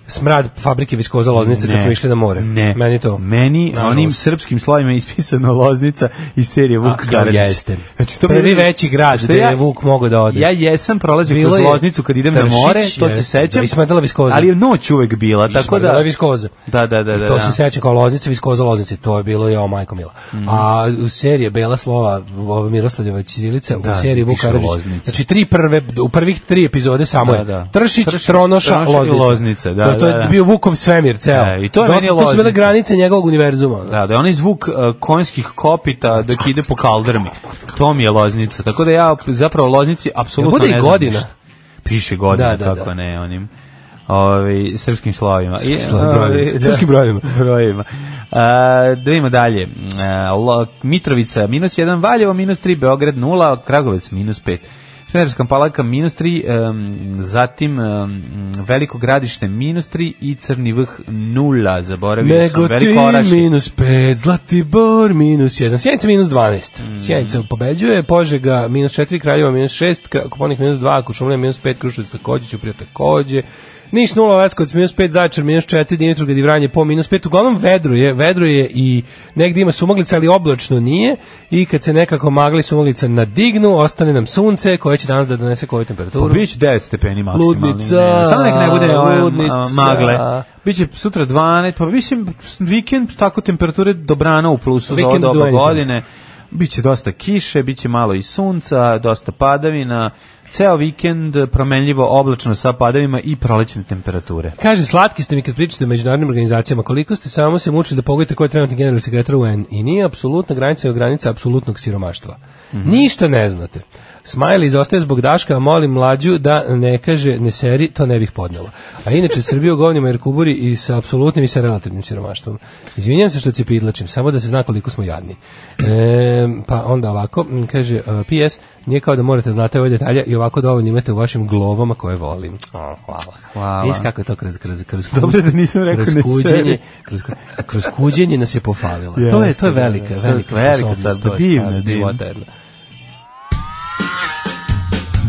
Speaker 6: Smrad fabrike viskoza loznice kad smo išli na more.
Speaker 5: Ne.
Speaker 6: Meni to.
Speaker 5: Meni
Speaker 6: Nažalost.
Speaker 5: onim srpskim slovima je ispisano Loznica iz serije Vuk
Speaker 6: A,
Speaker 5: Karadžić.
Speaker 6: jeste.
Speaker 5: Znači, to
Speaker 6: Prvi
Speaker 5: meni-
Speaker 6: veći grad
Speaker 5: što
Speaker 6: gde je Vuk mogao da ode.
Speaker 5: Ja jesam prolazio
Speaker 6: Bilo
Speaker 5: kroz
Speaker 6: je
Speaker 5: Loznicu kad idem
Speaker 6: Tršić,
Speaker 5: na more, to se
Speaker 6: jeste,
Speaker 5: sećam.
Speaker 6: i smetala viskoza.
Speaker 5: Ali je noć uvek bila,
Speaker 6: I
Speaker 5: tako da...
Speaker 6: smrdela viskoza.
Speaker 5: Da, da, da,
Speaker 6: I
Speaker 5: da,
Speaker 6: to
Speaker 5: da.
Speaker 6: se seća kao loznice, viskoza loznice, to je bilo jao majko mila.
Speaker 5: Mhm.
Speaker 6: A u serije Bela slova, ova Miroslavljeva Ćirilica,
Speaker 5: Da,
Speaker 6: u seriji Vuk
Speaker 5: piše
Speaker 6: Karadžić.
Speaker 5: Loznica.
Speaker 6: Znači tri prve, u prvih tri epizode samo
Speaker 5: Da,
Speaker 6: je
Speaker 5: da.
Speaker 6: Tršić,
Speaker 5: Tršić,
Speaker 6: Tronoša,
Speaker 5: Tronoša i
Speaker 6: Loznica.
Speaker 5: Loznica, da,
Speaker 6: to, to je
Speaker 5: da, da.
Speaker 6: bio Vukov svemir ceo.
Speaker 5: Da, i to je meni
Speaker 6: to su
Speaker 5: Loznica.
Speaker 6: bile granice njegovog univerzuma. ono.
Speaker 5: Da, da je onaj zvuk uh, konjskih kopita dok ide po kaldrmi. To mi je loznica. Tako da ja zapravo loznici apsolutno ne
Speaker 6: Jel bude i
Speaker 5: znam.
Speaker 6: godina?
Speaker 5: ništa. Piše godina,
Speaker 6: Da, da, da.
Speaker 5: kako ne, onim ovi, srpskim slovima. I, ovaj,
Speaker 6: slovima, brojevima. Srpskim brojevima.
Speaker 5: brojevima. A, da vidimo dalje. E, A, Lo- Mitrovica minus 1, Valjevo minus 3, Beograd 0, Kragovec minus 5. Smederska palaka minus 3, um, zatim um, veliko gradište minus 3 i crni vrh nula, zaboravio sam,
Speaker 6: Negotin
Speaker 5: veliko orašje.
Speaker 6: minus 5, Zlatibor minus 1, Sjenica minus 12.
Speaker 5: Mm.
Speaker 6: Sjenica pobeđuje, Požega minus 4, Kraljeva minus 6, Kra- Koponik minus 2, Kušumlija minus 5, Krušovac takođe, Ćuprija takođe, Niš 0, Leskovac minus 5, Zaječar minus 4, Dimitrov i Vranje po minus 5. Uglavnom vedro je, vedro je i negdje ima sumaglica, ali oblačno nije i kad se nekako magli sumaglica nadignu, ostane nam sunce koje će danas da donese koju temperaturu.
Speaker 5: Biće 9 stepeni maksimalni.
Speaker 6: Ludnica,
Speaker 5: ne, Samo nek ne bude ove
Speaker 6: ludnica.
Speaker 5: ma- magle. Biće sutra 12, pa mislim vikend tako temperature dobrana u plusu za
Speaker 6: Vikend
Speaker 5: ovo doba
Speaker 6: dvanaest.
Speaker 5: godine. Biće dosta kiše, biće malo i sunca, dosta padavina. Ceo vikend promenljivo oblačno sa padavima i prolećne temperature.
Speaker 6: Kaže, slatki ste mi kad pričate o međunarodnim organizacijama, koliko ste samo se mučili da pogodite ko je trenutni generalni sekretar UN i nije apsolutna granica je granica apsolutnog siromaštva. Ništa ne znate. Smajli izostaje zbog Daška, a molim mlađu da ne kaže ne seri, to ne bih podnela. A inače, Srbiju govnima jer kuburi i sa apsolutnim i sa relativnim siromaštvom. Izvinjam se što cepidlačim, samo da se zna koliko smo jadni. E, pa onda ovako, m, kaže, e, PS, nije kao da morate znate ove detalje i ovako dovoljno imate u vašim glovama koje volim. O, hvala.
Speaker 5: Hvala.
Speaker 6: Viš kako je to kroz, kroz, kroz,
Speaker 5: Dobro da nisam rekao
Speaker 6: kroz
Speaker 5: ne
Speaker 6: kuđenje,
Speaker 5: seri.
Speaker 6: kroz, kroz kuđenje nas je pofalilo. to je to je velika,
Speaker 5: da,
Speaker 6: velika,
Speaker 5: velika
Speaker 6: velika
Speaker 5: stvar,
Speaker 6: sposobnost. to je
Speaker 5: divna,
Speaker 6: stvar
Speaker 5: divna.
Speaker 6: divota jedna.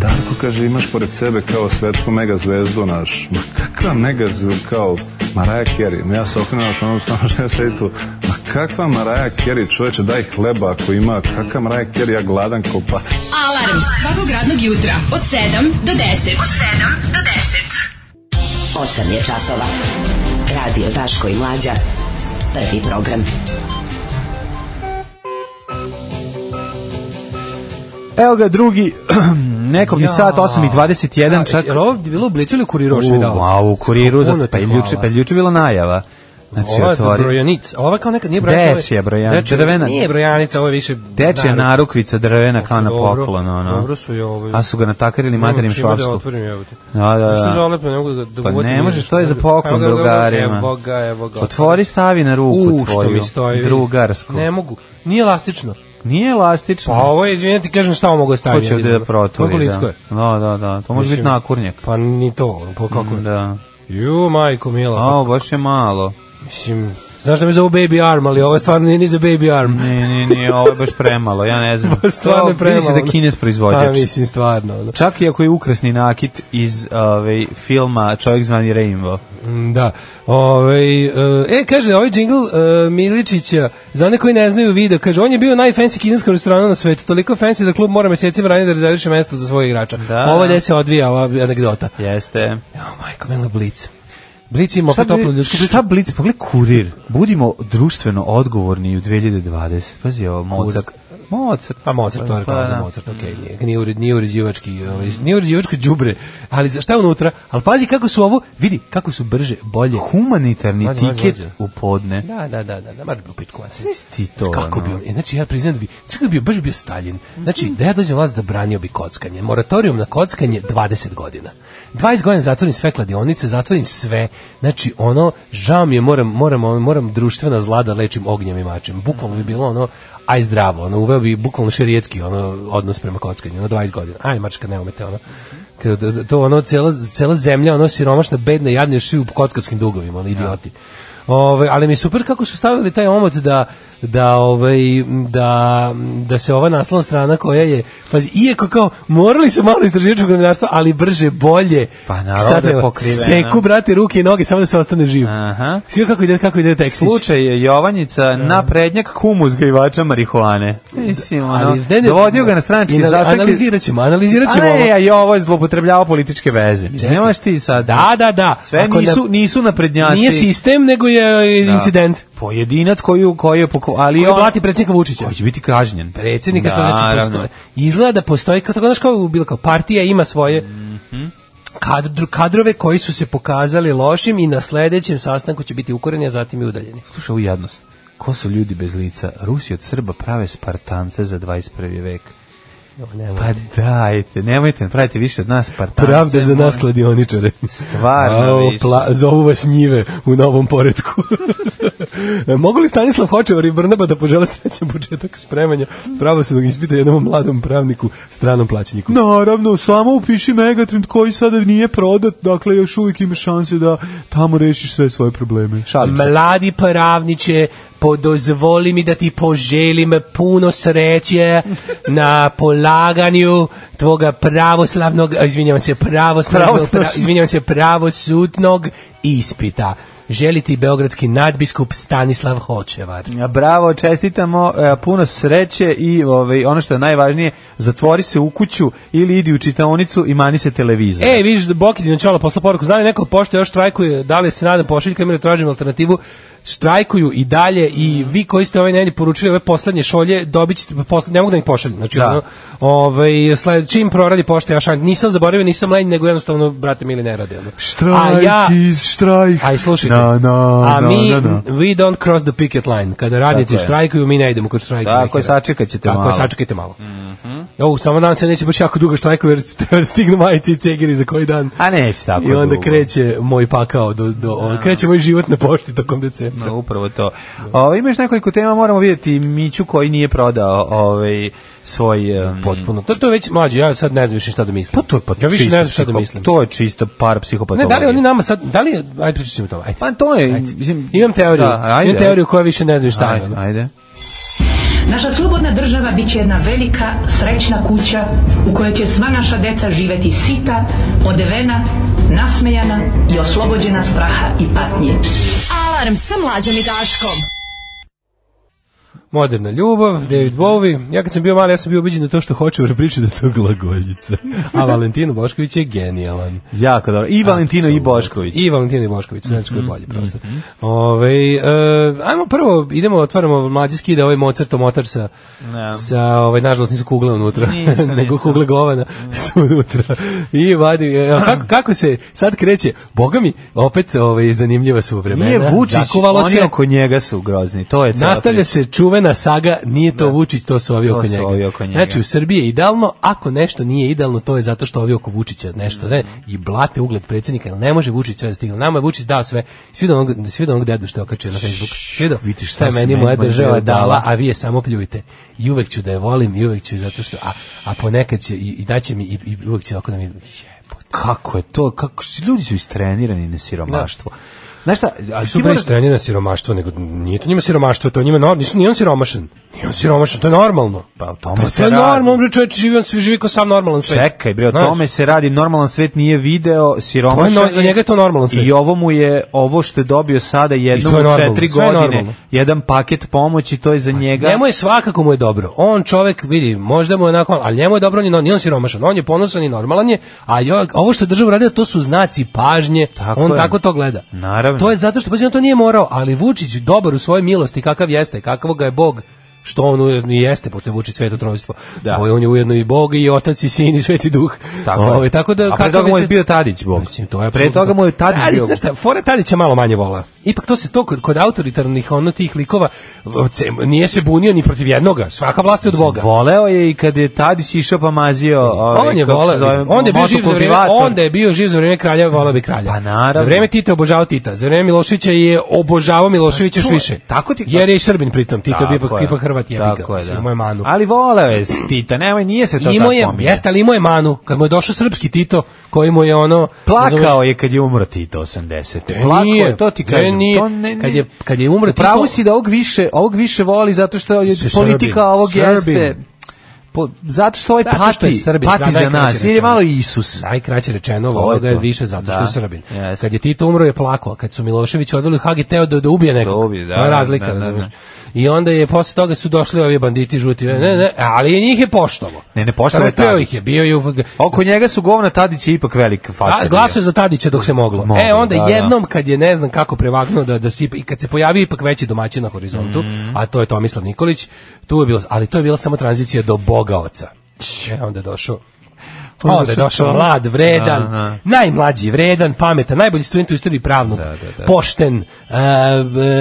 Speaker 9: Darko kaže imaš pored sebe kao svetsku mega zvezdu naš. Ma kakva mega zvezdu kao Maraja Kerry. Ma ja se okrenuo naš onom stanu što ja sedi tu. Ma kakva Maraja Kerry čoveče daj hleba ako ima. Kakva Maraja Kerry ja gladan ko pas.
Speaker 4: Alarm svakog radnog jutra od 7 do 10. Od 7 do
Speaker 10: 8 je časova. Radio Daško i Mlađa. Prvi program.
Speaker 5: Evo ga drugi, nekom mi sat 8.21,
Speaker 6: Da,
Speaker 5: čak...
Speaker 6: Jel ovo bilo u blicu ili u kuriru još
Speaker 5: U,
Speaker 6: video?
Speaker 5: a u kuriru, za, pa je ljuče, pa je ljuče bila najava. Znači,
Speaker 6: Ova je
Speaker 5: otvori.
Speaker 6: brojanic, ova kao nekad nije brojanica. ovo je-
Speaker 5: Dečija brojanica,
Speaker 6: dečija-
Speaker 5: drvena.
Speaker 6: Nije brojanica, ovo je više...
Speaker 5: Dečija
Speaker 6: naruk.
Speaker 5: narukvica drvena kao na
Speaker 6: Dobro,
Speaker 5: poklon, ono.
Speaker 6: Dobro su je ovo.
Speaker 5: A su ga natakarili materim
Speaker 6: Nemam čime Da
Speaker 5: švapsku.
Speaker 6: otvorim, evo te.
Speaker 5: Da, da, da.
Speaker 6: Što zalepo, ne mogu da, da
Speaker 5: Pa
Speaker 6: uvodim
Speaker 5: ne možeš,
Speaker 6: ništa.
Speaker 5: to je za poklon
Speaker 6: Evo ga, evo ga,
Speaker 5: drugarima.
Speaker 6: Evo ga, evo ga.
Speaker 5: Otvori, stavi na ruku
Speaker 6: U, što
Speaker 5: tvoju.
Speaker 6: mi stoji. vidi.
Speaker 5: Drugarsku.
Speaker 6: Ne mogu. Nije elastično.
Speaker 5: Nije elastično.
Speaker 6: Pa ovo je, izvinite, kažem šta ovo mogu staviti.
Speaker 5: Ko će ovde da
Speaker 6: Kako
Speaker 5: proturi, da.
Speaker 6: licko je.
Speaker 5: Da, da, da. To može biti
Speaker 6: Mislim,
Speaker 5: nakurnjak.
Speaker 6: Pa ni to, pa kako je.
Speaker 5: Mm,
Speaker 6: Pa,
Speaker 5: Da.
Speaker 6: Ju, majko mila. pa,
Speaker 5: A, baš je malo.
Speaker 6: Mislim, znaš da mi zovu baby arm, ali ovo stvarno nije ni za baby arm.
Speaker 5: Ne, ne, ne, ovo je baš premalo, ja ne znam.
Speaker 6: stvarno je
Speaker 5: To vidi se
Speaker 6: premalo.
Speaker 5: da je kines proizvođač.
Speaker 6: Pa mislim, stvarno. ono.
Speaker 5: Čak i ako je ukrasni nakit iz ovaj, filma Čovjek zvani Rainbow.
Speaker 6: Mm, Da. Ovaj e, e, kaže, ovaj džingl e, Miličića, za one koji ne znaju video, kaže, on je bio u najfancy kineskom restoranu na svetu, toliko fancy da klub mora mesecima ranije da rezerviše mesto za svojih igrača.
Speaker 5: Da.
Speaker 6: Ovo gde se odvija ova anegdota.
Speaker 5: Jeste.
Speaker 6: Ja, majko, mila blic. Blic ima
Speaker 5: Šta,
Speaker 6: opet toplo
Speaker 5: bi,
Speaker 6: ljudsku priču.
Speaker 5: šta blic, pogledaj kurir. Budimo društveno odgovorni u 2020. Pazi ovo, Mozart. Mozart.
Speaker 6: Pa Mozart, to je reklama za
Speaker 5: da.
Speaker 6: Mozart, okej, nije, nije, ured, nije uređivački, ovaj, nije uređivačko đubre, ali za- šta je unutra? Ali pazi kako su ovo, vidi, kako su brže, bolje.
Speaker 5: Humanitarni
Speaker 6: Mlađe, mlađe,
Speaker 5: tiket
Speaker 6: mlađe.
Speaker 5: u podne.
Speaker 6: Da, da, da, da, da, maš bi u pičku, vas.
Speaker 5: Znaš ti to?
Speaker 6: Kako
Speaker 5: ono?
Speaker 6: bi on, e, znači ja priznam da bi, znači kako bi bio, baš bi bio Stalin. Znači, da ja dođem vlast, zabranio bi kockanje. Moratorijum na kockanje 20 godina. 20 godina zatvorim sve kladionice, zatvorim sve. Znači, ono, žao mi je, moram, moram, ono, moram društvena zla da lečim ognjem i mačem. Bukvalno bi bilo ono, aj zdravo, ono, uveo bi bukvalno šerijetski ono, odnos prema kockanju, ono, 20 godina. Aj, mačka, ne umete, ono. Kad- da- da- to ono cela cela zemlja ono siromašna bedna jadna još svi u kockarskim dugovima ono idioti Ove, ali mi je super kako su stavili taj omot da da ovaj da da se ova naslovna strana koja je pazi iako kao morali su malo istraživačkog novinarstva ali brže bolje
Speaker 5: Pa naravno
Speaker 6: Šta
Speaker 5: da je
Speaker 6: treba?
Speaker 5: pokrivena.
Speaker 6: seku brate ruke i noge samo da se ostane živ
Speaker 5: Aha.
Speaker 6: Svi kako ide kako ide tekstić
Speaker 5: Slučaj je Jovanjica na prednjak kumu zgajivača marihuane. Mislim, ono,
Speaker 6: Ali, ne, ne,
Speaker 5: dovodio ga na stranački
Speaker 6: Anal-
Speaker 5: zastavke.
Speaker 6: analizirat ćemo analizirat ćemo
Speaker 5: A
Speaker 6: ovo.
Speaker 5: ne, a i ovo je zlopotrebljavao političke veze. Mislim,
Speaker 6: Čekaj.
Speaker 5: nemaš ti sad.
Speaker 6: da da da
Speaker 5: Sve
Speaker 6: Ako na-
Speaker 5: nisu, nisu naprednjaci.
Speaker 6: nije sistem nego je
Speaker 5: Da.
Speaker 6: incident
Speaker 5: Pojedinac koji, koji je... Poko, ali
Speaker 6: koji
Speaker 5: on,
Speaker 6: blati predsjednika Vučića
Speaker 5: Koji će biti kažnjen.
Speaker 6: predsjednika, to znači
Speaker 5: Naravno.
Speaker 6: postoje. Izgleda da postoji, kao tako, znaš kao bilo kao, partija ima svoje kadru- kadrove koji su se pokazali lošim i na sledećem sastanku će biti ukoreni, a zatim i udaljeni.
Speaker 5: Slušaj ovu jadnost. Ko su ljudi bez lica? Rusi od Srba prave Spartance za 21. vek.
Speaker 6: Nemoj.
Speaker 5: Pa dajte, nemojte, pravite više od nas partance.
Speaker 6: Pravda za nas
Speaker 5: molim.
Speaker 6: kladioničare.
Speaker 5: Stvarno
Speaker 6: Au,
Speaker 5: više.
Speaker 6: pla, zovu vas njive u novom poredku. Mogu li Stanislav Hočevar i Brnaba da požele srećan početak spremanja pravosudnog ispita jednom mladom pravniku, stranom plaćeniku?
Speaker 5: Naravno, samo upiši Megatrend koji sada nije prodat, dakle još uvijek ima šanse da tamo rešiš sve svoje probleme. Šalim se.
Speaker 6: Mladi pravniče, podozvoli mi da ti poželim puno sreće na polaganju tvoga pravoslavnog, a, izvinjavam se, pravoslavnog, pra,
Speaker 5: Pravoslavnog.
Speaker 6: izvinjavam se, pravosudnog ispita. Želi ti beogradski nadbiskup Stanislav Hočevar.
Speaker 5: Ja, Bravo, čestitamo, e, puno sreće i ovaj, ono što je najvažnije, zatvori se u kuću ili idi u čitaonicu i mani se televizor.
Speaker 6: E, vidiš, Boki Dinočala posla poruku, zna li neko pošto još štrajkuje, da li se nadam pošiljkama ili tražim alternativu, štrajkuju i dalje i vi koji ste ovaj nedelje poručili ove poslednje šolje, dobit ćete, posle, ne mogu da ih pošaljem, znači,
Speaker 5: Da.
Speaker 6: ono, ovaj, sled, čim proradi pošta, ja šaljem, nisam zaboravio, nisam lenj, nego jednostavno, brate mili, ne rade. Ono.
Speaker 5: Štrajk iz štrajka.
Speaker 6: Aj, slušajte,
Speaker 5: Na, na,
Speaker 6: a
Speaker 5: na,
Speaker 6: mi,
Speaker 5: na, na.
Speaker 6: we don't cross the picket line, kada radnici
Speaker 5: je.
Speaker 6: štrajkuju, mi ne idemo kod štrajka.
Speaker 5: Tako
Speaker 6: neki
Speaker 5: je,
Speaker 6: dan.
Speaker 5: sačekat ćete
Speaker 6: Tako
Speaker 5: malo. Mhm.
Speaker 6: je, sačekajte malo. Jo, samo nadam se da neće baš jako dugo štrajkova jer treba stignu majice i cegiri za koji dan.
Speaker 5: A neće tako
Speaker 6: I onda
Speaker 5: dugo.
Speaker 6: kreće moj pakao, do, do, kreće moj život na pošti tokom decembra.
Speaker 5: No, upravo to. O, imaš nekoliko tema, moramo vidjeti Miću koji nije prodao ovaj, svoj... em,
Speaker 6: Potpuno. To, to je već mlađe, ja sad ne znam više šta da mislim.
Speaker 5: Pa to je pa
Speaker 6: ja više
Speaker 5: čista
Speaker 6: ne znam šta da
Speaker 5: psiho-
Speaker 6: mislim.
Speaker 5: To je čista par psihopatologije.
Speaker 6: Ne, da li oni nama sad, da li, ajde pričat ćemo o tome, ajde.
Speaker 5: Pa to je...
Speaker 6: Ajde.
Speaker 5: mislim-
Speaker 6: Imam teoriju,
Speaker 5: Da, ajde,
Speaker 6: imam teoriju koja više ne znam šta je.
Speaker 5: Ajde,
Speaker 6: ono.
Speaker 5: ajde.
Speaker 4: Naša slobodna država bit će jedna velika, srećna kuća u kojoj će sva naša deca živeti sita, odevena, nasmejana i oslobođena straha i patnje.
Speaker 10: Alarm sa mlađom i Daškom.
Speaker 6: Moderna ljubav, David Bowie. Ja kad sam bio mali, ja sam bio ubeđen da to što hoće u priči da je to glagoljica. A Valentino Bošković je genijalan.
Speaker 5: Jako dobro. I Valentino i
Speaker 6: Apsolutno.
Speaker 5: Bošković. Mhm,
Speaker 6: I Valentino i Bošković, znači koji je bolji prosto. Ovaj, e, ajmo prvo, idemo, otvaramo mlađi skida ovaj Mozart omotar sa,
Speaker 5: Da.
Speaker 6: sa ovaj, nažalost nisu kugle unutra,
Speaker 5: Nisam,
Speaker 6: nego
Speaker 5: nisam.
Speaker 6: kugle govana su unutra. I vadi, e, kako, kako se sad kreće, boga mi, opet ovaj, zanimljiva su vremena.
Speaker 5: Nije Vučić,
Speaker 6: Zakuvalo
Speaker 5: oni
Speaker 6: se,
Speaker 5: oko njega su grozni. To je cela
Speaker 6: Nastavlja
Speaker 5: priča.
Speaker 6: se čuvena saga, nije to Vučić, to su ovi
Speaker 5: To
Speaker 6: oko
Speaker 5: su
Speaker 6: njega.
Speaker 5: ovi oko njega.
Speaker 6: Znači u Srbiji je idealno, ako nešto nije idealno, to je zato što ovi oko Vučića nešto ne i blate ugled predsjednika, jer ne može Vučić sve da stigne. Nama je Vučić dao sve. Svi do onog, svi do onog dedu što je okačio na Facebook. Svi do,
Speaker 5: vidiš šta
Speaker 6: šta je
Speaker 5: si
Speaker 6: meni
Speaker 5: meni moja
Speaker 6: moja
Speaker 5: država
Speaker 6: država dala,
Speaker 5: dala.
Speaker 6: a vi je samo pljujte. I uvek ću da je volim, i uvek ću zato što, a, a ponekad će, i, i daće mi, i, i uvek će ovako da mi, jebote.
Speaker 5: Kako je to? Kako su- ljudi su istrenirani na siromaštvo. Znaš šta, ali
Speaker 6: su
Speaker 5: ti moraš...
Speaker 6: bre na siromaštvo, nego nije to njima siromaštvo, to je njima normalno, nisu, nije on siromašan. Nije on siromašan, to je normalno.
Speaker 5: Pa, o tome
Speaker 6: to,
Speaker 5: se
Speaker 6: je
Speaker 5: radi.
Speaker 6: normalno, bre čovjek živi, on svi živi kao sam normalan svet.
Speaker 5: Čekaj, bre, o
Speaker 6: Znaš,
Speaker 5: tome se radi, normalan svet nije video, siromašan
Speaker 6: To je no- za njega je to normalan svet.
Speaker 5: I ovo mu je, ovo što je dobio sada jednom
Speaker 6: I to je
Speaker 5: u
Speaker 6: normalno,
Speaker 5: četiri
Speaker 6: sve je
Speaker 5: godine,
Speaker 6: normalno. Pa
Speaker 5: jedan paket pomoći, to je za njega...
Speaker 6: Njemu je svakako mu je dobro. On čovjek vidi, možda mu je onako, ali njemu je dobro, ni on, nije on siromašan, on je ponosan i normalan je, a jo, ovo što je država radila, to su znaci pažnje,
Speaker 5: Tako
Speaker 6: on
Speaker 5: je.
Speaker 6: tako to gleda.
Speaker 5: Naravno.
Speaker 6: To je zato što, pazi, on to nije morao, ali Vučić dobar u svojoj milosti, kakav jeste, kakav ga je Bog, što on ujedno i jeste, pošto je Vučić sveto trojstvo.
Speaker 5: Da.
Speaker 6: Ovo je On je ujedno i Bog, i Otac, i Sin, i Sveti Duh.
Speaker 5: Tako,
Speaker 6: Ovo,
Speaker 5: je.
Speaker 6: Ovaj, tako da,
Speaker 5: A pre
Speaker 6: kakav
Speaker 5: toga mu je
Speaker 6: sve-
Speaker 5: bio Tadić, Bog.
Speaker 6: Mislim, to je
Speaker 5: pre
Speaker 6: apsolutno
Speaker 5: toga mu je
Speaker 6: to.
Speaker 5: Tadić
Speaker 6: Tadić,
Speaker 5: bio...
Speaker 6: znaš šta, Fora Tadića malo manje vola. Ipak to se to kod, kod autoritarnih ono tih likova o, ce- nije se bunio ni protiv jednoga. Svaka vlast je od Boga.
Speaker 5: Voleo je i kad je Tadić išao pa mazio... ovaj,
Speaker 6: On je
Speaker 5: kako se
Speaker 6: voleo,
Speaker 5: zove,
Speaker 6: onda je bio živ za vreme,
Speaker 5: motokultivator.
Speaker 6: onda je bio živ za vreme kralja, voleo bi kralja.
Speaker 5: Pa naravno.
Speaker 6: Za vreme Tita obožavao Tita, za vreme Miloševića je obožavao Miloševića još
Speaker 5: to je-
Speaker 6: više.
Speaker 5: tako ti-
Speaker 6: Jer je i Srbin pritom, Tito bi
Speaker 5: Tako
Speaker 6: ipak,
Speaker 5: je.
Speaker 6: ipak Hrvat je
Speaker 5: Tako je, da.
Speaker 6: imao je manu.
Speaker 5: Ali voleo je Tita, nemoj, nije se to tako
Speaker 6: Imao je,
Speaker 5: pominje.
Speaker 6: jeste, ali imao je manu. Kad mu je došao srpski Tito, koji mu je ono... razumeš,
Speaker 5: Plakao je kad je umro Tito 80. Plakao je, to ti
Speaker 6: ne,
Speaker 5: kažem.
Speaker 6: nije.
Speaker 5: To ne, ne.
Speaker 6: Kad je- kad je umro
Speaker 5: Pravo
Speaker 6: Tito-
Speaker 5: si da ovog više, ovog više voli zato što je
Speaker 6: Srbin,
Speaker 5: politika ovog
Speaker 6: Srbin.
Speaker 5: jeste... Po, zato što ovaj
Speaker 6: Zato
Speaker 5: pati,
Speaker 6: što je Srbin,
Speaker 5: pati
Speaker 6: da,
Speaker 5: za
Speaker 6: najkraće
Speaker 5: nas, jer je
Speaker 6: rečeno.
Speaker 5: malo Isus.
Speaker 6: Najkraće rečeno,
Speaker 5: je
Speaker 6: ovoga je
Speaker 5: to.
Speaker 6: više zato što
Speaker 5: Da.
Speaker 6: je Srbin.
Speaker 5: Jeste.
Speaker 6: Kad je Tito umro je plakao, kad su Milošević odveli u Hag i teo da, da ubije nekog.
Speaker 5: Da ubije, da,
Speaker 6: To je razlika,
Speaker 5: da, da, da.
Speaker 6: razumeš. I onda je posle toga su došli ovi banditi žuti. Ne, ne, ali je njih je poštovo.
Speaker 5: Ne, ne, poštovao je
Speaker 6: Trpeo
Speaker 5: Tadić.
Speaker 6: ih je, bio je u
Speaker 5: Oko njega su govna Tadić je ipak velika faca.
Speaker 6: A, glasao je za Tadića dok se moglo.
Speaker 5: Moglo,
Speaker 6: e, onda
Speaker 5: da, da.
Speaker 6: jednom kad je ne znam kako prevagnuo da, da si, i kad se pojavio ipak veći domaćin na horizontu,
Speaker 5: Mhm.
Speaker 6: a to je Tomislav Nikolić, tu je bilo, ali to je bila samo tranzicija do Boga oca. E, onda je došao Onda je došao mlad, vredan,
Speaker 5: Aha.
Speaker 6: najmlađi, vredan, pametan, najbolji student u istoriji pravnog,
Speaker 5: da.
Speaker 6: pošten, e,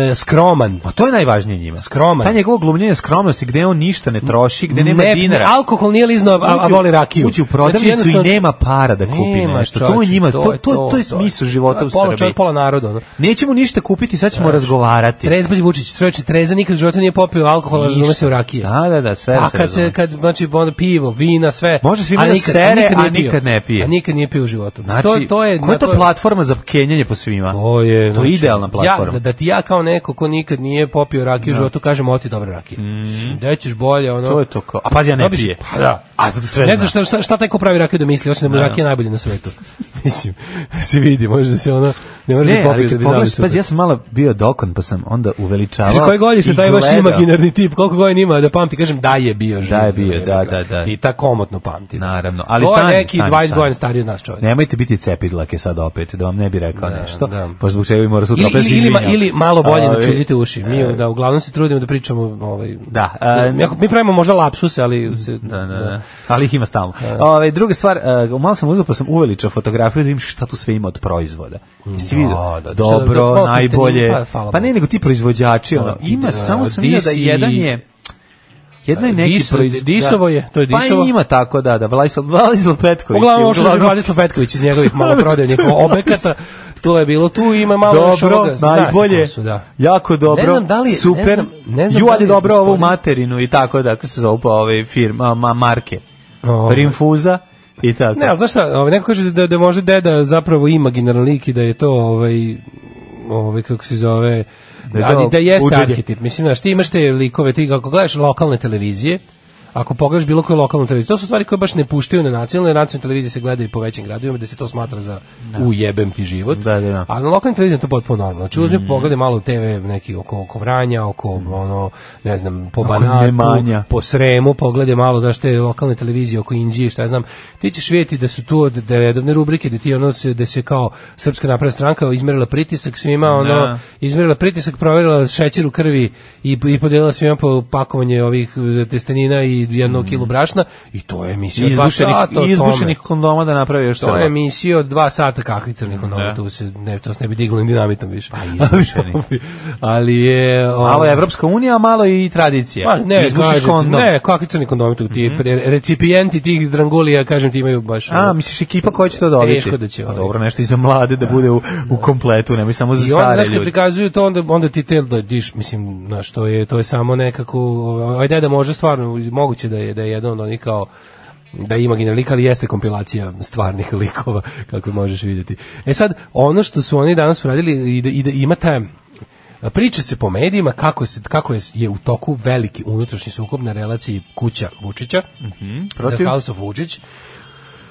Speaker 6: e, skroman.
Speaker 5: Pa to je najvažnije njima.
Speaker 6: Skroman.
Speaker 5: Ta njegovo glumljenje skromnosti gde on ništa ne troši, gde nema
Speaker 6: ne,
Speaker 5: dinara.
Speaker 6: ne, alkohol nije lizno, a, Pa, a
Speaker 5: Uđe u-
Speaker 6: voli rakiju. Znači,
Speaker 5: Uđe u prodavnicu
Speaker 6: jednostavno-
Speaker 5: i nema para da kupi
Speaker 6: Nema,
Speaker 5: nešto. to je
Speaker 6: čoveče,
Speaker 5: njima, to, to, to, je
Speaker 6: to je-
Speaker 5: smisao života
Speaker 6: to je
Speaker 5: u
Speaker 6: pola
Speaker 5: Srbiji.
Speaker 6: čovjek, pola naroda, ono.
Speaker 5: Nećemo ništa kupiti, sad ćemo razgovarati.
Speaker 6: Trezbać Vučić, čovječe, treza nikad u životu nije popio alkohola,
Speaker 5: Ništa.
Speaker 6: razume se u rakije.
Speaker 5: Da, da, da, sve
Speaker 6: A
Speaker 5: se
Speaker 6: Pa, kad se
Speaker 5: razume.
Speaker 6: kad znači on pivo, vina, sve.
Speaker 5: Može svima
Speaker 6: A
Speaker 5: da
Speaker 6: nikad-
Speaker 5: sere, a
Speaker 6: nije
Speaker 5: nikad
Speaker 6: pio.
Speaker 5: ne pije.
Speaker 6: A nikad nije pio u životu.
Speaker 5: Znači,
Speaker 6: to to je
Speaker 5: koja je to
Speaker 6: je-
Speaker 5: platforma za kenjanje po svima?
Speaker 6: To je, znači,
Speaker 5: To je idealna platforma.
Speaker 6: Ja, da, da ti ja kao neko ko nikad nije popio rakiju u životu kažem oti dobra rakija. Mm. Da ćeš bolje ono.
Speaker 5: Mhm. To je to kao. A pazi, ja ne
Speaker 6: Dobiš-
Speaker 5: pije.
Speaker 6: Pa da.
Speaker 5: A zato sve
Speaker 6: ne
Speaker 5: zna.
Speaker 6: znaš šta, šta, šta taj ko pravi rakiju da misli, osim da mu je rakija najbolje na svetu. Mislim, da se vidi, može da se ono, ne može da
Speaker 5: Ne, ali
Speaker 6: popiješ da
Speaker 5: kad
Speaker 6: bi znali
Speaker 5: pogledaš,
Speaker 6: super.
Speaker 5: pazi, ja sam malo bio dokon, pa sam onda uveličavao.
Speaker 6: Za koje godište
Speaker 5: i
Speaker 6: taj vaš
Speaker 5: gledao.
Speaker 6: imaginarni tip, koliko godina ima da pamti, kažem da je bio živ.
Speaker 5: Da je
Speaker 6: za
Speaker 5: bio,
Speaker 6: vreme
Speaker 5: da,
Speaker 6: toga.
Speaker 5: da, da.
Speaker 6: Ti ta komotno pamti.
Speaker 5: Naravno, ali
Speaker 6: to
Speaker 5: stani,
Speaker 6: je neki
Speaker 5: stani,
Speaker 6: 20
Speaker 5: stani.
Speaker 6: godina stariji od nas čovjek.
Speaker 5: Nemojte biti cepidlake sad opet, da vam ne bi rekao nešto.
Speaker 6: da.
Speaker 5: Pošto zbog čega bi morao sutra
Speaker 6: Ili,
Speaker 5: opet se
Speaker 6: ili, ili, ma-
Speaker 5: izvinjam.
Speaker 6: ili malo bolje
Speaker 5: Ovi, E.
Speaker 6: načuljite uši. Mi da uglavnom se trudimo da pričamo ovaj
Speaker 5: Da, a-
Speaker 6: mi, ako- mi pravimo možda lapsuse, ali se,
Speaker 5: Da, da, da. Ali ih ima stalno. Ove, druga stvar, e, malo sam uzeo pa sam uveličao fotografiju da vidim šta tu sve ima od proizvoda. Jeste vidio?
Speaker 6: Da, da, da. Šta da-
Speaker 5: Dobro,
Speaker 6: da, koliko ste njih,
Speaker 5: najbolje.
Speaker 6: pa, hvala
Speaker 5: Pa ne,
Speaker 6: Bogu.
Speaker 5: nego ti proizvođači, ono,
Speaker 6: Da,
Speaker 5: ima,
Speaker 6: da,
Speaker 5: samo sam vidio da
Speaker 6: Disi-
Speaker 5: jedan je Jedna je neki
Speaker 6: Dis-
Speaker 5: proizvod.
Speaker 6: Disovo je, to je Disovo.
Speaker 5: Pa ima tako, da, da, Vladislav, Vladislav Petković.
Speaker 6: Uglavnom
Speaker 5: je
Speaker 6: ovo što je Vladislav Petković iz njegovih maloprodajnih objekata, to je bilo tu, ima malo još
Speaker 5: Dobro,
Speaker 6: ovoga. zna se
Speaker 5: najbolje,
Speaker 6: ko su, da.
Speaker 5: jako dobro,
Speaker 6: Ne znam da li- ne
Speaker 5: super,
Speaker 6: znam- ne znam
Speaker 5: ju,
Speaker 6: da
Speaker 5: ali
Speaker 6: li je
Speaker 5: dobro ovu
Speaker 6: gospodin-
Speaker 5: materinu i tako da, kako se zove pa ove firma, ma, marke,
Speaker 6: Ovaj.
Speaker 5: rinfuza i tako.
Speaker 6: Ne, ali znaš šta, ovaj, neko kaže da, da može deda zapravo imaginaran lik i da je to ovaj, ovaj kako se zove,
Speaker 5: Da je
Speaker 6: ali
Speaker 5: to
Speaker 6: da jeste
Speaker 5: uđenje.
Speaker 6: arhetip. Mislim, znaš, ti imaš te likove, ti ako gledaš lokalne televizije, ako pogledaš bilo koju lokalnu televiziju, to su stvari koje baš ne puštaju na nacionalne, nacionalne televizije se gledaju po većim gradovima gde se to smatra za ujebem ti život.
Speaker 5: Da, da, Mm. da.
Speaker 6: A na lokalnim televizijama je to potpuno normalno. Znači, uzmi pogledaj malo TV neki oko, oko Vranja, oko ono, ne znam, po
Speaker 5: Nemanja.
Speaker 6: Banatu, po Sremu, pogledaj malo da te lokalne televizije oko Indije, šta ja znam. Ti ćeš vidjeti da su tu da redovne rubrike da ti ono se da se kao Srpska napredna stranka izmerila pritisak svima, ono
Speaker 5: Da.
Speaker 6: izmerila pritisak, proverila šećer u krvi i i podelila svima po pakovanje ovih e, testenina i
Speaker 5: Mm.
Speaker 6: jedno kilo brašna i to je emisija od dva
Speaker 5: Znači, izbušenih,
Speaker 6: sata o
Speaker 5: izbušenih
Speaker 6: tome.
Speaker 5: kondoma da napravi još
Speaker 6: To je
Speaker 5: srba.
Speaker 6: emisija od dva sata kakvicrnih, ono,
Speaker 5: Da.
Speaker 6: tu se, ne, to se ne bi diglo ni dinamitom više. Pa
Speaker 5: izbušeni.
Speaker 6: Ali je...
Speaker 5: Malo
Speaker 6: ono,
Speaker 5: je Evropska unija, a malo i tradicija.
Speaker 6: Ma, Pa, ne,
Speaker 5: Izbušiš
Speaker 6: kažem,
Speaker 5: kondom. Mhm.
Speaker 6: Ne, kakvi crni kondomi tu, ti pre- recipijenti tih drangulija, kažem ti imaju baš...
Speaker 5: A,
Speaker 6: ono,
Speaker 5: misliš ekipa koja će to dobiti?
Speaker 6: Teško da će,
Speaker 5: Pa
Speaker 6: ovaj.
Speaker 5: dobro, nešto i za mlade da bude u, u kompletu, nemoj samo za
Speaker 6: I onda,
Speaker 5: stare
Speaker 6: znaš, kad
Speaker 5: ljude.
Speaker 6: prikazuju to, onda, onda ti tel da diš, mislim, znaš, to je, to je samo nekako, ovaj deda može stvarno, moguće da je, da je jedan od onih kao, da je imaginar lik, ali jeste kompilacija stvarnih likova, kako možeš vidjeti. E sad, ono što su oni danas uradili, i da, i da ima ta, Priča se po medijima kako, se, kako je, je u toku veliki unutrašnji sukob na relaciji kuća Vučića,
Speaker 5: protiv?
Speaker 6: The House of Vučić,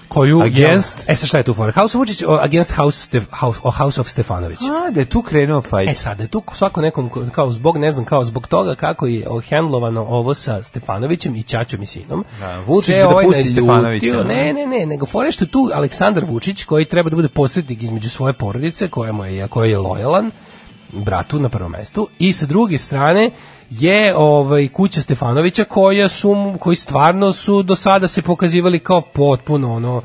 Speaker 6: koju...
Speaker 5: Against?
Speaker 6: E sad šta je tu fora? House of Vučić, o, against House, Stef, House, o House of Stefanović.
Speaker 5: A, da je tu krenuo fajt.
Speaker 6: E sad, da je tu svako nekom, ko- kao zbog, ne znam, kao zbog toga kako je handlovano ovo sa Stefanovićem i Ćaćom i sinom.
Speaker 5: Da, Vučić
Speaker 6: se
Speaker 5: bi da pusti
Speaker 6: naljutio.
Speaker 5: Stefanovića,
Speaker 6: Ne, ne, ne, nego fore što je tu Aleksandar Vučić, koji treba da bude posrednik između svoje porodice, koja, mu je, koja je lojalan, bratu na prvom mestu, i sa druge strane je ovaj kuća Stefanovića koja su mu- koji stvarno su do sada se pokazivali kao potpuno ono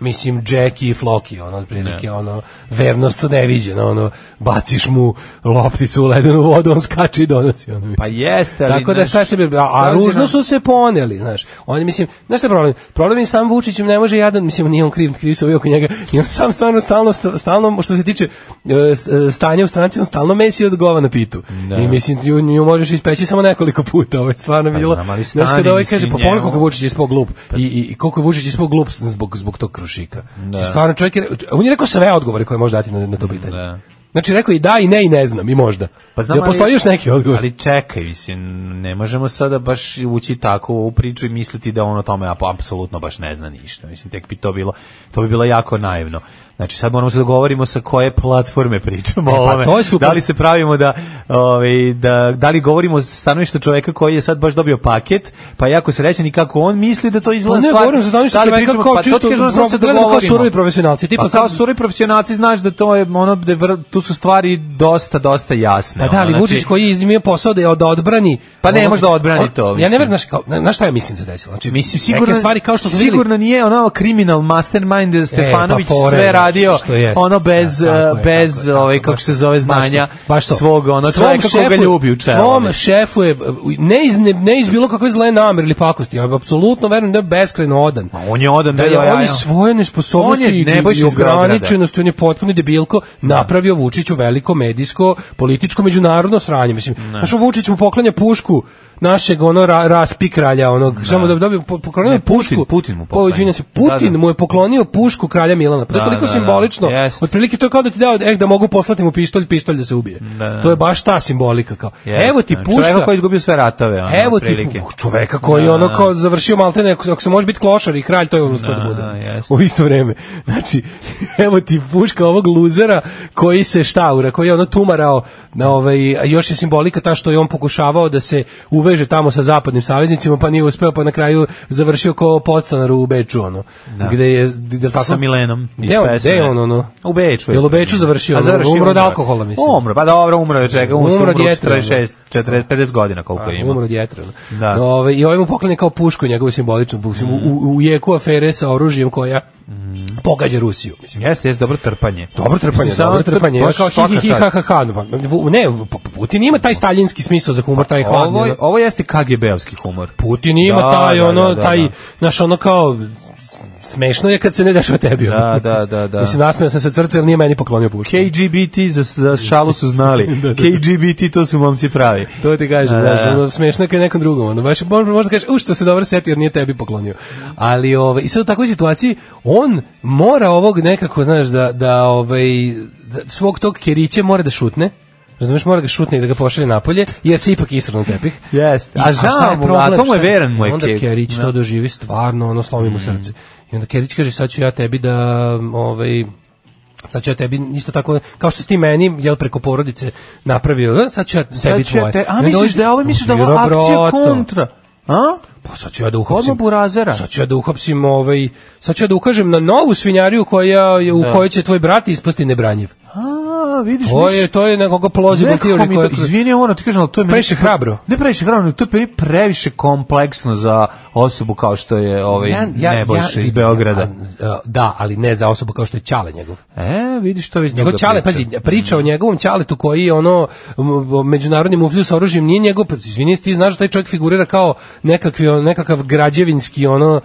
Speaker 6: mislim Jackie i Floki ono otprilike ono vernost neviđeno ono baciš mu lopticu u ledenu vodu on skače i donosi ono
Speaker 5: Pa jeste, ali...
Speaker 6: tako da
Speaker 5: znaš,
Speaker 6: šta se bi, a,
Speaker 5: s
Speaker 6: a
Speaker 5: obzirom-
Speaker 6: ružno su se poneli, znaš. Oni mislim, znaš šta je problem? Problem je sam Vučićem ne može jadan, mislim nije on kriv, kriv su ovi oko njega. I on sam stvarno stalno st- stalno što se tiče e, s- e, stanja u stranci, on stalno mesi odgova na pitu. I mislim ti nju možeš ispeći samo nekoliko puta, ovo je stvarno bilo.
Speaker 5: Pa znam, ali
Speaker 6: znaš kad
Speaker 5: stani,
Speaker 6: ovaj
Speaker 5: mislim,
Speaker 6: kaže, pa
Speaker 5: njemu- Pa-
Speaker 6: pogledaj koliko Vučić je ispao glup i, i, i koliko je Vučić ispao glup zbog zbog tog krušika. Znači, Stvarno čovjek je, on je rekao sve odgovore koje može dati na, na to pitanje.
Speaker 5: Da.
Speaker 6: Znači rekao je i da i ne i ne znam i možda. Pa
Speaker 5: znam,
Speaker 6: znam,
Speaker 5: ali-
Speaker 6: postoji još neki odgovor.
Speaker 5: Ali čekaj, mislim, ne možemo sada baš ući tako u priču i misliti da on o tome ap- apsolutno baš ne zna ništa. Mislim, tek bi to bilo, to bi bilo jako naivno. Znači sad moramo se dogovorimo sa koje platforme pričamo.
Speaker 6: E, pa
Speaker 5: o ovome.
Speaker 6: to je super.
Speaker 5: Da li se pravimo da, ovaj, da, da li govorimo sa stanovišta čoveka koji je sad baš dobio paket, pa je jako srećan i kako on misli da to izgleda
Speaker 6: Pa ne,
Speaker 5: stvar.
Speaker 6: govorim sa stanovišta
Speaker 5: Da li
Speaker 6: čoveka
Speaker 5: pričamo-
Speaker 6: kao
Speaker 5: pa to ti
Speaker 6: čisto
Speaker 5: kažem, samo
Speaker 6: pro-
Speaker 5: se
Speaker 6: gledamo kao
Speaker 5: dogovorimo.
Speaker 6: surovi profesionalci, tipa
Speaker 5: pa
Speaker 6: sad-
Speaker 5: kao surovi profesionalci znaš da to je ono, da je vr- tu su stvari dosta, dosta jasne.
Speaker 6: Pa da,
Speaker 5: ono,
Speaker 6: ali
Speaker 5: znači-
Speaker 6: Vučić koji je izmio posao da je od odbrani.
Speaker 5: Pa ne
Speaker 6: ono-
Speaker 5: može da odbrani to,
Speaker 6: Ja
Speaker 5: mislim.
Speaker 6: ne verujem, znaš, kao, na, na šta ja mislim se desilo? Znači,
Speaker 5: Mislim sigurno
Speaker 6: neke stvari kao što smo videli,
Speaker 5: sigurno nije ono kriminal mastermind da Stefanović
Speaker 6: pa fora je,
Speaker 5: sve radio
Speaker 6: što jest.
Speaker 5: ono bez
Speaker 6: Da, tako je,
Speaker 5: eh, bez
Speaker 6: tako je, tako
Speaker 5: ovaj
Speaker 6: je,
Speaker 5: kako
Speaker 6: baš
Speaker 5: se
Speaker 6: to,
Speaker 5: zove
Speaker 6: baš to,
Speaker 5: znanja
Speaker 6: baš to.
Speaker 5: svog ono
Speaker 6: Svom
Speaker 5: čovjeka koga
Speaker 6: šefu-
Speaker 5: ljubi u čelu.
Speaker 6: Svom šefu je, ne iz, ne, ne iz bilo kakve zle namere ili pakosti, ja apsolutno verujem da je beskrajno odan.
Speaker 5: Ma, on je odan,
Speaker 6: da
Speaker 5: bre,
Speaker 6: je
Speaker 5: ja,
Speaker 6: on
Speaker 5: ja.
Speaker 6: je svoje nesposobnosti
Speaker 5: On je
Speaker 6: i,
Speaker 5: Nebojša
Speaker 6: i
Speaker 5: iz Beograda.
Speaker 6: ograničenosti, on je potpuno debilko napravio Vučiću veliko medijsko, političko, međunarodno sranje. Mislim, znaš, Vučić mu poklanja pušku našeg ono ra, raspi kralja onog samo da bi dobio po- poklonio
Speaker 5: Ne,
Speaker 6: je pušku
Speaker 5: Putin- Putin mu
Speaker 6: Po,
Speaker 5: poklanja.
Speaker 6: izvinjam se
Speaker 5: Da, da.
Speaker 6: Putin mu je poklonio pušku kralja Milana Pa, to je
Speaker 5: Da,
Speaker 6: toliko
Speaker 5: da, da.
Speaker 6: simbolično
Speaker 5: Jeste.
Speaker 6: Otprilike to je kao da ti dao, eh, da mogu poslati mu pištolj, pištolj da se ubije.
Speaker 5: da.
Speaker 6: To je baš ta simbolika kao.
Speaker 5: Jeste,
Speaker 6: evo ti
Speaker 5: ono,
Speaker 6: puška,
Speaker 5: Čovjeka koji je izgubio sve ratove, ono,
Speaker 6: evo ti
Speaker 5: otprilike.
Speaker 6: pu- čoveka koji je ono kao završio malte neko, ako se može biti klošar i kralj, to je ono uspio da bude.
Speaker 5: da, jeste.
Speaker 6: U isto vreme. Znači, evo ti puška ovog luzera koji se štaura, koji je ono tumarao na ovaj, a još je simbolika ta što je on pokušavao da se uveže tamo sa zapadnim saveznicima, pa nije uspeo, pa na kraju završio kao podstanar u Beču, ono, gde je, gde, tako,
Speaker 5: sa Milenom iz
Speaker 6: Gde on-
Speaker 5: pesme.
Speaker 6: gde je on, ono?
Speaker 5: U Beču. je.
Speaker 6: Jel u Beču završio?
Speaker 5: A
Speaker 6: Umro od
Speaker 5: umro.
Speaker 6: alkohola, mislim.
Speaker 5: Umro, pa dobro, umro je od čega, umro,
Speaker 6: Umro
Speaker 5: umro
Speaker 6: od
Speaker 5: je
Speaker 6: jetre, ono.
Speaker 5: 46, 40, 50 godina koliko ima.
Speaker 6: Umro od jetre. ono.
Speaker 5: Da.
Speaker 6: No, ovaj, I ovaj mu poklanja kao pušku i njegovu simboličnu pušku. U, u, u jeku afere sa oružjem koja pogađa Rusiju. Mislim,
Speaker 5: Jeste, jeste dobro trpanje.
Speaker 6: Dobro trpanje,
Speaker 5: Mhm. Mislim, samo
Speaker 6: dobro trpanje.
Speaker 5: tr-
Speaker 6: Ono
Speaker 5: baš
Speaker 6: kao hi,
Speaker 5: svaka
Speaker 6: hi, hi,
Speaker 5: čast.
Speaker 6: ha, ha, ha. No, pa, vu- Ne, pa, pa, Putin ima taj staljinski smisao za humor, taj hladni.
Speaker 5: Pa, Ovo, je-
Speaker 6: ono.
Speaker 5: ovo jeste KGB-ovski humor.
Speaker 6: Putin ima
Speaker 5: Da,
Speaker 6: taj,
Speaker 5: da,
Speaker 6: ono,
Speaker 5: da, da,
Speaker 6: taj,
Speaker 5: da.
Speaker 6: znaš, ono kao, smešno je kad se ne dešava tebi. ono.
Speaker 5: Da, da, da, da.
Speaker 6: Mislim, nasmeo sam se od srca, jer nije meni poklonio pušku.
Speaker 5: KGBT za, za šalu su znali. KGBT to su momci pravi.
Speaker 6: To ti kažem,
Speaker 5: Da,
Speaker 6: da,
Speaker 5: da, da.
Speaker 6: ono, smešno je kad je nekom drugom, ono, baš, možda, možda kažeš, u što se dobro setio, jer nije tebi poklonio. Ali, ovaj, i sad u takvoj situaciji, on mora ovog nekako, znaš, da, da, ovaj, da svog tog kerića mora da šutne, Razumeš, mora da ga šutne i da ga pošalje napolje, jer se ipak israno tepih.
Speaker 5: Jeste. A
Speaker 6: šta je
Speaker 5: žao mu, a
Speaker 6: problem,
Speaker 5: to mu je
Speaker 6: šta
Speaker 5: veran mu je
Speaker 6: Onda
Speaker 5: Kerić,
Speaker 6: Kerić
Speaker 5: da. Mm.
Speaker 6: to doživi stvarno, ono, slomi mu srce. I onda Kerić kaže, sad ću ja tebi da, ovaj, sad ću ja tebi isto tako, kao što si ti meni, jel, preko porodice napravio, e, sad ću ja tebi
Speaker 5: Sad ću ja
Speaker 6: tvoje.
Speaker 5: te, a
Speaker 6: Ne
Speaker 5: misliš
Speaker 6: dođi-
Speaker 5: da je ovo, misliš da je ovo
Speaker 6: Biro,
Speaker 5: akcija
Speaker 6: broto.
Speaker 5: kontra? A?
Speaker 6: Pa sad ću ja da uhapsim.
Speaker 5: Odmah burazera.
Speaker 6: Sad ću ja da uhapsim, ovaj, sad ću ja da ukažem na novu svinjariju koja, je- u kojoj će tvoj brat ispasti nebranjiv.
Speaker 5: A, vidiš,
Speaker 6: To
Speaker 5: misliš-
Speaker 6: je, to je nekoga plausible
Speaker 5: Nekako
Speaker 6: theory
Speaker 5: Pa mi
Speaker 6: koja...
Speaker 5: to, izvini, ono, ti kažem, ali to je... meni-
Speaker 6: Previše hrabro.
Speaker 5: Ne previše hrabro, nego to je meni previše kompleksno za osobu kao što je ovaj Nebojša iz Beograda.
Speaker 6: a, a, da, ali ne za osobu kao što je Ćale njegov.
Speaker 5: e, vidiš to već
Speaker 6: Njegov
Speaker 5: druga
Speaker 6: Ćale,
Speaker 5: priča.
Speaker 6: pazi, priča
Speaker 5: Mhm.
Speaker 6: o njegovom Ćaletu koji je ono m- međunarodni muflju sa oružjem, nije njegov, pa, izvini, jesi ti znaš da taj čovjek figurira kao nekakvi, on- nekakav građevinski ono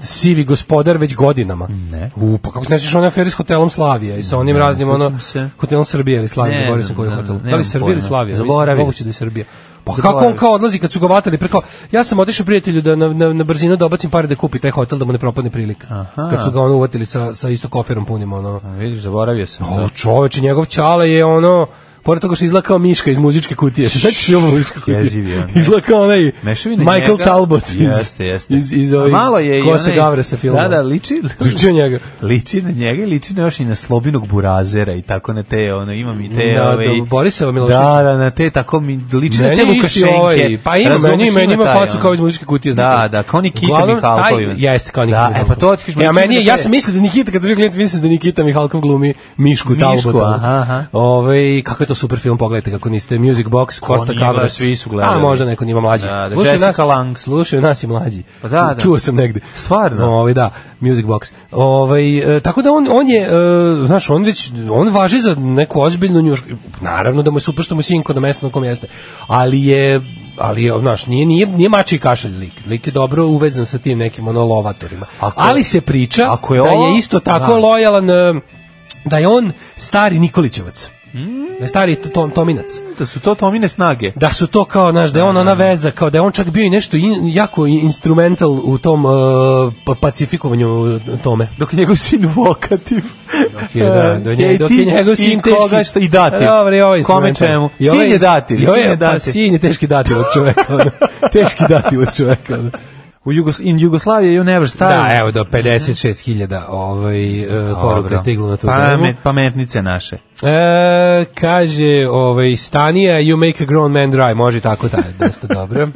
Speaker 6: sivi gospodar već godinama. Ne. U, pa kako se ne sjećaš one afere s hotelom Slavija i sa onim raznim ono
Speaker 5: sjećam se.
Speaker 6: hotelom Srbije ili Slavija,
Speaker 5: Ne
Speaker 6: zaboravio
Speaker 5: znam,
Speaker 6: sam koji je
Speaker 5: da,
Speaker 6: hotel. Da
Speaker 5: nemam
Speaker 6: li Srbija ili
Speaker 5: pojma.
Speaker 6: Slavija? Mislim,
Speaker 5: Zaboravio
Speaker 6: Moguće
Speaker 5: sam.
Speaker 6: da je Srbija. Pa kako on
Speaker 5: Zaboravio
Speaker 6: kao odlazi kad su ga vatali preko ja sam otišao prijatelju da na, na, na brzinu da obacim pare da kupi taj hotel da mu ne propadne prilika.
Speaker 5: Aha.
Speaker 6: Kad su ga ono uvatili sa sa isto koferom punim ono.
Speaker 5: A, Vidiš, zaboravio sam.
Speaker 6: O, čoveče, njegov čale je ono, pored toga što izgleda kao miška iz muzičke kutije. Sećaš se ovo muzičke
Speaker 5: Jeziv je
Speaker 6: kutije?
Speaker 5: on.
Speaker 6: Izgleda kao onaj
Speaker 5: Mešavina
Speaker 6: Michael
Speaker 5: njega-
Speaker 6: Talbot iz,
Speaker 5: jeste, jeste.
Speaker 6: iz, iz
Speaker 5: A
Speaker 6: ovih
Speaker 5: malo je i
Speaker 6: Koste
Speaker 5: onaj-
Speaker 6: Gavre sa filmom.
Speaker 5: Da, da, liči,
Speaker 6: Pričio njega.
Speaker 5: liči na njega i liči na još i na slobinog burazera i tako na te, ono, imam i te...
Speaker 6: Na
Speaker 5: ovaj,
Speaker 6: do- Borisova Miloševića.
Speaker 5: Da, da, na te, tako mi liči na
Speaker 6: Meni
Speaker 5: te
Speaker 6: je isti
Speaker 5: Lukašenke.
Speaker 6: ovaj, pa ima,
Speaker 5: Razumeš,
Speaker 6: meni- meni ima
Speaker 5: taj,
Speaker 6: facu
Speaker 5: ono.
Speaker 6: kao iz muzičke kutije, znam
Speaker 5: Da,
Speaker 6: kako.
Speaker 5: da, kao Nikita
Speaker 6: Uglavnom, taj-
Speaker 5: Mihalković.
Speaker 6: Jeste, kao Nikita
Speaker 5: da,
Speaker 6: Mihalković.
Speaker 5: E, pa to ti kažeš,
Speaker 6: Ja,
Speaker 5: liči
Speaker 6: meni
Speaker 5: na
Speaker 6: je, ja
Speaker 5: te.
Speaker 6: sam mislio da Nikita, kad sam bio klient, mislim da Nikita Mihalkov glumi Mišku Talbota.
Speaker 5: aha, aha.
Speaker 6: Ovaj, kako je to super film, pogledajte kako niste. Music Box, Kosta
Speaker 5: nije
Speaker 6: Kavra.
Speaker 5: gledao, svi su gledali.
Speaker 6: A, možda neko njima mlađi.
Speaker 5: Da, da,
Speaker 6: Slušaju
Speaker 5: Jessica
Speaker 6: nas-
Speaker 5: Lange.
Speaker 6: Slušaju nas i mlađi.
Speaker 5: Pa da,
Speaker 6: Ču-
Speaker 5: da.
Speaker 6: Čuo sam negde.
Speaker 5: Stvarno?
Speaker 6: Ovaj, da, Music Box. Ovaj, e, tako da on, on je, e, znaš, on već, on važi za neku ozbiljnu njušku. Naravno da mu je super što mu je sinko na mesto na kom jeste. Ali je, ali je, znaš, nije, nije, nije mači kašalj lik. Lik je dobro uvezan sa tim nekim ono lovatorima.
Speaker 5: Ako-
Speaker 6: ali se priča
Speaker 5: ako je
Speaker 6: da
Speaker 5: ovo-
Speaker 6: je isto tako
Speaker 5: Aha.
Speaker 6: lojalan, e, da je on stari Nikolićevac.
Speaker 5: Mm.
Speaker 6: Da je stari tom, Tominac
Speaker 5: Da su to Tomine snage.
Speaker 6: da su to kao naš da je on ona veza kao da je on čak bio i nešto in, jako instrumental u tom uh, pa- pacifikovanju tome
Speaker 5: Dok je njegov sin vokativ.
Speaker 6: dok je, da, da je, njeg- dok je
Speaker 5: Hej, E, ti
Speaker 6: njegov sin
Speaker 5: i
Speaker 6: teški.
Speaker 5: Koga šta Pa i dati.
Speaker 6: A Dobro, i ovaj
Speaker 5: Kome
Speaker 6: instrumental.
Speaker 5: čemu?
Speaker 6: I ovaj-
Speaker 5: sin je dati.
Speaker 6: i ovaj-
Speaker 5: sin je
Speaker 6: Pa
Speaker 5: dati.
Speaker 6: sin je teški dati od čoveka. ono. teški dati od čoveka. ono.
Speaker 11: U Jugos, in Jugoslavia you never
Speaker 6: Da,
Speaker 11: style.
Speaker 6: evo do 56.000 ovaj, e, poruka
Speaker 5: Dobro.
Speaker 6: je stiglo na tu temu.
Speaker 5: Pamet, pametnice naše.
Speaker 6: E, kaže, ovaj, Stanija, you make a grown man dry, može i tako da, dosta dobro.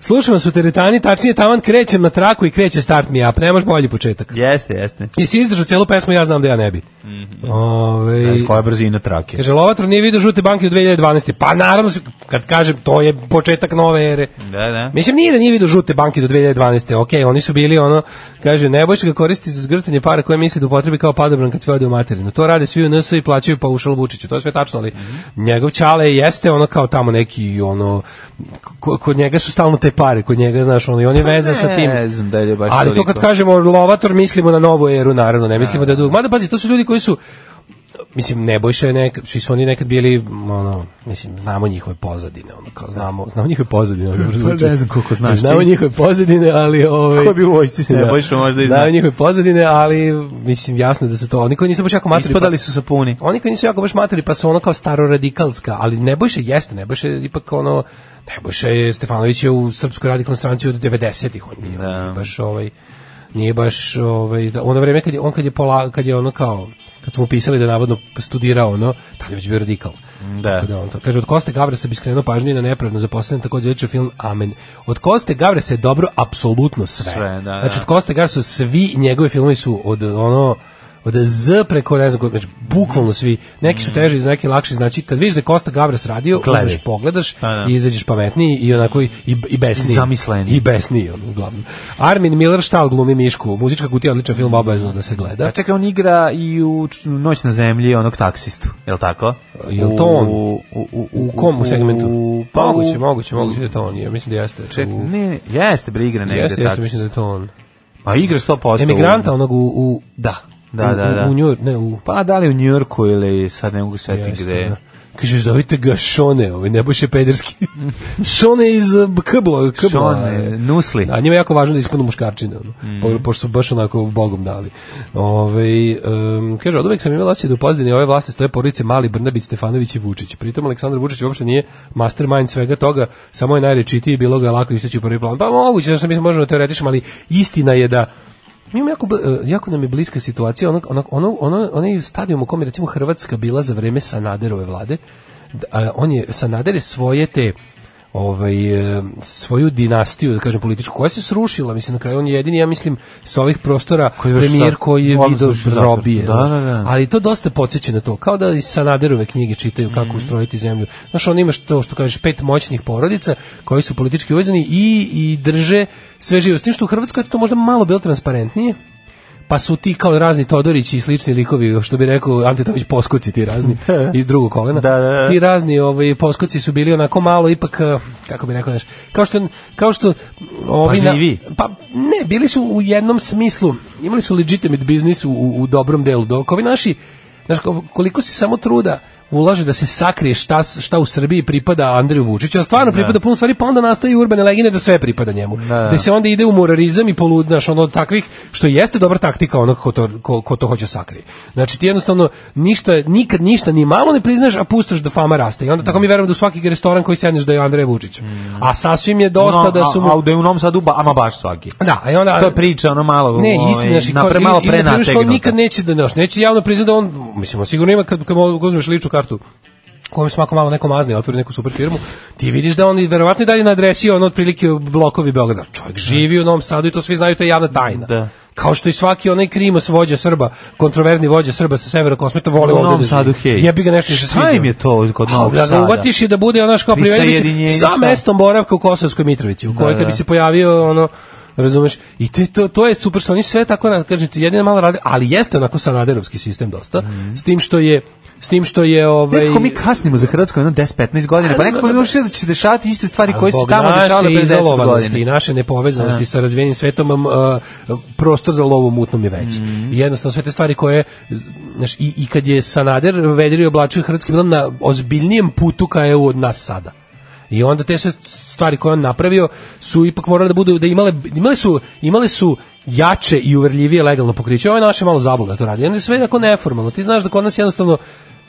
Speaker 6: Slušam vas u teretani, tačnije tavan krećem na traku i kreće start mi up, nemaš bolji početak.
Speaker 5: Jeste, jeste.
Speaker 6: I si izdržao celu pesmu, ja znam da ja ne bi. Ovaj,
Speaker 5: Znaš koja je brzina trake.
Speaker 6: kaže, Lovatro nije vidio žute banke u 2012. Pa naravno, kad kažem, to je početak nove ere.
Speaker 5: Da, da.
Speaker 6: Mislim, nije da nije vidio žute banke do 2012. Ok, oni su bili ono, kaže, nebojša ga koristiti za zgrtanje para koje misli da upotrebi kao padobran kad sve ode u materinu. To rade svi u NS i plaćaju pa ušal Vučiću. To je sve tačno, ali njegov čale jeste ono kao tamo neki, ono, ko- kod njega su stalno te pare, kod njega, znaš, ono, i on je vezan sa tim.
Speaker 5: Pa Ne znam da li je baš
Speaker 6: Ali to
Speaker 5: toliko.
Speaker 6: kad kažemo lovator, mislimo na novu eru, naravno, ne mislimo da je dug. Mada, pazi, to su ljudi koji su mislim Nebojša je nekad svi su oni nekad bili ono mislim znamo njihove pozadine ono kao znamo znamo njihove pozadine ono, dobro zvuči.
Speaker 11: Pa ne znam koliko znaš
Speaker 6: znamo
Speaker 11: ti.
Speaker 6: njihove pozadine ali ovaj
Speaker 11: Ko je bio u vojsci s Nebojšom,
Speaker 6: Da.
Speaker 5: možda i zna.
Speaker 6: znamo njihove pozadine ali mislim jasno da su to oni koji nisu baš jako pa- materi
Speaker 5: Ispadali su sapuni.
Speaker 6: oni koji nisu jako baš materi pa su ono kao staroradikalska, ali Nebojša jeste, Nebojša je ipak ono, Nebojša je Stefanović je u Srpskoj radikalnoj stranci od 90-ih, on nije
Speaker 5: Da.
Speaker 6: baš ovaj, nije baš ovaj, da, ono vreme kad je, on kad je, pola, kad je ono kao, kad smo pisali da je navodno studirao ono, tad je već bio radikal.
Speaker 5: Da.
Speaker 6: Tako on to, kaže, od Koste Gavra se bi skrenuo pažnju i na nepravno zaposlenim takođe odličan film Amen. Od Koste Gavra se je dobro apsolutno sve.
Speaker 5: Sve, da, da.
Speaker 6: Znači, od Koste Gavra su svi njegovi filmovi su od ono od Z preko ne znam, koji- znači bukvalno svi, neki su teži, neki lakši, znači kad vidiš da je Kosta Gavras radio,
Speaker 5: Mm. Gledaj.
Speaker 6: uzmeš, pogledaš
Speaker 5: Pa da.
Speaker 6: i izađeš pametniji i onako i, i, i besniji.
Speaker 5: I zamisleniji.
Speaker 6: I besniji, ono, uglavnom. Armin Miller štal glumi Mišku, muzička kutija, odličan film, obavezno da se gleda.
Speaker 5: A čekaj, on igra i u Č- Noć na zemlji onog taksistu, je li tako?
Speaker 6: Je li to on?
Speaker 5: U, u, u,
Speaker 6: U kom segmentu?
Speaker 5: pa u-
Speaker 6: moguće, moguće, moguće da je to on, ja mislim da jeste.
Speaker 5: Ček,
Speaker 6: U-
Speaker 5: ne, jeste bre igra negde
Speaker 6: Jeste, jeste,
Speaker 5: taksist.
Speaker 6: mislim da je to on.
Speaker 5: Pa igra 100%.
Speaker 6: Emigranta onog u, u
Speaker 5: Da, da, da. da.
Speaker 6: U, u, New York, ne, u
Speaker 5: Pa da li u Njujorku ili sad ne mogu setiti
Speaker 6: Jeste,
Speaker 5: gde.
Speaker 6: da. Kaže, zovite ga Šone, ovaj nebojše pederski. Šone iz eh, Kbla, Kbla.
Speaker 5: Šone, Nusli.
Speaker 6: A njima je jako važno da ispanu muškarčine, ono, po- pošto su baš onako bogom dali. Ove, um, kaže, od uvek sam imala osjećaj da u pozadini ove vlasti stoje porodice Mali Brnabić, Stefanović i Vučić. Pritom Aleksandar Vučić uopšte nije mastermind svega toga, samo je najrečitiji, bilo ga je lako isteći u prvi plan. Pa moguće, znaš, mi se možemo teoretičiti, ali istina je da Mi imamo jako, bl- eh, jako nam je bliska situacija, ono, ono, ono, ono, onaj stadion u kom je recimo Hrvatska bila za vreme Sanaderove vlade, d- a, on je, Sanader je svoje te ovaj, eh, svoju dinastiju, da kažem, političku, koja se srušila, mislim, na kraju on je jedini, ja mislim, s ovih prostora
Speaker 5: Koji je još
Speaker 6: premijer
Speaker 5: sad-
Speaker 6: koji je
Speaker 5: odnosno
Speaker 6: video
Speaker 5: još u zatvoru.
Speaker 6: robije.
Speaker 5: Da, da, da.
Speaker 6: Ali to dosta podsjeća na to, kao da i Sanaderove knjige čitaju kako
Speaker 5: Mhm.
Speaker 6: ustrojiti zemlju. Znaš, on imaš to što kažeš, pet moćnih porodica koji su politički uvezani i, i drže sve živo. S tim što u Hrvatskoj je to možda malo bilo transparentnije, pa su ti kao razni Todorići i slični likovi, što bi rekao Ante Tomić, poskoci ti razni iz drugog kolena.
Speaker 5: Da, da, da.
Speaker 6: Ti razni ovaj, poskoci su bili onako malo ipak, eh, kako bi rekao, znaš, kao što, kao što ovi na-
Speaker 5: Pažljiviji.
Speaker 6: pa ne, bili su u jednom smislu, imali su legitimate biznis u, u dobrom delu, dok ovi naši, znaš, ko- koliko se samo truda ulaže da se sakrije šta, s- šta u Srbiji pripada Andreju Vučiću, a stvarno pripada puno stvari, pa onda nastaju urbane legine da sve pripada njemu.
Speaker 5: da.
Speaker 6: Da se onda ide u moralizam i poludnaš ono od takvih, što jeste dobra taktika onog ko to, ko, ko to hoće sakrije. Znači ti jednostavno ništa, nikad ništa ni malo ne priznaš, a pustiš da fama raste. I onda tako mi verujemo da u svaki restoran koji sedneš da je Andrej Vučić. A sasvim je dosta
Speaker 5: Mm. No,
Speaker 6: da su mu...
Speaker 5: A, a da je u Novom Sadu, ba, ama baš svaki.
Speaker 6: Da, i onda
Speaker 5: To je priča, ono malo...
Speaker 6: ne,
Speaker 5: ovaj,
Speaker 6: istina, znači
Speaker 5: napre, malo
Speaker 6: ili- ili na primjer što on
Speaker 5: prenategnuta.
Speaker 6: nikad neće da naš, neće javno priznati da on, mislim, on sigurno ima kad kad mu uzmeš ličnu kartu kojom smako malo neko mazni, otvori neku super firmu, ti vidiš da on i verovatno i dalje na adresi on otprilike u blokovi Beograda. Čovjek živi u Novom Sadu i to svi znaju, to je javna tajna.
Speaker 5: Da.
Speaker 6: Kao što i svaki onaj krimos vođa Srba, kontroverzni vođa Srba sa severa Kosmeta voli
Speaker 5: U
Speaker 6: ovde.
Speaker 5: Novom
Speaker 6: da živi.
Speaker 5: Sadu, hej.
Speaker 6: Jebi ga nešto što
Speaker 5: Šta im je to kod Novog
Speaker 6: Da
Speaker 5: Sada?
Speaker 6: ga uvatiš i da bude onaš kao privedbić
Speaker 5: Prisajedinjenje,
Speaker 6: sa
Speaker 5: šta?
Speaker 6: mestom boravka u Kosovskoj Mitrovici, u kojoj kad bi
Speaker 5: da.
Speaker 6: se pojavio ono razumeš i te to to je super što oni sve tako na kažem ti jedina mala razlika ali jeste onako sanaderovski sistem dosta s tim što je s tim što je ovaj
Speaker 5: Nekako Mhm. mi kasnimo za Hrvatsku jedno 10-15 godina, pa nekako mi uopšte da će se dešavati iste stvari
Speaker 6: A
Speaker 5: koje se
Speaker 6: zbog
Speaker 5: tamo
Speaker 6: naše
Speaker 5: dešavale pre 10
Speaker 6: izolovanosti I
Speaker 5: godina.
Speaker 6: naše nepovezanosti sa razvijenim svetom m, a, prostor za lovu u mutnom je veći.
Speaker 5: Mhm.
Speaker 6: I jednostavno sve te stvari koje z- znaš, i, i kad je Sanader vedrio i oblačio Hrvatski bilo na ozbiljnijem putu ka EU od nas sada. I onda te sve stvari koje on napravio su ipak morale da budu da imale imale su imale su jače i uverljivije legalno pokriće. Ovo je naše malo zabluda to radi. I onda je sve tako neformalno. Ti znaš da kod nas jednostavno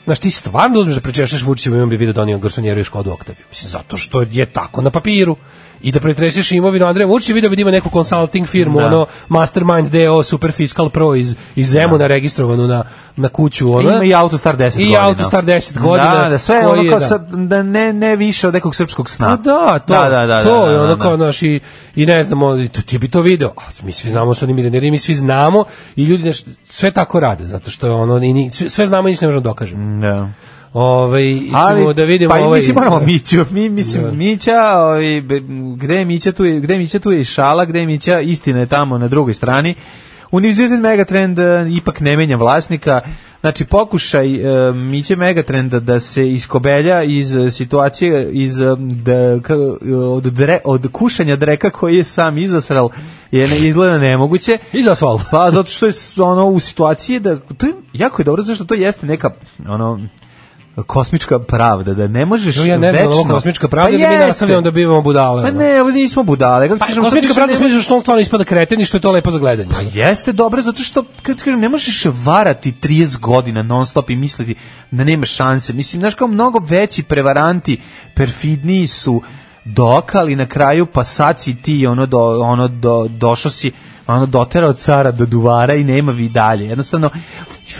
Speaker 6: Znaš, ti stvarno uzmeš da pričešaš Vučićevo ime bi video da on ima garsonjeru i Škodu Oktaviju. Mislim, zato što je tako na papiru. i da pretreseš imovinu Andreja Vučića, video bi da ima neku consulting firmu,
Speaker 12: Da.
Speaker 6: ono Mastermind DO Super Fiscal Pro iz iz Zemuna registrovanu na na kuću, ono.
Speaker 5: Ima i Autostar 10
Speaker 6: I
Speaker 5: godina.
Speaker 6: Autostar 10 godina.
Speaker 5: Da, da, sve je
Speaker 6: koji
Speaker 5: ono kao
Speaker 6: da.
Speaker 5: sa, da ne, ne više od nekog srpskog sna.
Speaker 6: Pa da, to,
Speaker 5: da, da, da,
Speaker 6: to
Speaker 5: da,
Speaker 6: je
Speaker 5: da,
Speaker 6: ono
Speaker 5: da.
Speaker 6: kao naš i, i ne znamo, i to, ti bi to video. A, mi svi znamo da su oni milioneri, mi svi znamo i ljudi neš, sve tako rade, zato što ono, i, ni- sve- sve znamo i ništa ne možemo dokažemo.
Speaker 5: Da.
Speaker 6: Ove,
Speaker 5: Ovaj,
Speaker 6: i ćemo da vidimo
Speaker 5: pa i
Speaker 6: ovaj,
Speaker 5: mislim moramo Miću, mi mislim Mića, ovaj be- gde je Mića tu je, gde je Mića tu je i šala, gde je Mića istina je tamo na drugoj strani. Univerzitet Megatrend e, ipak ne menja vlasnika. Znači pokušaj e, Miće Megatrenda da se iskobelja iz e, situacije iz e, da, ka- od, dre, od kušanja dreka koji je sam izasral je ne, izgleda nemoguće.
Speaker 6: I za asfalt.
Speaker 5: Pa zato što je s- ono u situaciji da to je jako je dobro zato što to jeste neka ono kosmička pravda da ne možeš
Speaker 6: Jo, ja ne znam,
Speaker 5: večno
Speaker 6: ovo kosmička pravda
Speaker 5: Pa
Speaker 6: da mi
Speaker 5: jeste.
Speaker 6: nastavljamo da bivamo budale.
Speaker 5: Pa
Speaker 6: ono.
Speaker 5: ne, ovo nismo budale. Kako ti
Speaker 6: Pa,
Speaker 5: kažem, sad
Speaker 6: kosmička
Speaker 5: više
Speaker 6: pravda
Speaker 5: ne-
Speaker 6: smisla što on stvarno ispada kreten i što je to lepo za gledanje.
Speaker 5: Pa jeste dobro zato što kad ti kažem ne možeš varati 30 godina non stop i misliti da nema šanse. Mislim znaš kao mnogo veći prevaranti, perfidniji su dokali na kraju pa sad si ti ono do, ono do, došao si ono doterao cara do duvara i nema vi dalje. Jednostavno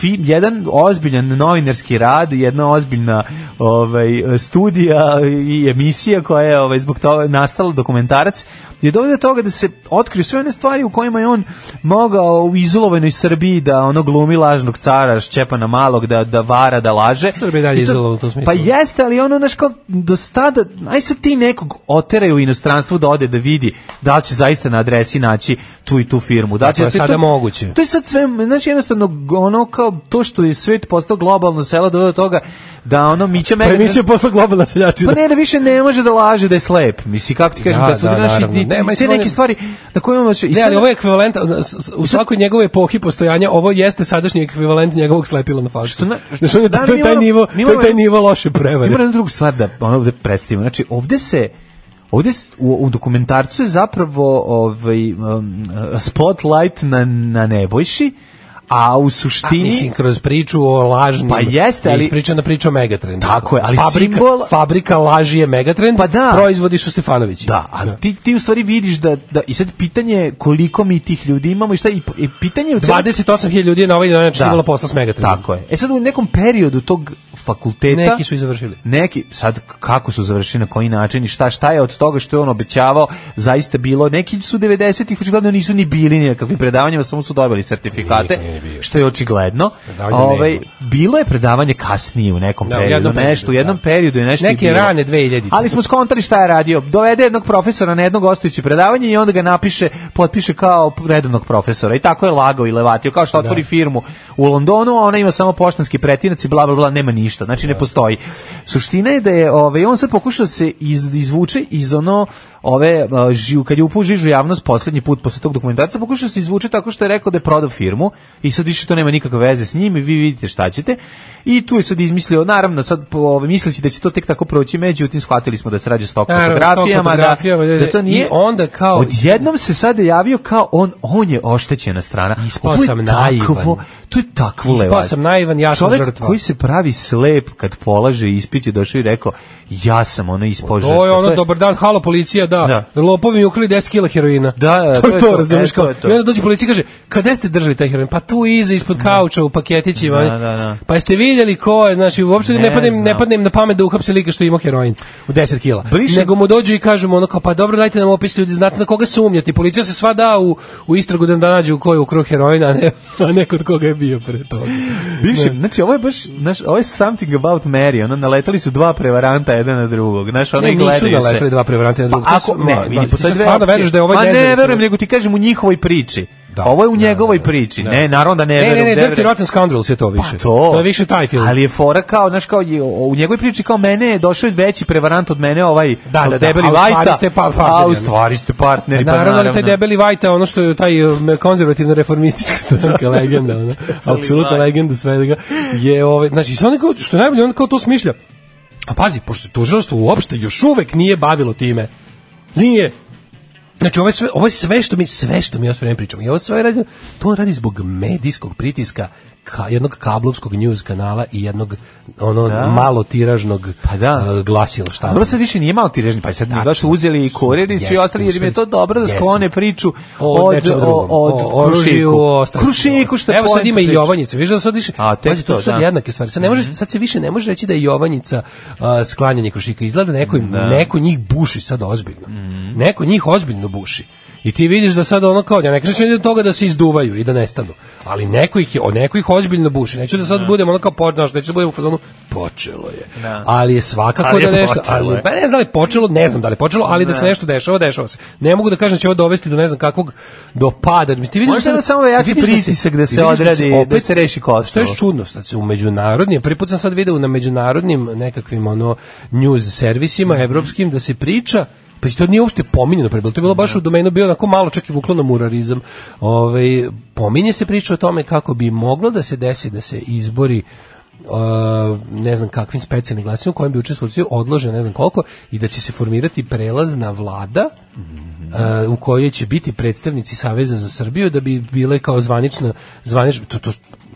Speaker 5: fi- jedan ozbiljan novinarski rad, jedna ozbiljna ovaj studija i emisija koja je ovaj zbog toga nastala dokumentarac je dovoljno do toga da se otkriju sve one stvari u kojima je on mogao u izolovanoj Srbiji da ono glumi lažnog cara Šćepana Malog da da vara da laže.
Speaker 6: Srbija je dalje
Speaker 5: I to-
Speaker 6: izolovana u tom smislu.
Speaker 5: Pa jeste, ali ono znaš kao do stada, aj sad ti nekog oteraju u inostranstvu da ode da vidi da li će zaista na adresi naći tu i tu firmu. Da li
Speaker 6: Dakle,
Speaker 5: će-
Speaker 6: to je sada moguće.
Speaker 5: to je sad sve, znači jednostavno ono kao to što je svet postao globalno selo do toga da ono Mića
Speaker 6: Pa
Speaker 5: Mega...
Speaker 6: i mi će posle globalna seljačina.
Speaker 5: Pa ne, da više ne može da laže da je slep. Misli, kako ti kažem,
Speaker 6: Da,
Speaker 5: da, su
Speaker 6: da,
Speaker 5: naši-
Speaker 6: naravno.
Speaker 5: ti-
Speaker 6: Ne, ma,
Speaker 5: te
Speaker 6: mislim, on
Speaker 5: neke
Speaker 6: je-
Speaker 5: stvari na koje on može... i
Speaker 6: Ne, ali
Speaker 5: sad-
Speaker 6: ovo je ekvivalent, ono, s- s- u svakoj njegovoj epohi postojanja, ovo jeste sadašnji ekvivalent njegovog slepila na faksu.
Speaker 5: Što na-
Speaker 6: Znači, on je-
Speaker 5: Da, ali
Speaker 6: to je
Speaker 5: mi
Speaker 6: taj
Speaker 5: moramo-
Speaker 6: nivo,
Speaker 5: mi
Speaker 6: to je taj
Speaker 5: moramo-
Speaker 6: nivo loše prevare.
Speaker 5: Ima jedna druga stvar da ono da predstavimo. Znači, ovde se Ovde s- u, u dokumentarcu je zapravo ovaj um, spotlight na na Nebojši, a u
Speaker 6: A,
Speaker 5: suštini
Speaker 6: mislim, kroz priču o lažnim...
Speaker 5: Pa jeste, ali-
Speaker 6: Ispričana priča o Megatrendu.
Speaker 5: Tako je, ali
Speaker 6: fabrika,
Speaker 5: simbol-
Speaker 6: Fabrika laži je Megatrend,
Speaker 5: Pa da.
Speaker 6: proizvodi su Stefanovići.
Speaker 5: Da, ali ti, ti u stvari vidiš da, da i sad pitanje je koliko mi tih ljudi imamo i šta i, i pitanje je u celom-
Speaker 6: 28.000 ljudi je na ovaj način
Speaker 5: Da.
Speaker 6: imalo posla s Megatrendom.
Speaker 5: Tako je. E sad u nekom periodu tog fakulteta
Speaker 6: Neki su i završili.
Speaker 5: neki sad kako su završili na koji način i šta šta je od toga što je on obećavao zaista bilo neki su 90-ih očigledno nisu ni bili ni na kakvim predavanjima samo su dobili sertifikate
Speaker 6: Niko nije bio.
Speaker 5: što je očigledno
Speaker 6: Predavanja
Speaker 5: ovaj
Speaker 6: nema.
Speaker 5: bilo je predavanje kasnije u nekom
Speaker 6: Da, u
Speaker 5: periodu
Speaker 6: jednom periodu,
Speaker 5: nešto u jednom
Speaker 6: da.
Speaker 5: periodu je nešto i
Speaker 6: Neke
Speaker 5: bilo.
Speaker 6: rane 2000.
Speaker 5: ali smo skontali šta je radio dovede jednog profesora na jedno gostujuće predavanje i onda ga napiše potpiše kao redovnog profesora i tako je lagao i levatio kao što otvori firmu u Londonu a ona ima samo poštanski pretinac i bla bla bla nema ništa znači ne postoji suština je da je ovaj on sad pokušao da se iz, izvuče iz ono ove a, žiju kad je upao u žižu javnost poslednji put posle tog dokumentarca pokušao da se izvuče tako što je rekao da je prodao firmu i sad više to nema nikakve veze s njim i vi vidite šta ćete i tu je sad izmislio naravno sad po- ovaj misleći da će to tek tako proći međutim shvatili smo da se radi o stok
Speaker 6: Naravno,
Speaker 5: fotografijama,
Speaker 6: stok fotografijama,
Speaker 5: da, da to
Speaker 6: i
Speaker 5: nije
Speaker 6: onda kao-
Speaker 5: odjednom se sada javio kao on on je oštećena strana
Speaker 6: Ispao
Speaker 5: Ovo je
Speaker 6: sam naivan.
Speaker 5: takvo- to je takvo
Speaker 6: Ispao
Speaker 5: levanje.
Speaker 6: sam naivan, ja sam
Speaker 5: Čovek
Speaker 6: žrtva.
Speaker 5: koji se pravi slep kad polaže ispit je došao i rekao ja sam ono ispao žrtva.
Speaker 6: To je ono, dobar dan, halo policija, da,
Speaker 5: Da.
Speaker 6: lopovi mi ukrali 10 kila heroina.
Speaker 5: Da, da,
Speaker 6: to je to, razumiješ
Speaker 5: e, to
Speaker 6: kao.
Speaker 5: je to.
Speaker 6: I onda dođe policija i kaže, kada ste držali taj heroin? Pa tu iza, ispod kauča, u paketićima.
Speaker 5: Da, da, da.
Speaker 6: Pa jeste vidjeli ko je, znači, uopšte ne,
Speaker 5: Ne
Speaker 6: padnem, ne
Speaker 5: znam.
Speaker 6: padnem na pamet da uhapse lika što ima heroin u 10 kila.
Speaker 5: Bliže-
Speaker 6: Nego mu dođu i kažu mu ono kao, pa dobro, dajte nam opis ljudi, znate na koga sumnjati. Policija se sva da u, u istragu da da nađu ko je ukrao heroina, a ne, a ne kod koga je bio pre toga.
Speaker 5: Bivši, znači ovo je baš, znaš, ovo je something about Mary, ono, naletali su dva prevaranta jedan na drugog, znaš, ono
Speaker 6: Ne,
Speaker 5: i
Speaker 6: nisu
Speaker 5: gledaju se.
Speaker 6: naletali dva prevaranta jedan na
Speaker 5: Pa
Speaker 6: drugog, to
Speaker 5: ako,
Speaker 6: su- ma,
Speaker 5: ne, vidi,
Speaker 6: ma,
Speaker 5: postoje
Speaker 6: ti
Speaker 5: dve
Speaker 6: stvarno
Speaker 5: opcije.
Speaker 6: veruješ da je ovaj
Speaker 5: Ma ne,
Speaker 6: dezertni?
Speaker 5: verujem, nego ti kažem u njihovoj priči.
Speaker 6: Da.
Speaker 5: Ovo je u
Speaker 6: Da,
Speaker 5: njegovoj
Speaker 6: da, da.
Speaker 5: priči.
Speaker 6: Da.
Speaker 5: Ne, naravno da ne
Speaker 6: Ne, ne,
Speaker 5: verujem.
Speaker 6: ne,
Speaker 5: da
Speaker 6: Dirty
Speaker 5: verujem.
Speaker 6: Rotten Scoundrels je to više.
Speaker 5: Pa to.
Speaker 6: To je više taj film.
Speaker 5: Ali je fora kao, znaš, kao je, u njegovoj priči kao mene je došao veći prevarant od mene, ovaj
Speaker 6: Da, da, da,
Speaker 5: debeli
Speaker 6: a u stvari
Speaker 5: Vajta.
Speaker 6: ste pa- partneri,
Speaker 5: a u
Speaker 6: ono.
Speaker 5: stvari ste partneri, pa
Speaker 6: naravno,
Speaker 5: naravno.
Speaker 6: ali taj debeli Vajta, ono što je taj um, konzervativno reformistička stranka legenda, ono, apsolutna
Speaker 5: Vajta.
Speaker 6: legenda svega, je ovaj, znači, sve onako, što je najbolje, on kao to smišlja. A pazi, pošto tužilaštvo uopšte još uvek nije bavilo time. Nije. Znači, ovo je sve, ovo je sve što mi sve što mi osvrem pričamo. I ovo sve radi, to on radi zbog medijskog pritiska ka, jednog kablovskog news kanala i jednog ono
Speaker 5: Da.
Speaker 6: malo tiražnog
Speaker 5: Pa da.
Speaker 6: e, glasila šta.
Speaker 5: A dobro sad više nije malo tirežni, pa sad
Speaker 6: Tačno.
Speaker 5: da su uzeli i kurir i svi
Speaker 6: Znači, Jeste,
Speaker 5: ostali jer im je to
Speaker 6: uspeli su.
Speaker 5: dobro da
Speaker 6: Jesu.
Speaker 5: sklone priču
Speaker 6: O
Speaker 5: od
Speaker 6: nečem
Speaker 5: o-
Speaker 6: drugom.
Speaker 5: od
Speaker 6: O oružju,
Speaker 5: Krušiku.
Speaker 6: o ostalim
Speaker 5: Krušiku što
Speaker 6: stvarima. Evo sad
Speaker 5: poenta
Speaker 6: ima i
Speaker 5: priče.
Speaker 6: Jovanjica. Viš da sad više
Speaker 5: A, to je
Speaker 6: Pazi, to
Speaker 5: to,
Speaker 6: su sad
Speaker 5: da. Mhm.
Speaker 6: jednake stvari. Sad ne može sad se više ne može reći da je Jovanjica a, sklanjanje Krušika. Izgleda neko im, neko njih buši sad ozbiljno.
Speaker 5: Mhm.
Speaker 6: Neko njih ozbiljno buši. I ti vidiš da sad ono kao, ja ne kažem da će oni do toga da se izduvaju i da nestanu, ali neko ih, je- o, neko ih ozbiljno buši. Neću da sad budem ono kao podnaš, neću da budem u fazonu, počelo je. Ali je svakako
Speaker 5: Ali je
Speaker 6: da nešto,
Speaker 5: počelo
Speaker 6: ali
Speaker 5: je.
Speaker 6: pa ne znam da li je počelo, ne znam da li je počelo, ali da se nešto dešava, dešava se. Ne mogu da kažem da će ovo dovesti do ne znam kakvog do pada. Mislim, Ti vidiš
Speaker 5: Možda
Speaker 6: sad-
Speaker 5: da samo jači
Speaker 6: ti vidiš
Speaker 5: pritisak da se
Speaker 6: ti vidiš
Speaker 5: odradi, da se reši Kosovo.
Speaker 6: Što je čudno, sad se u međunarodnim, prvi put sam sad video na međunarodnim nekakvim ono news servisima evropskim da se priča Pa to nije uopšte pominjeno pre bilo, to je bilo baš u domenu, bio onako malo čak i vuklo na murarizam. Ove, pominje se priča o tome kako bi moglo da se desi da se izbori uh, ne znam kakvim specijalnim glasima u kojem bi učestvovali odlože ne znam koliko i da će se formirati prelazna vlada uh, u kojoj će biti predstavnici Saveza za Srbiju da bi bile kao zvanična zvanič, to, to,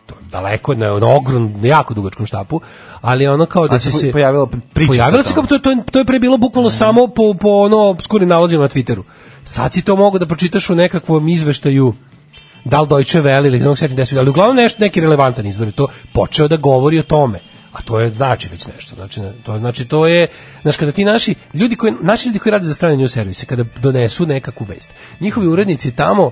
Speaker 6: to je daleko na, na ogrom, na jako dugačkom štapu ali ono kao da
Speaker 5: A
Speaker 6: će
Speaker 5: se
Speaker 6: se
Speaker 5: pojavila priča
Speaker 6: pojavilo
Speaker 5: sad Mhm.
Speaker 6: se kao to, to, je- to je pre bilo bukvalno samo po, po ono obskurnim nalazima na Twitteru sad si to mogu da pročitaš u nekakvom izveštaju da li Deutsche Welle ili nekog setim desmi, ali uglavnom nešto, neki relevantan izvor je to počeo da govori o tome. A to je znači već nešto. Znači, ne, to, znači to je, znaš, kada ti naši ljudi koji, naši ljudi koji rade za strane news servise, kada donesu nekakvu vest, njihovi urednici tamo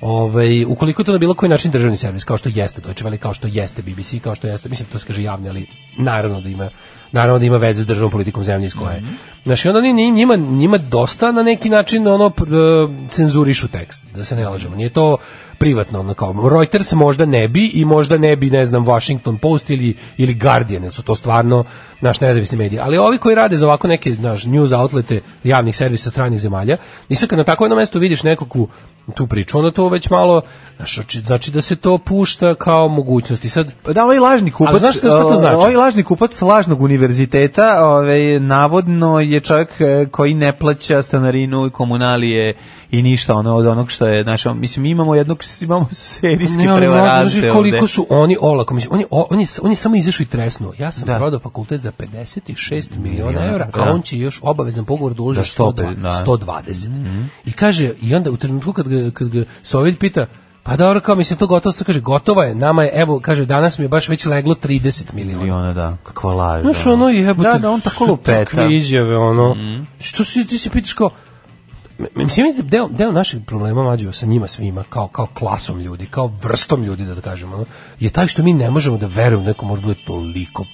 Speaker 6: Ovaj, ukoliko je to na bilo koji način državni servis, kao što jeste Deutsche Welle, kao što jeste BBC, kao što jeste, mislim to se kaže javni, ali naravno da ima naravno da ima veze s državnom politikom zemlje iz koje. je. Znaš, i onda oni njima, njima dosta na neki način ono pr- cenzurišu tekst, da se ne lažemo. Nije to privatno ono kao Reuters možda ne bi i možda ne bi ne znam Washington Post ili ili Guardian jer su to stvarno naš nezavisni mediji ali ovi koji rade za ovako neke naš news outlete javnih servisa stranih zemalja i sad kad na tako jednom mestu vidiš nekakvu tu priču onda to već malo znaš, oči- znači da se to pušta kao mogućnost i sad
Speaker 5: Pa Da, ovaj lažni kupac,
Speaker 6: Ali znaš šta- šta to znači?
Speaker 5: ovaj lažni kupac lažnog univerziteta, ovaj, navodno je čovjek eh, koji ne plaća stanarinu i komunalije i ništa ono od onog što je, znaš, on- mislim, imamo jednog, imamo serijski
Speaker 6: Ne, ali mlađe,
Speaker 5: prevarante
Speaker 6: znaš koliko su oni olako, mislim, on je, o- on je, on je samo izašao i tresnuo. Ja sam
Speaker 5: Da.
Speaker 6: prodao fakultet za 56 miliona
Speaker 5: Miliona,
Speaker 6: evra,
Speaker 5: da.
Speaker 6: a on će još obavezan pogovor da uloži
Speaker 5: Da,
Speaker 6: 120.
Speaker 5: 150, da. Mhm.
Speaker 6: 120. I kaže, i onda u trenutku kad ga, kad ga Sovjet pita, pa dobro, kao mislim to gotovo, sad kaže, gotova je, nama je, evo, kaže, danas mi je baš već leglo 30 miliona.
Speaker 5: I ona, da, kakva laž.
Speaker 6: Znaš,
Speaker 5: ono.
Speaker 6: ono jebote.
Speaker 5: Da, da, on tako Mhm.
Speaker 6: su
Speaker 5: lupeta.
Speaker 6: Takve izjave, ono. Što si, ti se pitaš kao, M- Mislim, mislim, deo, deo naših problema mlađo sa njima svima, kao, kao klasom ljudi, kao vrstom ljudi, da, da kažemo, ono, je taj što mi ne možemo da verujemo da neko može da bude toliko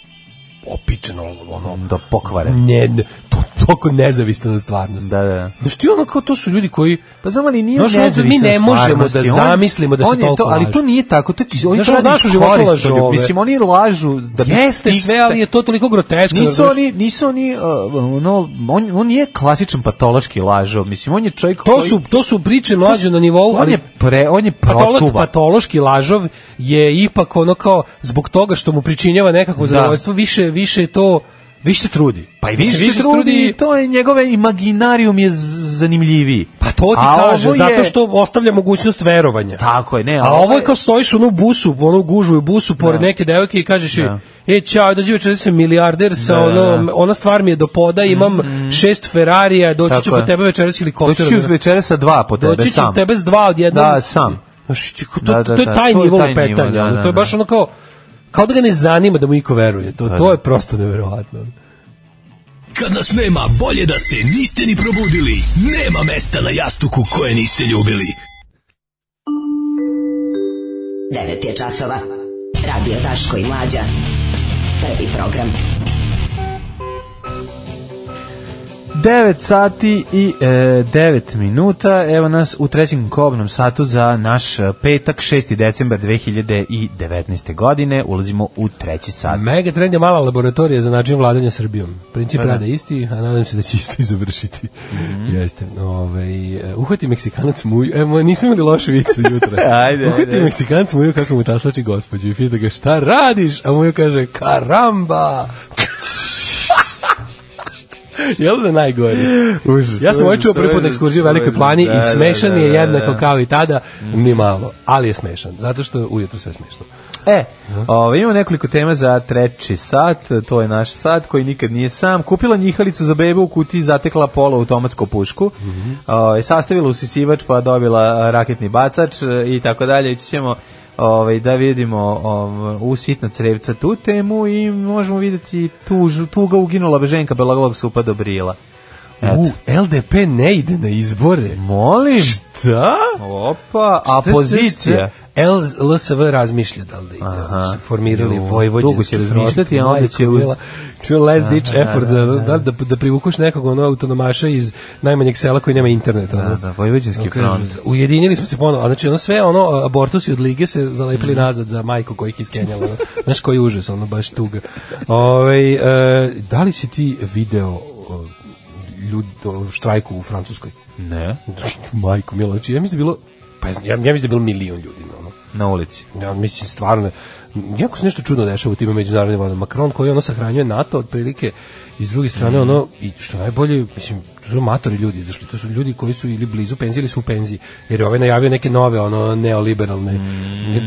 Speaker 6: opičeno, ono,
Speaker 5: Do pokvare.
Speaker 6: ne, ne, to, toliko nezavisno od stvarnosti.
Speaker 5: Da, da.
Speaker 6: Znaš ti ono kao, to su ljudi koji,
Speaker 5: Pa znam, ali nije
Speaker 6: Znaš, ono,
Speaker 5: nezavisno
Speaker 6: mi ne
Speaker 5: od
Speaker 6: možemo da
Speaker 5: stvarnosti. On-
Speaker 6: zamislimo da se
Speaker 5: on je
Speaker 6: toliko
Speaker 5: to, Ali
Speaker 6: laže.
Speaker 5: to nije tako, to, je- oni
Speaker 6: Znaš,
Speaker 5: to
Speaker 6: ono,
Speaker 5: rade
Speaker 6: znaš, u
Speaker 5: iz
Speaker 6: životu
Speaker 5: koristi,
Speaker 6: lažu ove.
Speaker 5: Mislim, oni lažu da bi
Speaker 6: jeste
Speaker 5: stig-
Speaker 6: sve, ali je to toliko groteskno.
Speaker 5: Nisu
Speaker 6: razumeš?
Speaker 5: oni, nisu oni, uh, ono, on, on je klasičan patološki lažov, mislim, on je čovjek
Speaker 6: To
Speaker 5: koji-
Speaker 6: su, to su priče mlađe na nivou,
Speaker 5: on
Speaker 6: ali
Speaker 5: je, pre, on je
Speaker 6: Patolo-
Speaker 5: protuva.
Speaker 6: patološki lažov je ipak ono kao zbog toga što mu pričinjava nekakvo zadovoljstvo više više je to više se trudi.
Speaker 5: Pa i
Speaker 6: Mislim,
Speaker 5: više, se trudi, i to je njegove imaginarijum je z- zanimljiviji.
Speaker 6: Pa to ti
Speaker 5: A
Speaker 6: kažem,
Speaker 5: ovo je-
Speaker 6: zato što ostavlja mogućnost verovanja.
Speaker 5: Tako je, ne.
Speaker 6: A ovo je kao stojiš ono u busu, ono u gužvoj busu pored neke devojke i kažeš joj, E, čao, dođi večer, ja sam milijarder sa
Speaker 5: Da, da, Mhm.
Speaker 6: ono, ona stvar mi je do poda, imam šest Ferrarija, doći ću
Speaker 5: Tako
Speaker 6: po
Speaker 5: je.
Speaker 6: tebe večeras
Speaker 5: Doći
Speaker 6: helikopterom.
Speaker 5: ću večera sa dva po tebe
Speaker 6: Doći ću
Speaker 5: sam.
Speaker 6: tebe s dva odjednom.
Speaker 5: Da, sam.
Speaker 6: Znaš, ti, to,
Speaker 5: Da, da,
Speaker 6: to je
Speaker 5: da,
Speaker 6: taj
Speaker 5: to je
Speaker 6: nivo
Speaker 5: taj nivo,
Speaker 6: lupetanja,
Speaker 5: da,
Speaker 6: ono,
Speaker 5: da,
Speaker 6: to je
Speaker 5: da.
Speaker 6: baš
Speaker 5: Pa
Speaker 6: ono kao, kao da ga ne zanima da mu iko veruje. To, to je prosto neverovatno.
Speaker 13: Kad nas nema, bolje da se niste ni probudili. Nema mesta na jastuku koje niste ljubili.
Speaker 10: 9 je časova. Radio Daško i Mlađa. Prvi program.
Speaker 5: 9 sati i e, 9 minuta. Evo nas u trećem kobnom satu za naš e, petak 6. decembar 2019. godine. Ulazimo u treći sat.
Speaker 6: Mega trend je mala laboratorija za način vladanja Srbijom. Princip
Speaker 5: Pa da. Mhm.
Speaker 6: rada je isti, a nadam se da će isto i završiti. Jeste. Ovaj, e, uhvati Meksikanac muju. E, mo- nismo imali lošu vicu jutra.
Speaker 5: Ajde,
Speaker 6: uhvati
Speaker 5: ajde.
Speaker 6: Meksikanac muju kako mu taslači gospođu i pita ga šta radiš? A muju kaže karamba. Jel da najgore?
Speaker 5: Užas,
Speaker 6: ja sam ovaj
Speaker 5: užas,
Speaker 6: čuo prvi put na
Speaker 5: užas,
Speaker 6: ekskurziji u Velikoj
Speaker 5: užas.
Speaker 6: plani
Speaker 5: Da, da,
Speaker 6: i smešan
Speaker 5: da,
Speaker 6: je
Speaker 5: da, Mhm. da.
Speaker 6: jednako kao i tada, ni malo. Ali je smešan, zato što je ujutru sve smešno.
Speaker 5: E, ovaj, imamo nekoliko tema za treći sat, to je naš sat koji nikad nije sam. Kupila njihalicu za bebu u kutiji, zatekla polo automatsku pušku, ovaj, sastavila usisivač pa dobila raketni bacač eh, i tako dalje. Ići ćemo ovaj, da vidimo ovaj, u sitna crevca tu temu i možemo vidjeti tužu, tuga uginula beženka Belagolog supa dobrila. Eto.
Speaker 6: U, LDP ne ide na izbore.
Speaker 5: Molim,
Speaker 6: Šta?
Speaker 5: opa, a
Speaker 6: Šta ste
Speaker 5: pozicija?
Speaker 6: sve- L- LSV razmišlja da li da ide. Oni Su formirali
Speaker 5: Ju,
Speaker 6: Vojvođanski
Speaker 5: dugo će
Speaker 6: front,
Speaker 5: razmišljati, a onda će
Speaker 6: majko
Speaker 5: uz-
Speaker 6: mila. Ču last ditch effort da, da, da, da privukuš nekog ono autonomaša iz najmanjeg sela koji nema internet. Ono.
Speaker 5: Da, da, Vojvođanski
Speaker 6: Ono, kažu,
Speaker 5: front.
Speaker 6: Ujedinili smo se ponovo. A Znači, ono sve, ono, abortusi od lige se zalepili
Speaker 5: Mhm.
Speaker 6: nazad za majku koji ih iskenjala. Ono. Znaš koji užas, ono, baš tuga. Ovaj, e, da li si ti video o, ljud, o štrajku u Francuskoj?
Speaker 5: Ne,
Speaker 6: Majko Milo, znači ja mislim da je bilo pa ja, znam, ja, ja mislim da je bilo milion ljudi na ono.
Speaker 5: na ulici.
Speaker 6: Ja mislim stvarno jako se nešto čudno dešava u tim međunarodnim vodama. Macron koji ono sahranjuje NATO otprilike i s druge strane ono i što najbolje mislim to su matori ljudi, znači to su ljudi koji su ili blizu penzije ili su u penziji. Jer je ovaj najavio neke nove ono neoliberalne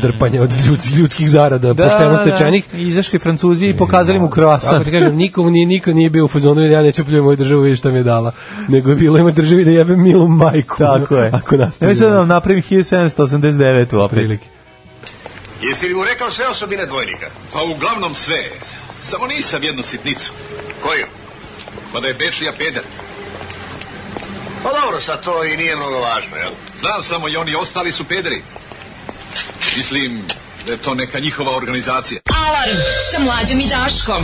Speaker 6: drpanje od ljudskih, ljudskih zarada, pošteno stečenih.
Speaker 5: Da, izašli Francuzi i pokazali mu
Speaker 6: Tako
Speaker 5: kroasan.
Speaker 6: ti kažem, niko nije, niko nije bio u fazonu, ja neću pljujem moju državu, vidi šta mi je dala. Nego je bilo ima državi da jebem milu majku. ono,
Speaker 5: Tako je.
Speaker 6: Ako
Speaker 5: Ja mislim da
Speaker 6: nastavimo.
Speaker 5: vam napravim 1789 u aprilike.
Speaker 6: prilike.
Speaker 14: Jesi li mu rekao sve osobine dvojnika?
Speaker 15: Pa uglavnom sve. Samo nisam jednu sitnicu.
Speaker 14: Koju?
Speaker 15: Pa da je Bečija pedat.
Speaker 14: Pa dobro, sad to i nije mnogo važno, jel?
Speaker 15: Znam samo i oni ostali su pederi. Mislim da je to neka njihova organizacija.
Speaker 10: Alarm sa mlađom i Daškom.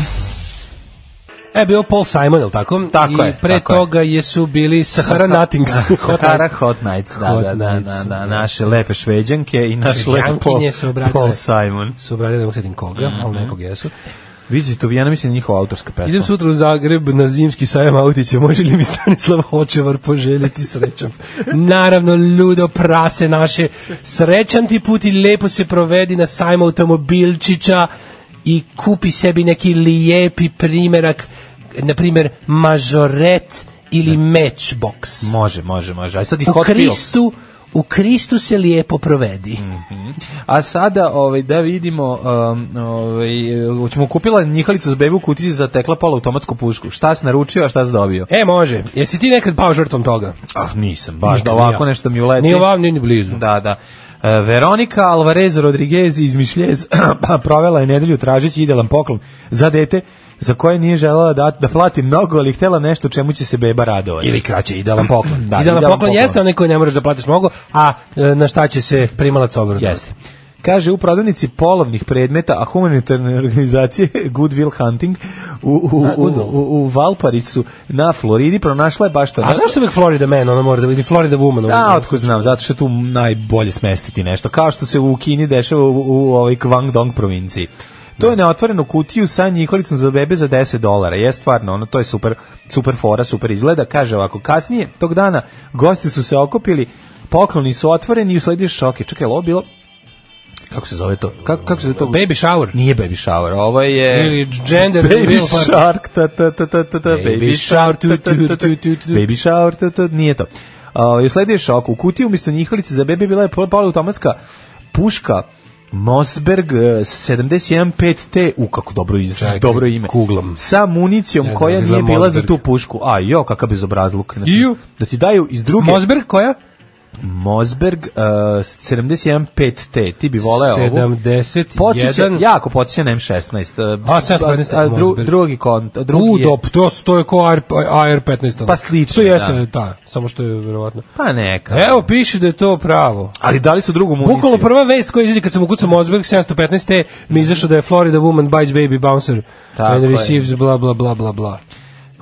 Speaker 6: E, bio Paul Simon, jel tako?
Speaker 5: Tako
Speaker 6: I
Speaker 5: je,
Speaker 6: pre
Speaker 5: tako je.
Speaker 6: toga je. jesu bili Sahara Nothings. Hot
Speaker 5: Sahara
Speaker 6: Nuts.
Speaker 5: Hot Nights, da,
Speaker 6: Hot
Speaker 5: da, da,
Speaker 6: Nights,
Speaker 5: da, da, naše lepe šveđanke i naš lep Paul,
Speaker 6: Šveđankinje su obradile.
Speaker 5: Paul Simon.
Speaker 6: Su obradili, ne mogu sjetim koga,
Speaker 5: Mhm.
Speaker 6: ali nekog jesu.
Speaker 5: Vidite, to ja ne mislim da je njihova autorska pesma.
Speaker 6: Idem sutra u Zagreb na zimski sajam autića. Može li mi Stanislav Hočevar poželjeti srećom? Naravno, ludo prase naše. Srećan ti put i lepo se provedi na sajmu automobilčića i kupi sebi neki lijepi primerak, na primjer, mažoret ili matchbox.
Speaker 5: Može, može, može. Aj sad i
Speaker 6: u
Speaker 5: Hot Wheels.
Speaker 6: Kristu, u Kristu se lijepo provedi.
Speaker 5: A sada ovaj da vidimo um, ovaj hoćemo kupila njihalicu s bebu kutiju za tekla pola automatsku pušku. Šta si naručio, a šta si dobio?
Speaker 6: E, može. Jesi ti nekad pao žrtvom toga?
Speaker 5: Ah, nisam, baš
Speaker 6: Nikad
Speaker 5: da
Speaker 6: ni
Speaker 5: ovako
Speaker 6: ja.
Speaker 5: nešto mi uleti.
Speaker 6: Ni ovam, ni ni blizu.
Speaker 5: Da, da. E, Veronika Alvarez Rodriguez iz Mišljez pa provela je nedelju tražeći idealan poklon za dete za koje nije želela da, da plati mnogo, ali htela nešto čemu će se beba radovati.
Speaker 6: Ili kraće, idealan poklon.
Speaker 5: Da,
Speaker 6: idealan,
Speaker 5: idealan
Speaker 6: poklon,
Speaker 5: poklon.
Speaker 6: jeste onaj koji ne moraš da platiš mnogo, a e, na šta će se primalac obrnuti.
Speaker 5: Jeste. Kaže, u prodavnici polovnih predmeta, a humanitarne organizacije Goodwill Hunting u, u,
Speaker 6: A,
Speaker 5: u,
Speaker 6: Goodwill.
Speaker 5: u, u Valparisu na Floridi pronašla je baš to.
Speaker 6: A zašto uvijek Florida man, ono mora da vidi Florida woman? ono,
Speaker 5: Da, otko znam, zato što je tu najbolje smestiti nešto, kao što se u Kini dešava u, u ovoj Guangdong provinciji. To je neotvorenu kutiju sa njiholicom za bebe za 10 dolara. Je stvarno, ono, to je super, super fora, super izgleda. Kaže ovako, kasnije, tog dana, gosti su se okupili, pokloni su otvoreni i usledio šok. je, Čekaj, jel ovo bilo... Kako se zove to? Kako, kako se zove to?
Speaker 6: Baby shower.
Speaker 5: Nije baby shower, ovo je...
Speaker 6: Ili gender
Speaker 5: baby
Speaker 6: reveal party.
Speaker 5: shark, ta, ta, ta, ta, ta, ta,
Speaker 6: Baby
Speaker 5: baby
Speaker 6: shower,
Speaker 5: shark, ta, ta, ta, ta, ta,
Speaker 6: tu, tu, tu, tu.
Speaker 5: baby shower, ta, ta, nije to. Uh, I usledio je šok, u kutiji umjesto njihalice za bebe bila je pol- poluautomatska puška Mosberg eh, 715T, u kako dobro, iz,
Speaker 6: Čekaj,
Speaker 5: dobro ime,
Speaker 6: kuglom.
Speaker 5: sa municijom
Speaker 6: Ne znam,
Speaker 5: koja
Speaker 6: izgleda
Speaker 5: nije bila za
Speaker 6: Mosberg.
Speaker 5: tu pušku. A jo, kakav bezobrazluk. Znači,
Speaker 6: Iju.
Speaker 5: da ti daju iz druge...
Speaker 6: Mosberg koja?
Speaker 5: Mosberg eh, 715T, ti bi voleo ovu.
Speaker 6: 71.
Speaker 5: Podsjeća, jako podsjeća na M16. eh,
Speaker 6: A, 715
Speaker 5: a dru-
Speaker 6: Mosberg.
Speaker 5: drugi kont, drugi je-
Speaker 6: Udop, to, to je ko AR, AR-15. ono.
Speaker 5: Pa slično,
Speaker 6: To jeste,
Speaker 5: da.
Speaker 6: da. samo što je verovatno.
Speaker 5: Pa neka. pa-
Speaker 6: Evo, piše da je to pravo.
Speaker 5: Ali dali su drugu municiju.
Speaker 6: Bukvalno prva vest koja izađe kad sam ukucao Mosberg 715 te mi izašlo da je Florida woman bites baby bouncer
Speaker 5: Tako
Speaker 6: and
Speaker 5: je.
Speaker 6: receives bla bla bla bla bla.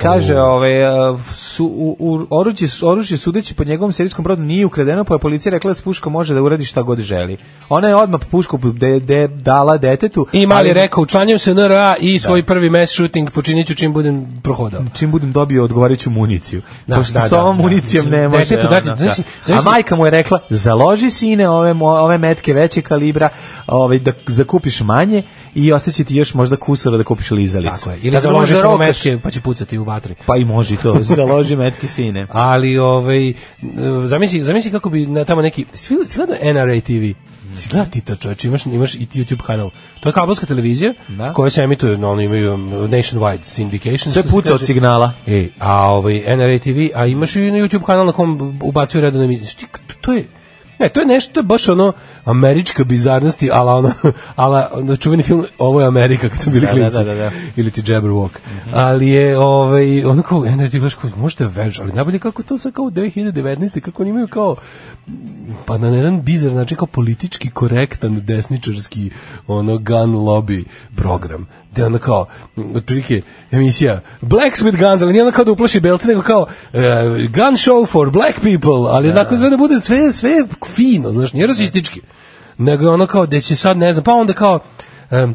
Speaker 5: Kaže, ovaj, a, su, u, u, oruđe, oružje sudeći po njegovom serijskom brodu nije ukradeno, pa je policija rekla da s puškom može da uradi šta god želi. Ona je odmah pušku de, de, dala detetu.
Speaker 6: I mali
Speaker 5: ali
Speaker 6: je rekao, učlanjam se NRA i svoj prvi mass shooting počinit ću čim budem prohodao.
Speaker 5: čim budem dobio odgovarajuću municiju.
Speaker 6: Da,
Speaker 5: Pošto
Speaker 6: da,
Speaker 5: s ovom
Speaker 6: da, da.
Speaker 5: municijom ne
Speaker 6: Mislim,
Speaker 5: može.
Speaker 6: detetu dati,
Speaker 5: ono,
Speaker 6: znači,
Speaker 5: da. A
Speaker 6: znači-
Speaker 5: majka mu je rekla, založi sine ove, mo- ove metke veće kalibra, ovaj, da, da kupiš manje i ostaće ti još možda kusura da kupiš lizalicu.
Speaker 6: Tako je. Ili
Speaker 5: Tako da možeš da
Speaker 6: založi samo
Speaker 5: rokaš.
Speaker 6: metke, pa će pucati u vatri.
Speaker 5: Pa i može i to, založi metke sine.
Speaker 6: Ali, ovaj, e, zamisli, zamisli kako bi na tamo neki... Si gledao- si gledao NRA TV? Si gledao ti to čovječ, imaš, imaš i ti YouTube kanal. To je kabelska televizija
Speaker 5: Da.
Speaker 6: koja se emituje, no, oni imaju um, nationwide syndication.
Speaker 5: Sve
Speaker 6: što se
Speaker 5: puca od
Speaker 6: kaže.
Speaker 5: signala.
Speaker 6: E, a ovaj NRA TV, a imaš i na YouTube kanal na kom ubacuju redovne emisije. Šti- To je Ne, to je nešto, to je baš ono američka bizarnosti, ala ono, ala ono, čuveni film Ovo je Amerika kad su bili
Speaker 5: Da, da,
Speaker 6: klinci.
Speaker 5: da, da, da. Mhm.
Speaker 6: Ili ti Jabberwock. Ali je, ovaj, ono kao, NRA TV, baš kao, možda je vež, ali najbolje kako to sve kao u 2019. kako oni imaju kao, pa na jedan bizar, znači kao politički korektan desničarski ono gun lobby program gde ono kao, m, otprilike emisija Blacks with Guns, ali nije ono kao da uplaši belce, nego kao e, gun show for black people, ali onako sve da bude sve, sve fino, znaš, nije rasistički nego je ono kao da će sad, ne znam, pa onda kao em,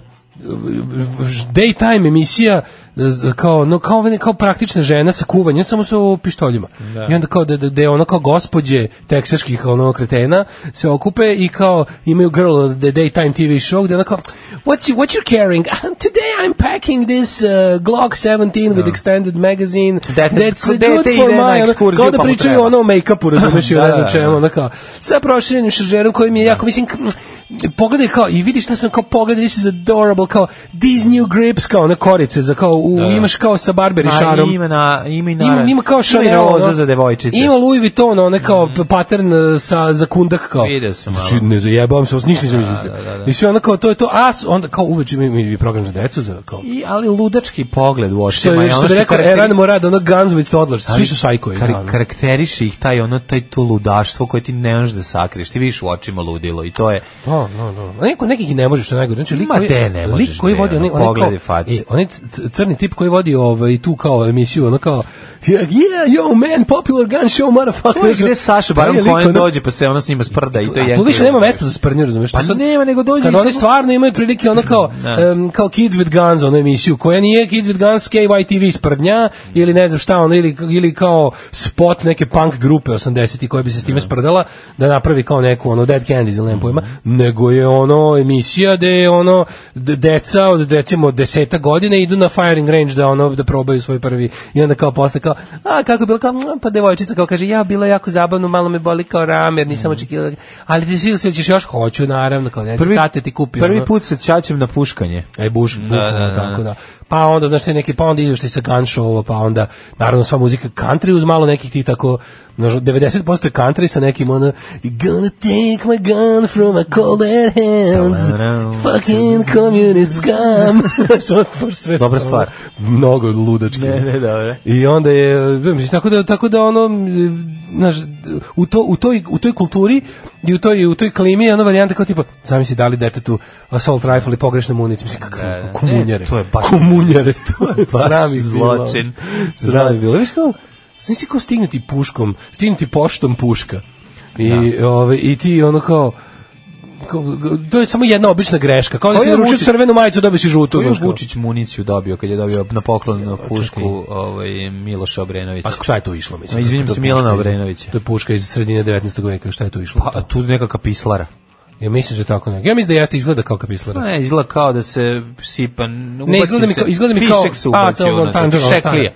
Speaker 6: daytime emisija z- kao no kao ove- kao praktična žena sa kuvanjem samo sa pištoljima.
Speaker 5: Da.
Speaker 6: I onda kao da da, da je ono kao gospođe teksaških ono kretena se okupe i kao imaju girl the daytime TV show gde ona kao what's you, what you're carrying? Today I'm packing this uh, Glock 17 with extended magazine.
Speaker 5: That-
Speaker 6: That's
Speaker 5: dete
Speaker 6: good
Speaker 5: ide
Speaker 6: for
Speaker 5: na
Speaker 6: my. Ono,
Speaker 5: ekskurziju
Speaker 6: Kao da
Speaker 5: pa mu
Speaker 6: pričaju
Speaker 5: treba.
Speaker 6: ono o make-upu, razumeš i o
Speaker 5: Da,
Speaker 6: ne znam
Speaker 5: da,
Speaker 6: čemu,
Speaker 5: da.
Speaker 6: ono kao, sa proširenim šaržerom koji mi je jako, mislim, k- m, pogledaj kao, i vidiš šta sam kao pogledaj, this is adorable, kao, these new grips, kao, na korice, za kao, u, imaš kao sa Barberi
Speaker 5: A,
Speaker 6: šarom.
Speaker 5: Ima, na, ima i
Speaker 6: Ima,
Speaker 5: naravno.
Speaker 6: ima kao Chanel,
Speaker 5: Ima i roza
Speaker 6: ono.
Speaker 5: za devojčice.
Speaker 6: Ima Louis Vuitton, ona kao p- pattern e, sa za kundak kao.
Speaker 5: Vidio sam malo.
Speaker 6: Znači, ne zajebavam se, ovo ništa nisam izmislio.
Speaker 5: da, da.
Speaker 6: I sve ono kao, to je to, a s- onda kao uveče mi, mi program za decu, za kao,
Speaker 5: I, ali ludački pogled u
Speaker 6: što,
Speaker 5: očima.
Speaker 6: je,
Speaker 5: i ono
Speaker 6: što bi rekao
Speaker 5: karakteri-
Speaker 6: Eran Morad, ono Guns with Toddlers, svi su sajkoji.
Speaker 5: kar-
Speaker 6: da, ono.
Speaker 5: karakteriše ih taj ono taj to ludaštvo koje ti ne možeš da sakriješ. Ti vidiš u očima ludilo i to je
Speaker 6: Da, da, da. A Neko nekih i ne možeš, što je najgore. Znači lik
Speaker 5: Ma
Speaker 6: koji
Speaker 5: te ne možeš,
Speaker 6: lik koji
Speaker 5: ne,
Speaker 6: vodi
Speaker 5: ono,
Speaker 6: onaj onaj
Speaker 5: pogledaj
Speaker 6: kao,
Speaker 5: face.
Speaker 6: e, onaj c- c- crni tip koji vodi ovaj tu kao emisiju, ono kao yeah, yeah, yo man, popular gun show motherfucker.
Speaker 5: To je gde Saša
Speaker 6: Taj
Speaker 5: Baron
Speaker 6: lik,
Speaker 5: Cohen
Speaker 6: ono-
Speaker 5: dođe pa se ono s njima sprda i to je
Speaker 6: A tu više nema mesta za sprnju, razumeš?
Speaker 5: Pa
Speaker 6: To sad-
Speaker 5: nema, nego dođe
Speaker 6: Kad
Speaker 5: i
Speaker 6: oni
Speaker 5: samo-
Speaker 6: stvarno imaju prilike ono kao,
Speaker 5: Da.
Speaker 6: em, kao Kids with Guns, ono emisiju, koja nije Kids with Guns, KYTV sprdnja, ili ne znam šta, ono, ili, ili kao spot neke punk grupe 80-ih koja bi se s time sprdala, da napravi kao neku, ono, Dead Candies ili nema pojma, nego je ono emisija gde je ono, d- deca od recimo deseta godine idu na firing range da ono, da probaju svoj prvi, i onda kao posle kao, a kako je bilo, kao, "Mm, pa devojčica kao kaže, ja, bilo je jako zabavno, malo me boli kao ram, jer nisam očekivala, ali ti svi ćeš još, hoću, naravno, kao ne, prvi, tate ti ono. kupio.
Speaker 5: prvi put sa ćaćem na puškanje.
Speaker 6: E, buš, da,
Speaker 5: da, da.
Speaker 6: tako da. Pa onda, znaš, te neki, pa onda izveštaj sa gun show pa onda, naravno, sva muzika country uz malo nekih ti tako, znaš, 90% je country sa nekim, ono, You're gonna take my gun from my cold dead hands, fucking communist scum. Što ono, baš sve
Speaker 5: Dobra
Speaker 6: samo-
Speaker 5: stvar.
Speaker 6: Mnogo ludački.
Speaker 5: Ne, ne, dobro.
Speaker 6: I onda je mislim, tako da tako da ono znaš, u to u toj u toj kulturi i u toj u toj klimi je ona varijanta kao tipa zamisli dali detetu assault rifle i pogrešne municije mislim kako
Speaker 5: Da, da.
Speaker 6: komunjare
Speaker 5: E, to je baš-
Speaker 6: komunjare to je
Speaker 5: baš
Speaker 6: sram ih bilo.
Speaker 5: zločin.
Speaker 6: sram je bilo Viš kao znaš kao stignuti puškom stignuti poštom puška i ovaj i ti ono kao kao- to je samo jedna obična greška kao da
Speaker 5: Ko
Speaker 6: si
Speaker 5: je
Speaker 6: naručio
Speaker 5: Vučić-
Speaker 6: crvenu majicu dobio si žutu
Speaker 5: Koju je
Speaker 6: znaš kao.
Speaker 5: Vučić municiju dobio kad je dobio na poklon na pušku
Speaker 6: čekaj.
Speaker 5: ovaj, Miloša Obrenovića?
Speaker 6: Pa šta je to išlo? Mislim,
Speaker 5: Ma, izvinim
Speaker 6: To je
Speaker 5: se, Milana
Speaker 6: puška iz-
Speaker 5: Obrenovića.
Speaker 6: To je puška iz sredine 19. veka, šta je to išlo?
Speaker 5: Pa, a tu nekakva pislara.
Speaker 6: Ja mislim da je tako nekako. Ja mislim da jeste izgleda kao kapislara.
Speaker 5: Pa ne, izgleda kao da se sipa...
Speaker 6: Ne, izgleda mi kao- izgleda mi kao-
Speaker 5: Fišek se
Speaker 6: a,
Speaker 5: ubaci
Speaker 6: to je ono,
Speaker 5: unutra,
Speaker 6: tanđer, ono,
Speaker 5: šeklija.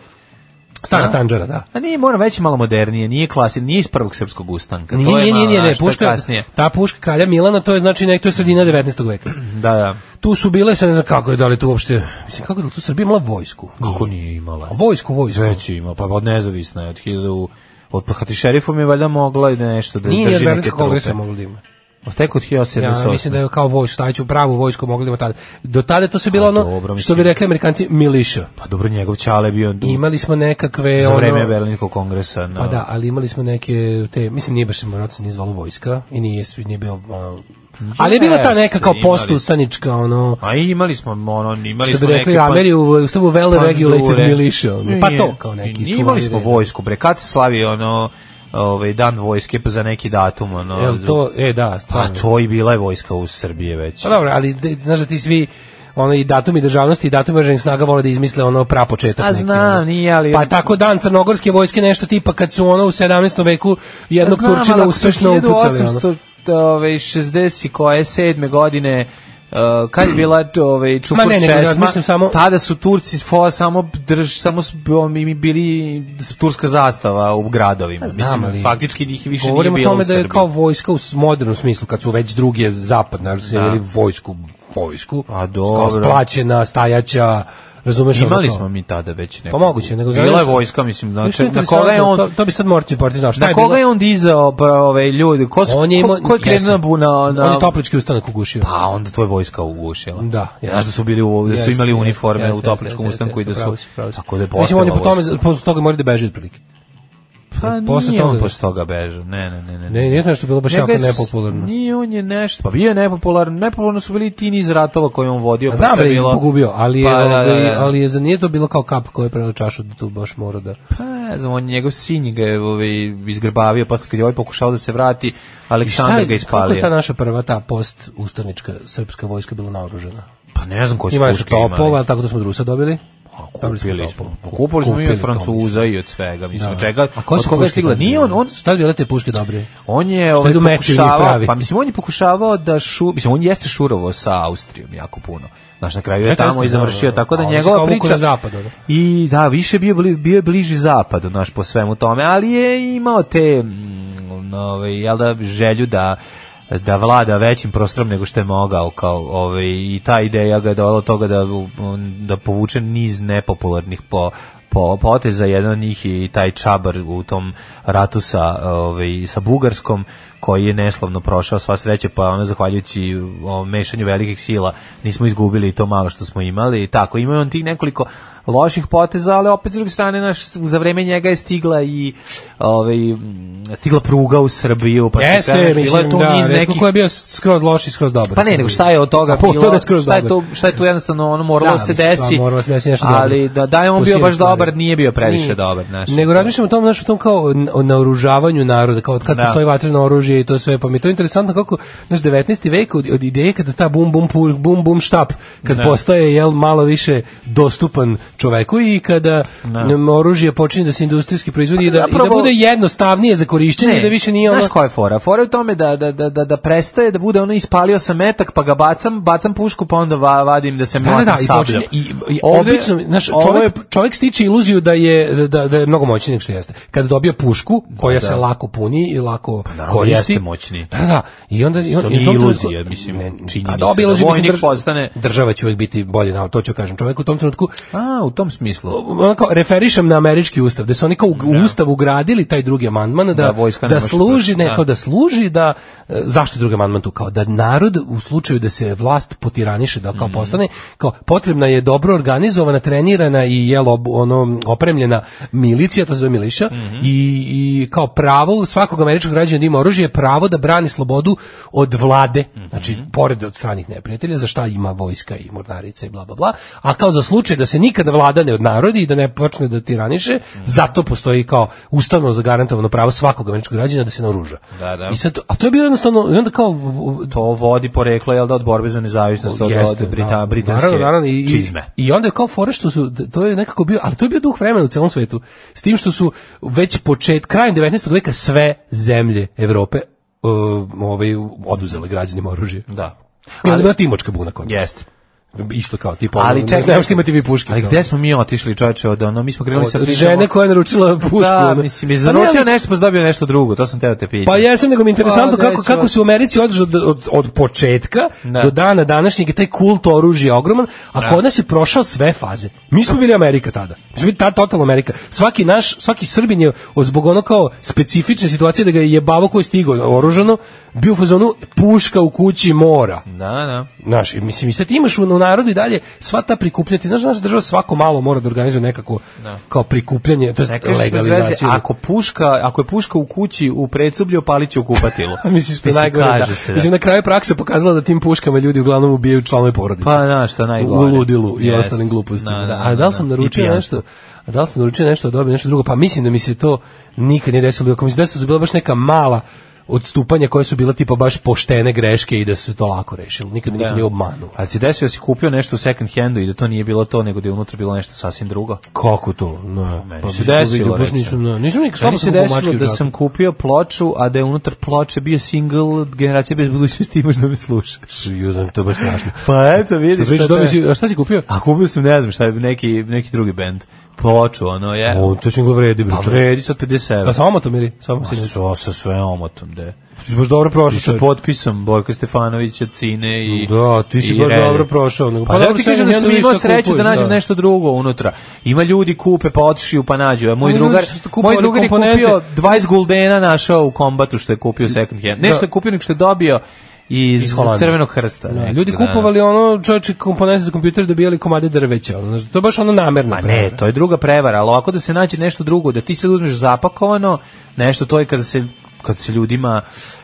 Speaker 6: Stara
Speaker 5: a?
Speaker 6: tanđara, da.
Speaker 5: A nije, mora već malo modernije, nije klasi, nije iz prvog srpskog ustanka.
Speaker 6: Nije,
Speaker 5: to je
Speaker 6: nije, nije,
Speaker 5: malo,
Speaker 6: nije, ne,
Speaker 5: znaš, to je
Speaker 6: puška,
Speaker 5: kasnije.
Speaker 6: ta puška kralja Milana, to je znači nek, to je sredina 19. veka.
Speaker 5: Da, da.
Speaker 6: Tu su bile, sad ne znam kako je, da li tu uopšte, mislim, kako je da li tu Srbija imala vojsku?
Speaker 5: Kako nije imala?
Speaker 6: A Vojsku, vojsku.
Speaker 5: Već je imala, pa od nezavisna je, od hiljadu... Od Pahati šerifom je valjda mogla i da nešto da
Speaker 6: Nije ni od
Speaker 5: drži neke
Speaker 6: Berlinskog kongresa
Speaker 5: trupe.
Speaker 6: moglo da ima.
Speaker 5: Od tek od
Speaker 6: Ja mislim da
Speaker 5: 1778.
Speaker 6: je kao vojsku, staviću pravu vojsku mogli da ima tada. Do tada je to sve bilo
Speaker 5: A,
Speaker 6: ono,
Speaker 5: Pa dobro,
Speaker 6: što
Speaker 5: mislim.
Speaker 6: bi rekli amerikanci, miliša.
Speaker 5: Pa dobro, njegov čale bio du-
Speaker 6: Imali smo nekakve...
Speaker 5: za vreme
Speaker 6: ono,
Speaker 5: Berlinskog kongresa. No.
Speaker 6: Pa da, ali imali smo neke te, mislim nije baš moralno se nije zvalo vojska i nije su nije bio ono, ali je bila ta neka kao
Speaker 5: Jeste, imali smo.
Speaker 6: postustanička ono
Speaker 5: A i imali smo, ono, imali
Speaker 6: što
Speaker 5: smo
Speaker 6: bi rekli
Speaker 5: neke... pa-
Speaker 6: Ameri u ustavu well regulated
Speaker 5: pandure.
Speaker 6: militia ono, pa
Speaker 5: Nije.
Speaker 6: to kao neki
Speaker 5: Nije,
Speaker 6: čuvari
Speaker 5: Imali smo
Speaker 6: reda.
Speaker 5: vojsku, bre, kad se slavi ono, ovaj, dan vojske pa za neki datum, ono...
Speaker 6: Jel to e da
Speaker 5: Pa
Speaker 6: stvarno
Speaker 5: to i bila je vojska u Srbiji već.
Speaker 6: pa dobro ali de- znaš da ti svi ono i datumi državnosti i datumi oružanih snaga vole da izmisle ono prapočetak
Speaker 5: A
Speaker 6: neki, ono.
Speaker 5: pa znam, nije, ali...
Speaker 6: Pa tako dan crnogorske vojske nešto tipa kad su ono u 17. veku
Speaker 5: Ja
Speaker 6: jednog
Speaker 5: znam, ali
Speaker 6: Turčina
Speaker 5: ako su
Speaker 6: uspešno upucali. ono.
Speaker 5: 1800, ovaj, 60 i koje sedme godine e, uh, kad je bila ovaj
Speaker 6: Ma
Speaker 5: Čupur
Speaker 6: ne, nego da
Speaker 5: Česma,
Speaker 6: razmišljam samo-
Speaker 5: tada su Turci fo samo drž samo su mi mi bili turska zastava u gradovima. Mislim, faktički ih više nije
Speaker 6: Pa Govorimo o
Speaker 5: bilo
Speaker 6: tome
Speaker 5: u
Speaker 6: da je
Speaker 5: Srbiji.
Speaker 6: kao vojska u s- modernom smislu, kad su već druge zapadne, jer su
Speaker 5: Da. Pa
Speaker 6: imali vojsku, vojsku, A,
Speaker 5: dobro.
Speaker 6: splaćena, stajaća, razumeš? ono
Speaker 5: Imali
Speaker 6: to.
Speaker 5: smo mi tada već neko.
Speaker 6: Pa moguće, nego
Speaker 5: bila je vojska, mislim, znači na koga je on
Speaker 6: To, to bi sad morci partizan. znao. Šta
Speaker 5: na
Speaker 6: je
Speaker 5: koga
Speaker 6: bilo?
Speaker 5: je on dizao pa, ove ljude? Ko
Speaker 6: On je imao-
Speaker 5: ko, ko je
Speaker 6: jeste.
Speaker 5: krenuo bu- na, na
Speaker 6: On je toplički ustanak ugušio.
Speaker 5: Pa onda to je vojska ugušila.
Speaker 6: Da,
Speaker 5: Znaš da su bili u, da su
Speaker 6: Jeste,
Speaker 5: imali
Speaker 6: jeste,
Speaker 5: uniforme
Speaker 6: jeste,
Speaker 5: u topličkom
Speaker 6: jeste,
Speaker 5: ustanku i da
Speaker 6: jeste,
Speaker 5: su
Speaker 6: pravo si, pravo si.
Speaker 5: tako da je
Speaker 6: Mislim, on je po
Speaker 5: postala
Speaker 6: tome,
Speaker 5: vojska.
Speaker 6: posle toga mora da beži otprilike.
Speaker 5: Pa
Speaker 6: posle
Speaker 5: nije
Speaker 6: toga
Speaker 5: on
Speaker 6: da-
Speaker 5: posle toga bežao. Ne, ne, ne, ne.
Speaker 6: Ne, nije to nešto bilo baš
Speaker 5: Njega
Speaker 6: jako
Speaker 5: je s-
Speaker 6: nepopularno.
Speaker 5: Nije, on je nešto. Pa bio je nepopularno. Nepopularno su bili i ti niz ratova koje je on vodio.
Speaker 6: A
Speaker 5: pa
Speaker 6: Znam
Speaker 5: sve
Speaker 6: da je
Speaker 5: bilo-
Speaker 6: pogubio, ali je,
Speaker 5: Pa, da, da,
Speaker 6: ovaj,
Speaker 5: da.
Speaker 6: ali je za nije to bilo kao kap koja je prela čašu da tu baš mora da...
Speaker 5: Pa, ne znam, on njegov sin ga je ovaj, izgrbavio, posle kad je ovaj pokušao da se vrati,
Speaker 6: Šta
Speaker 5: Aleksandar ga
Speaker 6: je- Kako je ta
Speaker 5: ispalio.
Speaker 6: naša prva ta post ustanička srpska vojska bila naoružana?
Speaker 5: Pa ne znam koji su
Speaker 6: Ima još
Speaker 5: puške imali.
Speaker 6: topova, tako da smo drusa dobili. Dobili smo
Speaker 5: Kupili smo, Pa
Speaker 6: topova.
Speaker 5: kupili smo i od
Speaker 6: Kupili to,
Speaker 5: Francuza i od svega, mislim, od čega,
Speaker 6: A ko
Speaker 5: od
Speaker 6: su
Speaker 5: koga je
Speaker 6: puške
Speaker 5: stigla,
Speaker 6: dobili?
Speaker 5: nije on, on,
Speaker 6: Šta je te puške dobre?
Speaker 5: on je
Speaker 6: Šta
Speaker 5: ovaj,
Speaker 6: idu meči u njih
Speaker 5: pokušavao,
Speaker 6: pravi?
Speaker 5: pa mislim, on je pokušavao da šu, mislim, on jeste šurovo sa Austrijom jako puno, znaš, na kraju je
Speaker 6: Jeste,
Speaker 5: tamo i
Speaker 6: jeste,
Speaker 5: završio,
Speaker 6: da, da,
Speaker 5: tako da
Speaker 6: a on se
Speaker 5: njegova
Speaker 6: kao vuku
Speaker 5: priča,
Speaker 6: na zapad, ono.
Speaker 5: i da, više je bio, bli- bio je bliži zapadu, naš, po svemu tome, ali je imao te, mm, ovaj, jel da, želju da, da vlada većim prostorom nego što je mogao kao ovaj i ta ideja ga je dovela do toga da da povuče niz nepopularnih po po poteza jedan od njih je i taj Čabar u tom ratu sa ovaj sa Bugarskom koji je neslavno prošao sva sreće pa ono zahvaljujući o, mešanju velikih sila nismo izgubili to malo što smo imali i tako imao je on tih nekoliko loših poteza ali opet s druge strane naš za vreme njega je stigla i ovaj m, stigla pruga u Srbiju pa se
Speaker 6: Jeste,
Speaker 5: kažeš, bilo je
Speaker 6: mislim,
Speaker 5: tu
Speaker 6: da,
Speaker 5: niz
Speaker 6: rekao
Speaker 5: nekih
Speaker 6: ko je bio skroz loš i skroz dobar.
Speaker 5: Pa ne, nego šta je od toga
Speaker 6: A po
Speaker 5: bilo,
Speaker 6: toga skroz
Speaker 5: šta je
Speaker 6: dobar.
Speaker 5: to, šta je tu jednostavno ono moralo
Speaker 6: Da,
Speaker 5: da se
Speaker 6: mislim,
Speaker 5: desi.
Speaker 6: stvarno moralo se desi nešto
Speaker 5: ali
Speaker 6: dobro.
Speaker 5: da da je on
Speaker 6: U
Speaker 5: bio
Speaker 6: svim
Speaker 5: baš
Speaker 6: stvarima.
Speaker 5: dobar, nije bio previše
Speaker 6: Nije.
Speaker 5: dobar, znaš.
Speaker 6: Nego razmišljam o tom, znaš, o tom kao n- o naoružavanju naroda, kao od kad
Speaker 5: Da.
Speaker 6: postoji vatreno oružje i to sve, pa mi je to interesantno kako, znaš, 19. vek od, od ideje kada ta bum bum pur, bum bum štap, kad
Speaker 5: Da.
Speaker 6: postaje, jel, malo više dostupan čoveku i kada m, oružje počinje da se industrijski proizvodi i, da, i da
Speaker 5: zapravo-
Speaker 6: bude jednostavnije za korišćenje, i da više nije ono...
Speaker 5: Znaš koja je fora? Fora je u tome da, da, da, da, da prestaje da bude ono ispalio sam metak, pa ga bacam, bacam pušku, pa onda va- vadim da se
Speaker 6: Da, da,
Speaker 5: mlatim
Speaker 6: da, i
Speaker 5: sabljom.
Speaker 6: počinje, i, i
Speaker 5: Ovde-
Speaker 6: obično, znaš,
Speaker 5: ovo je-
Speaker 6: čovjek, čovjek stiče iluziju da je, da, da je mnogo moćniji nego što jeste. Kada dobije pušku, koja se lako puni i lako
Speaker 5: Pa Naravno,
Speaker 6: koristi.
Speaker 5: jeste moćniji.
Speaker 6: Da, da, i onda... I on,
Speaker 5: To
Speaker 6: i u
Speaker 5: nije
Speaker 6: tom trenutku-
Speaker 5: iluzija, mislim, činjenica.
Speaker 6: A dobije
Speaker 5: Da
Speaker 6: iluziju, mislim,
Speaker 5: vojnik
Speaker 6: drž-
Speaker 5: postane-
Speaker 6: Država će uvijek biti bolje, na, to ću kažem. Čovjek u tom trenutku
Speaker 5: A, u tom smislu.
Speaker 6: onako referišem na američki ustav, da su oni kao u, u ustav ugradili taj drugi amandman da
Speaker 5: Da,
Speaker 6: da,
Speaker 5: vojska ne može
Speaker 6: služi
Speaker 5: protiv, da.
Speaker 6: ne, kao da služi da e, zašto je drugi amandman tu kao da narod u slučaju da se vlast potiraniše da kao postane kao potrebna je dobro organizovana, trenirana i jelo ob- ono opremljena milicija, to se zove miliša i, i kao pravo svakog američkog građana da ima oružje je pravo da brani slobodu od vlade. Znači pored od stranih neprijatelja za šta ima vojska i mornarica i bla bla bla, a kao za slučaj da se nikada vlada ne odnarodi i da ne počne da tiraniše, zato postoji kao ustavno zagarantovano pravo svakog američkog građana da se naoruža.
Speaker 5: Da, da.
Speaker 6: I sad, to- a to je bilo jednostavno, i onda kao u-
Speaker 5: To vodi poreklo, jel da, od borbe za nezavisnost, od,
Speaker 6: Jeste,
Speaker 5: od Brita,
Speaker 6: da.
Speaker 5: britanske
Speaker 6: Naravno, naravno, i, i-
Speaker 5: čizme.
Speaker 6: I onda je kao fora što su, to je nekako bio, ali to je bio duh vremena u celom svetu. S tim što su već počet, krajem 19. veka sve zemlje Evrope uh, ovaj, oduzele građanima oružje.
Speaker 5: Da.
Speaker 6: I onda je bila Timočka buna kod nas.
Speaker 5: Jeste.
Speaker 6: Isto kao, tipa,
Speaker 5: Ali
Speaker 6: ali ne
Speaker 5: čekaj,
Speaker 6: znam što imati vi puške.
Speaker 5: Ali
Speaker 6: kao.
Speaker 5: gde smo mi otišli, čoveče, od ono, mi smo krenuli sa
Speaker 6: Od
Speaker 5: pričom
Speaker 6: žene
Speaker 5: o-
Speaker 6: koja je naručila pušku.
Speaker 5: Da,
Speaker 6: ono.
Speaker 5: mislim, je
Speaker 6: Pa ne,
Speaker 5: zaručio
Speaker 6: ali-
Speaker 5: nešto, pa si dobio nešto drugo, to sam teo te pitati.
Speaker 6: Pa jesam, nego mi je interesantno
Speaker 5: Pa,
Speaker 6: kako,
Speaker 5: desi,
Speaker 6: kako se u Americi održao od, od, od početka
Speaker 5: Da.
Speaker 6: do dana današnjeg i taj kult oružja je ogroman, a
Speaker 5: Da.
Speaker 6: kod nas je prošao sve faze. Mi smo bili Amerika tada. Mi smo bili ta totalna Amerika. Svaki naš, svaki Srbin je o- zbog ono kao specifične situacije da ga je jebavo koji je stigao oružano, bio u fazonu puška u kući mora.
Speaker 5: Da, da.
Speaker 6: Znaš, i mislim, i sad imaš u, u narodu i dalje sva ta prikupljanja, ti znaš da naša država svako malo mora da organizuje nekako kao prikupljanje, to je
Speaker 5: Ne kažeš bez veze,
Speaker 6: legalizaciju.
Speaker 5: ako, puška, ako je puška u kući u precublju, palit će u kupatilu.
Speaker 6: A Pa misliš što je
Speaker 5: Mislim,
Speaker 6: najgore,
Speaker 5: kaže
Speaker 6: da.
Speaker 5: se,
Speaker 6: Mislim, na kraju praksa pokazala da tim puškama ljudi uglavnom ubijaju članove porodice.
Speaker 5: Pa, da, što je najgore.
Speaker 6: U ludilu i
Speaker 5: Jest.
Speaker 6: ostalim glupostima.
Speaker 5: Da, da,
Speaker 6: a da
Speaker 5: da,
Speaker 6: li sam
Speaker 5: da. I
Speaker 6: naručio
Speaker 5: pijanstvo.
Speaker 6: nešto? A da li sam naručio nešto, a dobio nešto drugo? Pa mislim da mi se to nikad nije desilo. Ako mi se desilo, da je bila baš neka mala odstupanja koje su bila tipa baš poštene greške i da se to lako rešilo. Nikad da. nije obmanuo.
Speaker 5: A ti desio da si kupio nešto u second handu i da to nije bilo to, nego da je unutra bilo nešto sasvim drugo?
Speaker 6: Kako to? pa No,
Speaker 5: Meni se desilo,
Speaker 6: baš nisam,
Speaker 5: recimo.
Speaker 6: no, nisam nikad
Speaker 5: Meni
Speaker 6: slabo
Speaker 5: se
Speaker 6: sam kupao mačke
Speaker 5: desilo
Speaker 6: u
Speaker 5: da
Speaker 6: džaku.
Speaker 5: sam kupio ploču, a da je unutar ploče bio single generacija bez budućnosti imaš da me slušaš.
Speaker 6: Juzan, to je baš strašno.
Speaker 5: Pa eto, vidiš.
Speaker 6: Što pričaš,
Speaker 5: šta to je. Pa,
Speaker 6: dobio si- a šta si kupio?
Speaker 5: A kupio sam, ne znam šta je, neki, neki drugi bend. Ploču, ono je.
Speaker 6: O, to single vredi. bre,
Speaker 5: Pa
Speaker 6: čoveče.
Speaker 5: vredi Pa, sad 50 evra.
Speaker 6: A sa omotom ili? Samo
Speaker 5: Ma, so, sa sve omotom, de.
Speaker 6: Ti si baš dobro prošao.
Speaker 5: I sa
Speaker 6: čoveče.
Speaker 5: potpisom Borka Stefanovića, Cine i...
Speaker 6: Da, ti si
Speaker 5: i
Speaker 6: baš
Speaker 5: Rede.
Speaker 6: dobro prošao, nego-
Speaker 5: Pa,
Speaker 6: pa
Speaker 5: da
Speaker 6: dobro,
Speaker 5: ti
Speaker 6: sad
Speaker 5: kažem
Speaker 6: ne
Speaker 5: da sam
Speaker 6: vidiš
Speaker 5: imao
Speaker 6: šta
Speaker 5: sreću da
Speaker 6: kupuješ,
Speaker 5: nađem
Speaker 6: da.
Speaker 5: nešto drugo unutra. Ima ljudi kupe, pa otišiju, pa nađu. A moj
Speaker 6: Ima ljudi
Speaker 5: drugar,
Speaker 6: što su kupovali
Speaker 5: moj drugar je
Speaker 6: komponente.
Speaker 5: kupio 20 guldena našao u kombatu što je kupio second hand. Nešto
Speaker 6: Da.
Speaker 5: je kupio, nego što je dobio iz,
Speaker 6: Iz Holandije.
Speaker 5: Crvenog hrsta.
Speaker 6: Da,
Speaker 5: nekog,
Speaker 6: ljudi
Speaker 5: da.
Speaker 6: kupovali ono čoveče komponente za kompjuter dobijali komade drveća, ono, znaš, to je baš ono namerno.
Speaker 5: Pa ne, to je druga prevara, ali ovako da se nađe nešto drugo, da ti sad uzmeš zapakovano, nešto to je kada se, kad se ljudima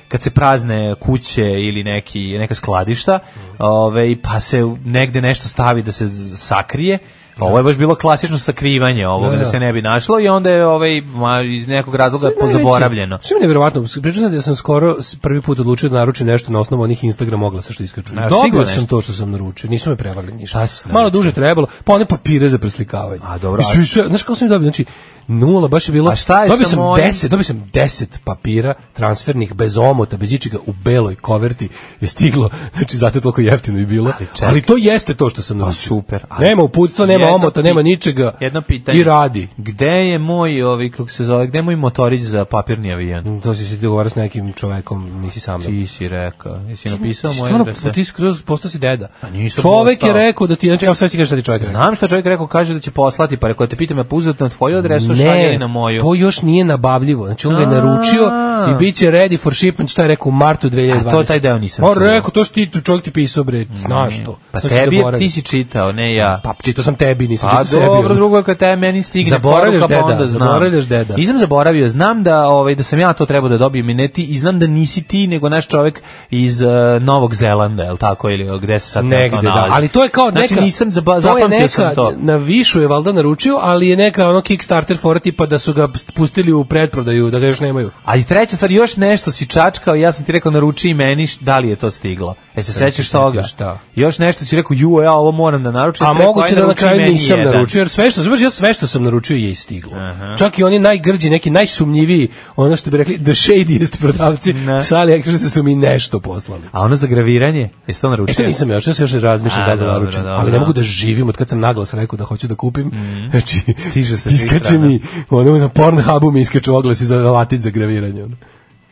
Speaker 5: kad se prazne kuće ili neki, neka skladišta,
Speaker 6: Mhm.
Speaker 5: ove, pa se negde nešto stavi da se z- sakrije, Ovo je baš bilo klasično sakrivanje ovoga
Speaker 6: Da,
Speaker 5: da,
Speaker 6: da.
Speaker 5: se ne bi našlo i onda je ovaj ma, iz nekog razloga pozaboravljeno.
Speaker 6: Što mi je nevjerovatno, pričao sam da sam skoro s- prvi put odlučio da naručim nešto na osnovu onih Instagram oglasa što iskaču.
Speaker 5: A, stiglo
Speaker 6: Dobio
Speaker 5: nešto?
Speaker 6: sam to što sam naručio, nisu me prevarili ništa.
Speaker 5: si
Speaker 6: Malo duže trebalo, pa one papire za preslikavanje. A
Speaker 5: dobro,
Speaker 6: I sve, sve, znaš kako sam ih dobio, znači nula, baš je bilo.
Speaker 5: A šta je
Speaker 6: dobio
Speaker 5: sa
Speaker 6: sam
Speaker 5: mojim?
Speaker 6: 10, dobio sam 10 papira transfernih bez omota, bez ičega u beloj koverti je stiglo. Znači zato je toliko jeftino i bilo. Ali,
Speaker 5: čekaj. Pa
Speaker 6: to jeste to što sam naručio.
Speaker 5: super, ali-
Speaker 6: nema uputstva, nema
Speaker 5: Jedno
Speaker 6: omota,
Speaker 5: pi-
Speaker 6: nema ničega.
Speaker 5: Jedno pitanje.
Speaker 6: I radi.
Speaker 5: Gde je moj, ovaj, kako se zove, gde je moj motorić za papirni avijan?
Speaker 6: Mm, To si se dogovarao s nekim čovekom, nisi sam.
Speaker 5: Ti si rekao, jesi napisao
Speaker 6: Ti
Speaker 5: moje
Speaker 6: stvarno,
Speaker 5: adrese?
Speaker 6: Ti skroz postao si deda.
Speaker 5: Pa nisam
Speaker 6: čovek
Speaker 5: postao.
Speaker 6: je rekao da ti, znači, evo sad ti kažeš šta ti čovek rekao.
Speaker 5: Znam što čovjek rekao, kaže da će poslati, pa rekao te pitam, je pouzet na tvoju adresu, šalje
Speaker 6: Ne,
Speaker 5: li na moju?
Speaker 6: to još nije nabavljivo. Znači, on ga je naručio
Speaker 5: A.
Speaker 6: i bit će ready for shipment, šta je rekao, u martu 2020.
Speaker 5: A to taj deo nisam
Speaker 6: On
Speaker 5: čuo.
Speaker 6: Pa, rekao, to si ti, tu čovjek ti pisao, bre, znaš to.
Speaker 5: Pa
Speaker 6: Sad si
Speaker 5: tebi, je-
Speaker 6: zaboravio.
Speaker 5: ti si čitao, ne ja.
Speaker 6: Pa, čitao sam tebi, nisam
Speaker 5: Pa
Speaker 6: čitao sebi.
Speaker 5: dobro,
Speaker 6: ono.
Speaker 5: drugo je kad te meni stigne
Speaker 6: Zaboravljaš
Speaker 5: poruka,
Speaker 6: deda,
Speaker 5: pa onda znam.
Speaker 6: zaboravljaš deda.
Speaker 5: Nisam zaboravio, znam da, ovaj, da sam ja to trebao da dobijem i ne ti, i znam da nisi ti, nego naš čovjek iz eh, Novog Zelanda, je li tako, ili gde se sad
Speaker 6: negde,
Speaker 5: trenutno
Speaker 6: da.
Speaker 5: nalazi.
Speaker 6: Ali to je kao neka...
Speaker 5: Znači nisam, zaba,
Speaker 6: to je
Speaker 5: zapamtio
Speaker 6: neka,
Speaker 5: sam to.
Speaker 6: Na višu je valjda naručio, ali je neka ono Kickstarter fora tipa da su ga pustili u pretprodaju, da ga još nemaju.
Speaker 5: Ali treća stvar, još nešto si čačkao, ja sam ti rekao naruči i meni, š- da li je to stiglo? E se sećaš toga?
Speaker 6: šta?
Speaker 5: Još nešto si rekao, ju, ja ovo moram da naručim.
Speaker 6: A
Speaker 5: Ja sam rekao,
Speaker 6: moguće
Speaker 5: "Aj,
Speaker 6: da na
Speaker 5: naruči
Speaker 6: kraju
Speaker 5: meni
Speaker 6: nisam
Speaker 5: jedan."
Speaker 6: naručio, jer sve što, znaš, ja sve što sam naručio je i stiglo. Čak i oni najgrđi, neki najsumnjiviji, ono što bi rekli, the shadiest prodavci,
Speaker 5: Ne.
Speaker 6: sa AliExpressa su mi nešto poslali.
Speaker 5: A ono za graviranje, jesi to naručio?
Speaker 6: E to nisam još, ja se još razmišljam
Speaker 5: A,
Speaker 6: da li da
Speaker 5: dobro,
Speaker 6: naručim,
Speaker 5: dobro. Mhm.
Speaker 6: ali ne mogu da živim od kad sam naglas rekao da hoću da kupim. Znači,
Speaker 5: Stiže sa svih
Speaker 6: iskače
Speaker 5: strana.
Speaker 6: mi, ono na Pornhubu mi iskaču oglasi za latić za graviranje. Ono.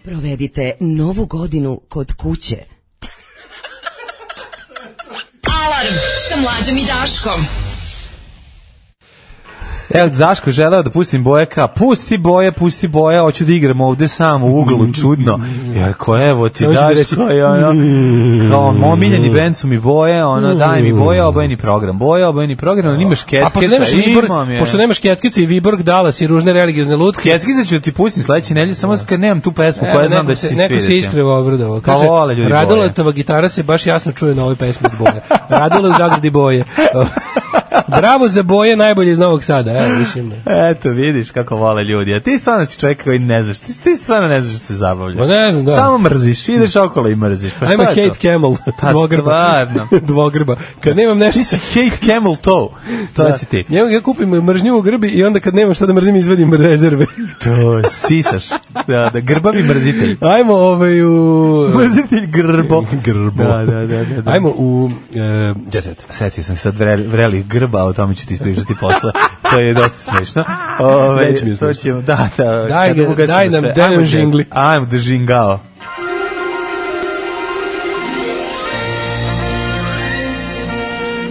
Speaker 7: Provedite novu godinu kod kuće. Alarm sa mlađom i Daškom.
Speaker 5: Evo, Daško želeo da pustim boje ka, pusti boje, pusti boje, hoću da igram ovde sam u uglu, čudno. Ja rekao, evo ti
Speaker 6: Ne možeš da reći.
Speaker 5: Daško, ja, ja. Kao, omiljeni band su mi boje, ono, daj mi boje, obojeni program, boje, obojeni program, on imaš
Speaker 6: A pošto nemaš,
Speaker 5: keckeca,
Speaker 6: Viborg,
Speaker 5: imam je.
Speaker 6: pošto nemaš Ketkice i Viborg, Dalas i ružne religiozne lutke,
Speaker 5: Kjeckica ću ti pustim sledeće nedelje, samo kad nemam tu pesmu koja
Speaker 6: Evo,
Speaker 5: znam
Speaker 6: E, neko
Speaker 5: da će
Speaker 6: se-
Speaker 5: ti
Speaker 6: Neko se
Speaker 5: svidjeti.
Speaker 6: iskrevo obradovao.
Speaker 5: Pa
Speaker 6: Kaže,
Speaker 5: vole ljudi
Speaker 6: Radoletova gitara se baš jasno čuje na ovoj pesmi od boje. Radole u zagradi boje. Bravo za boje, najbolje iz Novog Sada. Evo, više ima.
Speaker 5: Eto, vidiš kako vole ljudi. A ti stvarno si čovjek koji ne znaš. Ti, ti stvarno ne znaš da se zabavljaš.
Speaker 6: Pa ne znam, da.
Speaker 5: Samo mrziš, ideš okolo i mrziš. Pa
Speaker 6: I'm a
Speaker 5: šta je
Speaker 6: hate
Speaker 5: to?
Speaker 6: camel.
Speaker 5: Pa
Speaker 6: Dvogrba.
Speaker 5: stvarno.
Speaker 6: Dvogrba. Kad nemam nešto...
Speaker 5: Ti si hate camel toe. To si ti.
Speaker 6: Ja, ja kupim mržnju u grbi i onda kad nemam šta da mrzim izvadim rezerve.
Speaker 5: To sisaš. Da, da, grbavi mrzitelj.
Speaker 6: Ajmo ovaj u...
Speaker 5: Mrzitelj grbo.
Speaker 6: Grbo.
Speaker 5: Da, da, da. da, da.
Speaker 6: Ajmo u... E, jet set.
Speaker 5: Setio sam se sad vreli, vrelih grba, o tome ću ti ispričati posle. To je dosta smešno. Ove,
Speaker 6: Već mi je
Speaker 5: to
Speaker 6: smešno.
Speaker 5: ćemo, da, da.
Speaker 6: Daj
Speaker 5: kad
Speaker 6: ga-
Speaker 5: ugasimo
Speaker 6: daj nam,
Speaker 5: sve.
Speaker 6: daj nam
Speaker 5: Ajmo,
Speaker 6: žingli.
Speaker 5: Ajmo da žingao.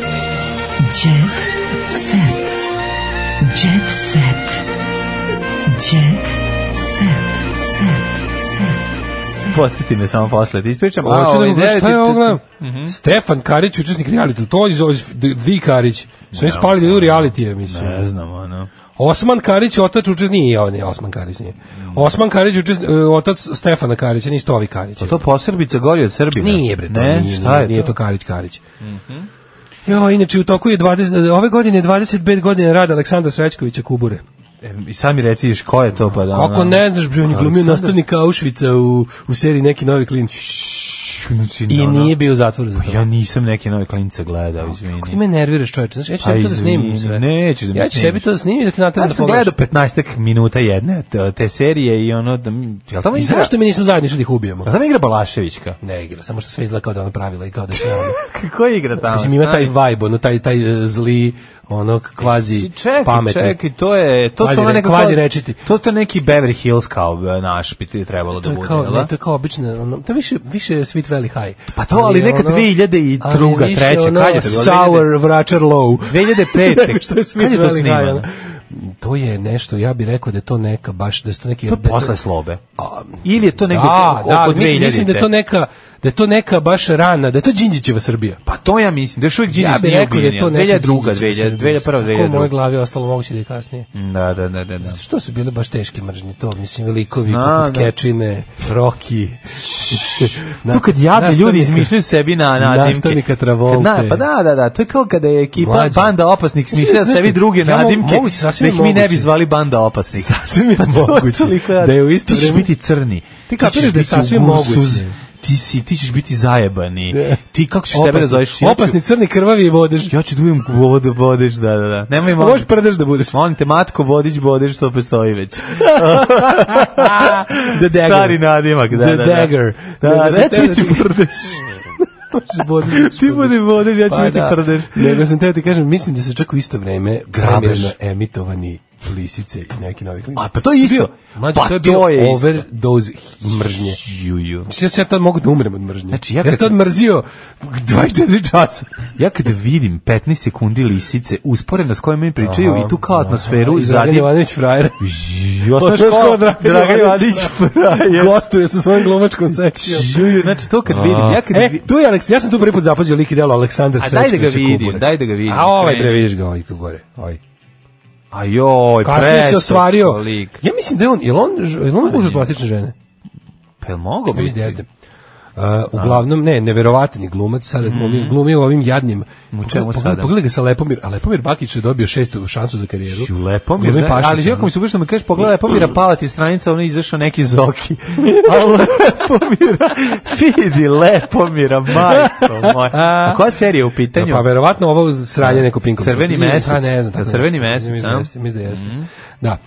Speaker 10: Jet set. Jet set. Jet set. Set.
Speaker 5: Podsjeti me samo posle, ti ispričam. A,
Speaker 6: Pa Hoću da
Speaker 5: ovaj, Mhm. ne,
Speaker 6: mu gledam, šta
Speaker 5: ti-
Speaker 6: je ovo
Speaker 5: ti-
Speaker 6: gledam? Stefan Karić, učesnik reality, to je iz ovih- the- The Karić. Sve je spali da idu reality, mislim.
Speaker 5: Ne znam, ono.
Speaker 6: Osman Karić, otac učesnik, nije on, nije Osman Karić, nije. Osman Karić, učesnik, otac Stefana Karića, nije Stovi Karića.
Speaker 5: Pa to posrbica gori od Srbina.
Speaker 6: Nije bre, to
Speaker 5: ne,
Speaker 6: nije,
Speaker 5: šta je
Speaker 6: nije
Speaker 5: to? Mhm.
Speaker 6: to Karić Karić. Jo, inače u toku je 20, ove godine je 25 godina rada Aleksandra Srećkovića Kubure.
Speaker 5: E, I sad mi reciš ko je to pa da...
Speaker 6: Kako
Speaker 5: ono-
Speaker 6: ne znaš, bre, on je glumio
Speaker 5: Aleksandar-
Speaker 6: nastavnika Auschwitza u, u seriji Neki novi klinci.
Speaker 5: Znači,
Speaker 6: I
Speaker 5: ono-
Speaker 6: nije bio u zatvoru za to.
Speaker 5: Pa ja nisam neke nove klinice gledao, izvini.
Speaker 6: Ti me nerviraš, čoveče. Znaš, ja ću tebi to da snimim sve.
Speaker 5: Nećeš Pa da mi
Speaker 6: Ja ću tebi
Speaker 5: snimiš.
Speaker 6: to da snimim i da ti natim
Speaker 5: Ja
Speaker 6: da
Speaker 5: sam
Speaker 6: pogledaš.
Speaker 5: gledao 15 minuta jedne te, te serije i ono da mi... Jel tamo
Speaker 6: I
Speaker 5: igra?
Speaker 6: zašto mi nismo zajedno išli da ih ubijemo?
Speaker 5: Jel tamo igra Balaševićka?
Speaker 6: Ne igra, samo što sve izgleda kao da ona pravila i kao da sve ono.
Speaker 5: Kako igra tamo?
Speaker 6: Mislim, ima taj
Speaker 5: stani?
Speaker 6: vibe, ono, taj, taj e, zli, ono, kvazi
Speaker 5: Čekaj,
Speaker 6: pametni.
Speaker 5: čekaj, to je to
Speaker 6: Kvazi
Speaker 5: su
Speaker 6: re-
Speaker 5: one nekako
Speaker 6: kvazi rečiti.
Speaker 5: To to je neki Beverly Hills kao e, naš bi ti trebalo
Speaker 6: To
Speaker 5: da
Speaker 6: je
Speaker 5: bude,
Speaker 6: kao,
Speaker 5: jel da?
Speaker 6: ne, to je kao obično, ono, to je više, više Sweet Valley High. ono-
Speaker 5: Pa to, ali neka 2002.,
Speaker 6: ali je više
Speaker 5: treća,
Speaker 6: ono
Speaker 5: kad je to bilo?
Speaker 6: Sour Vračar Low.
Speaker 5: 2005.
Speaker 6: Što je Sweet
Speaker 5: Kad je to
Speaker 6: Valley High,
Speaker 5: snimano?
Speaker 6: ono. To je nešto, ja bih rekao da je to neka baš, da su to neki...
Speaker 5: To je
Speaker 6: da
Speaker 5: posle slobe. Ili je to negde
Speaker 6: da,
Speaker 5: oko
Speaker 6: da,
Speaker 5: 2000.
Speaker 6: mislim, mislim da je to neka da je to neka baš rana, da je to Đinđićeva Srbija.
Speaker 5: Pa to ja mislim, da još uvijek Đinđić
Speaker 6: ja bih
Speaker 5: nije
Speaker 6: rekao da je
Speaker 5: ubijen.
Speaker 6: to neka
Speaker 5: 2002.,
Speaker 6: Đinđićeva
Speaker 5: 2001.,
Speaker 6: Srbija. Ako u
Speaker 5: 2002.
Speaker 6: mojoj glavi je ostalo moguće da je kasnije.
Speaker 5: Da, da, da, da. da.
Speaker 6: Što su bile baš teške mržnje, to mislim velikovi
Speaker 5: Znam,
Speaker 6: poput
Speaker 5: da.
Speaker 6: Kečine, Roki.
Speaker 5: Tu kad jadni ljudi izmišljaju sebi na nadimke.
Speaker 6: Nastavnika
Speaker 5: Kad
Speaker 6: Travolte.
Speaker 5: na- pa da, da, da, to je kao kada je ekipa
Speaker 6: Mlađe.
Speaker 5: banda opasnih smišlja
Speaker 6: Znaš,
Speaker 5: sebi druge
Speaker 6: ja mogu-
Speaker 5: nadimke,
Speaker 6: moguće,
Speaker 5: da
Speaker 6: sasvim
Speaker 5: ih
Speaker 6: je
Speaker 5: mi ne bi
Speaker 6: moguće.
Speaker 5: zvali banda opasnih.
Speaker 6: Sasvim je
Speaker 5: Pa to
Speaker 6: moguće
Speaker 5: toliko jadno.
Speaker 6: da je u isto
Speaker 5: Ti ćeš
Speaker 6: vreme-
Speaker 5: biti crni.
Speaker 6: Ti kapiraš
Speaker 5: ćeš
Speaker 6: da je
Speaker 5: biti
Speaker 6: sasvim
Speaker 5: u gusu
Speaker 6: moguće.
Speaker 5: z- Ti, si, ti ćeš biti zajebani.
Speaker 6: Da.
Speaker 5: Ti kako ćeš sebe da zoveš? Ja ću-
Speaker 6: opasni crni krvavi i bodež.
Speaker 5: Ja ću da uvijem vodu bodeš, da, da, da. Nemoj molim.
Speaker 6: Možeš prdeš da budeš.
Speaker 5: Molim te, matko, vodič, bodeš, to postoji već.
Speaker 6: The dagger.
Speaker 5: Stari nadimak, da,
Speaker 6: The
Speaker 5: da, da.
Speaker 6: dagger.
Speaker 5: Da,
Speaker 6: Nego
Speaker 5: da,
Speaker 6: sam
Speaker 5: ja ću
Speaker 6: teo da
Speaker 5: biti
Speaker 6: ti-
Speaker 5: prdeš.
Speaker 6: Možeš bodež.
Speaker 5: Ti budi vodič, ja ću
Speaker 6: Pa
Speaker 5: biti
Speaker 6: da.
Speaker 5: prdeš.
Speaker 6: Nego sam teo ti kažem, mislim da su čak u isto vreme
Speaker 5: Grabež.
Speaker 6: premirno emitovani lisice i neki novi klinici.
Speaker 5: A, pa to je isto.
Speaker 6: Mlađe,
Speaker 5: Pa
Speaker 6: to
Speaker 5: to
Speaker 6: je bio
Speaker 5: je isto.
Speaker 6: overdose mržnje.
Speaker 5: Ju, ju.
Speaker 6: Znači, ja se ja tad mogu da umrem od
Speaker 5: Znači,
Speaker 6: mržnje. Znači,
Speaker 5: ja
Speaker 6: ja,
Speaker 5: kad
Speaker 6: ja sam tad mrzio 24 časa.
Speaker 5: Ja kada vidim 15 sekundi lisice usporedno s kojima mi pričaju
Speaker 6: Aha,
Speaker 5: i tu kao atmosferu
Speaker 6: I Dragan
Speaker 5: zadim.
Speaker 6: Jovanović frajer.
Speaker 5: Jo,
Speaker 6: Osnoš
Speaker 5: znaš
Speaker 6: Pa ko
Speaker 5: ko?
Speaker 6: Dragan
Speaker 5: Dragan Jovanović
Speaker 6: Jovanović?
Speaker 5: frajer.
Speaker 6: Gostuje sa svojom glumačkom sekcijom.
Speaker 5: Ju, ju, znači to kad vidim, ja kad
Speaker 6: e,
Speaker 5: vidim...
Speaker 6: tu je Aleks, ja sam tu prvi put zapazio lik i delo Aleksandar
Speaker 5: A
Speaker 6: Srečković.
Speaker 5: daj da ga vidim, daj da ga vidim.
Speaker 6: A ovaj
Speaker 5: Kreni.
Speaker 6: bre, vidiš ga, ovaj tu gore. Ovaj.
Speaker 5: A joj,
Speaker 6: Kasnije se
Speaker 5: preslatko
Speaker 6: ostvario.
Speaker 5: lik.
Speaker 6: Ja mislim da je on, jel on, jel on kuža plastične žene?
Speaker 5: Pa jel mogo
Speaker 6: Ja
Speaker 5: biti?
Speaker 6: mislim da jeste. Uh, uglavnom, ne, neverovatni glumac, sad je glumio, glumio u ovim jadnim.
Speaker 5: Mhm. U čemu
Speaker 6: Pogledaj-
Speaker 5: sada?
Speaker 6: Pogledaj ga sa Lepomir, a Lepomir Bakić je dobio šestu šansu za karijeru.
Speaker 5: Ću Lepomir,
Speaker 6: Glumi
Speaker 5: znaš,
Speaker 6: Pašića, ono.
Speaker 5: ali jako mi se ubišno me kažeš, pogledaj Lepomira Palati stranica, ono je izašao neki Zoki. A Lepomira, vidi Lepomira, majko moja. A koja serija je u pitanju?
Speaker 6: Pa verovatno ovo sranje neko pinko.
Speaker 5: Crveni
Speaker 6: Ili-
Speaker 5: mesec.
Speaker 6: a, ne znam, tako
Speaker 5: Da, crveni mesec,
Speaker 6: nešto. Mislim da
Speaker 5: a? Mhm.
Speaker 6: jeste, Mislim da jeste. Da.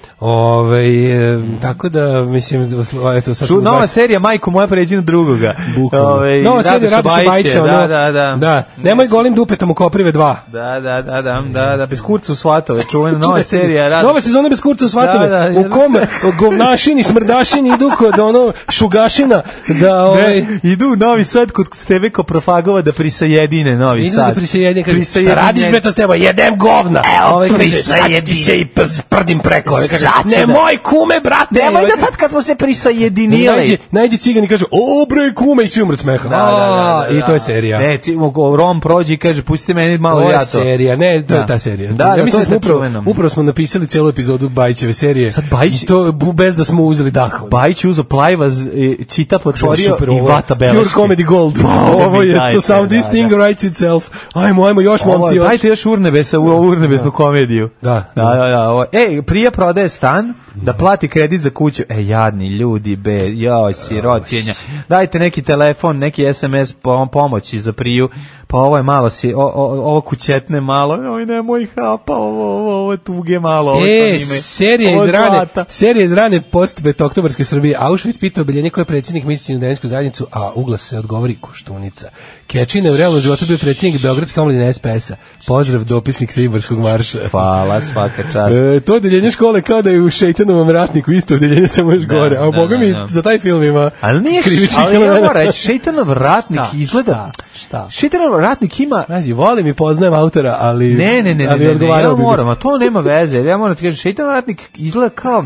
Speaker 6: Ovaj, e, tako da mislim da vas- o, eto sad
Speaker 5: Ču,
Speaker 6: smo
Speaker 5: nova
Speaker 6: baš-
Speaker 5: serija, majko moja, pređi na drugoga. Ovaj,
Speaker 6: Nova serija Radoša Bajića,
Speaker 5: Da,
Speaker 6: ono-
Speaker 5: da, da.
Speaker 6: Da, nemoj golim dupetom u Koprive 2.
Speaker 5: Da, da, da, da, da, da, bez kurcu shvatove, čuvena nova serija. Rad...
Speaker 6: Nova sezona bez kurca u svatove.
Speaker 5: Da, da,
Speaker 6: u kom govnašini, smrdašini idu kod ono šugašina da ovaj
Speaker 5: Ne, idu u Novi Sad kod Steveko Profagova da prisajedine Novi
Speaker 6: Idu
Speaker 5: Sad. E,
Speaker 6: da prisajedine, kaže,
Speaker 5: Prisajedine.
Speaker 6: šta radiš bre to s teba? Jedem govna. Evo, ovaj kaže, sad ti se i pz- prdim preko. Ovaj kaže,
Speaker 5: Sad ću da-
Speaker 6: nemoj kume, brate.
Speaker 5: Nemoj
Speaker 6: Ovaj
Speaker 5: da
Speaker 6: kaže,
Speaker 5: sad kad smo se
Speaker 6: Najđe,
Speaker 5: prisajedinili.
Speaker 6: najđe cigan i kaže, o bre kume i svi umre od smeha.
Speaker 5: Da, da, da, da,
Speaker 6: I to je serija.
Speaker 5: Ne, ti, mo- Rom prođe i kaže, pusti meni malo
Speaker 6: to
Speaker 5: ja to.
Speaker 6: je serija, ne, to
Speaker 5: Da.
Speaker 6: je ta serija.
Speaker 5: Da, da,
Speaker 6: ja
Speaker 5: to
Speaker 6: mislim
Speaker 5: je
Speaker 6: da smo
Speaker 5: ta
Speaker 6: upravo,
Speaker 5: čuvena.
Speaker 6: upravo smo napisali celu epizodu Bajićeve serije.
Speaker 5: Sad Bajić-
Speaker 6: I To bu- bez da smo uzeli dah.
Speaker 5: Bajić je uzeo plajvaz, e, čita potvorio
Speaker 6: Super,
Speaker 5: i
Speaker 6: ovo je
Speaker 5: vata beleške.
Speaker 6: Pure Comedy Gold.
Speaker 5: Boga
Speaker 6: ovo
Speaker 5: mi,
Speaker 6: je,
Speaker 5: dajte,
Speaker 6: so some
Speaker 5: da,
Speaker 6: this thing
Speaker 5: da.
Speaker 6: writes itself. Ajmo, ajmo, još
Speaker 5: Ovo,
Speaker 6: momci, još.
Speaker 5: dajte još urnebesa, u ovu urnebesnu komediju.
Speaker 6: Da.
Speaker 5: Da, da, da. Ovo. Ej, prija prodaje stan, da plati kredit za kuću. E, jadni ljudi, be, joj, sirotinja. Dajte neki telefon, neki SMS pom- pomoći za priju. Pa ovo je malo, si, o, o, ovo kućetne malo, oj, nemoj hapa, ovo, ovo, ovo je tuge malo. Ovo, je to
Speaker 6: E,
Speaker 5: njime.
Speaker 6: serija
Speaker 5: Ovo
Speaker 6: iz
Speaker 5: je
Speaker 6: rane,
Speaker 5: zlata.
Speaker 6: serija iz rane postbe oktobarske Srbije. Auschwitz pita obiljenje koje je predsjednik misli na Densku zajednicu, a uglas se odgovori Koštunica. Kečina je u realnom životu bio predsjednik Beogradske omladine SPS-a. Pozdrav dopisnik sa Ibarskog marša.
Speaker 5: Hvala, svaka čast.
Speaker 6: E, to odeljenje škole kao da je u Šeitanovom ratniku isto odeljenje samo još gore. A
Speaker 5: da,
Speaker 6: boga
Speaker 5: da,
Speaker 6: mi
Speaker 5: da.
Speaker 6: za taj film ima
Speaker 5: Ali nije,
Speaker 6: krivičnih
Speaker 5: ali ja
Speaker 6: elemenata.
Speaker 5: moram reći, Šeitanov ratnik
Speaker 6: Šta,
Speaker 5: izgleda,
Speaker 6: šta, šta?
Speaker 5: Šeitanov ratnik ima
Speaker 6: Pazi, volim i poznajem autora, ali
Speaker 5: Ne, ne, ne, ne,
Speaker 6: ali
Speaker 5: ne, ne,
Speaker 6: odgovarao
Speaker 5: ja
Speaker 6: bi mi.
Speaker 5: moram, a to nema veze. Ja moram ti kažem, Šeitan Ratnik izgleda kao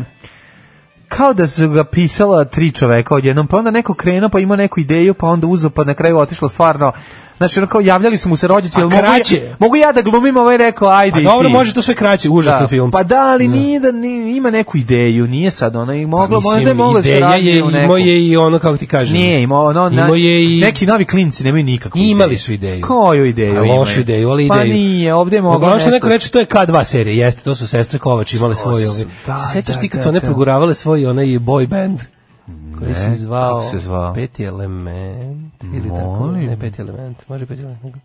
Speaker 5: kao da su ga pisala tri čoveka odjednom, pa onda neko krenuo, pa imao neku ideju, pa onda uzeo, pa na kraju otišlo stvarno Znači, ono kao, javljali su mu se rođici,
Speaker 6: A
Speaker 5: jel mogu,
Speaker 6: kraće?
Speaker 5: ja, mogu ja da glumim, a ovaj je rekao, ajde
Speaker 6: A
Speaker 5: i
Speaker 6: Pa dobro,
Speaker 5: ti.
Speaker 6: može to sve kraće, užasno
Speaker 5: Da.
Speaker 6: film.
Speaker 5: Pa da, ali nije da, ni- ima neku ideju, nije sad, ona i mogla,
Speaker 6: Pa Mislim,
Speaker 5: možda je mogla da se
Speaker 6: ideja
Speaker 5: razvije
Speaker 6: je,
Speaker 5: u neku.
Speaker 6: imao je i ono, kako ti kažem.
Speaker 5: Nije imao, ono, na-
Speaker 6: Imao je i-
Speaker 5: neki novi klinci nemaju nikakvu
Speaker 6: I imali su ideju.
Speaker 5: Koju ideju
Speaker 6: A lošu
Speaker 5: imaju?
Speaker 6: ideju, ali ideju.
Speaker 5: Pa nije, ovde je moglo
Speaker 6: Uglavnom što
Speaker 5: nešto-
Speaker 6: neko reče, to je K2 serija, jeste, to su sestre Kovač imale svoje
Speaker 5: su,
Speaker 6: ove.
Speaker 5: da,
Speaker 6: se sećaš
Speaker 5: da,
Speaker 6: ti kad
Speaker 5: da,
Speaker 6: su one
Speaker 5: da.
Speaker 6: proguravale svoj onaj boy band? Koji se zvao?
Speaker 5: kako se zvao?
Speaker 6: Peti element, ili tako,
Speaker 5: Molim. Mm.
Speaker 6: ne peti element, može peti element. nego-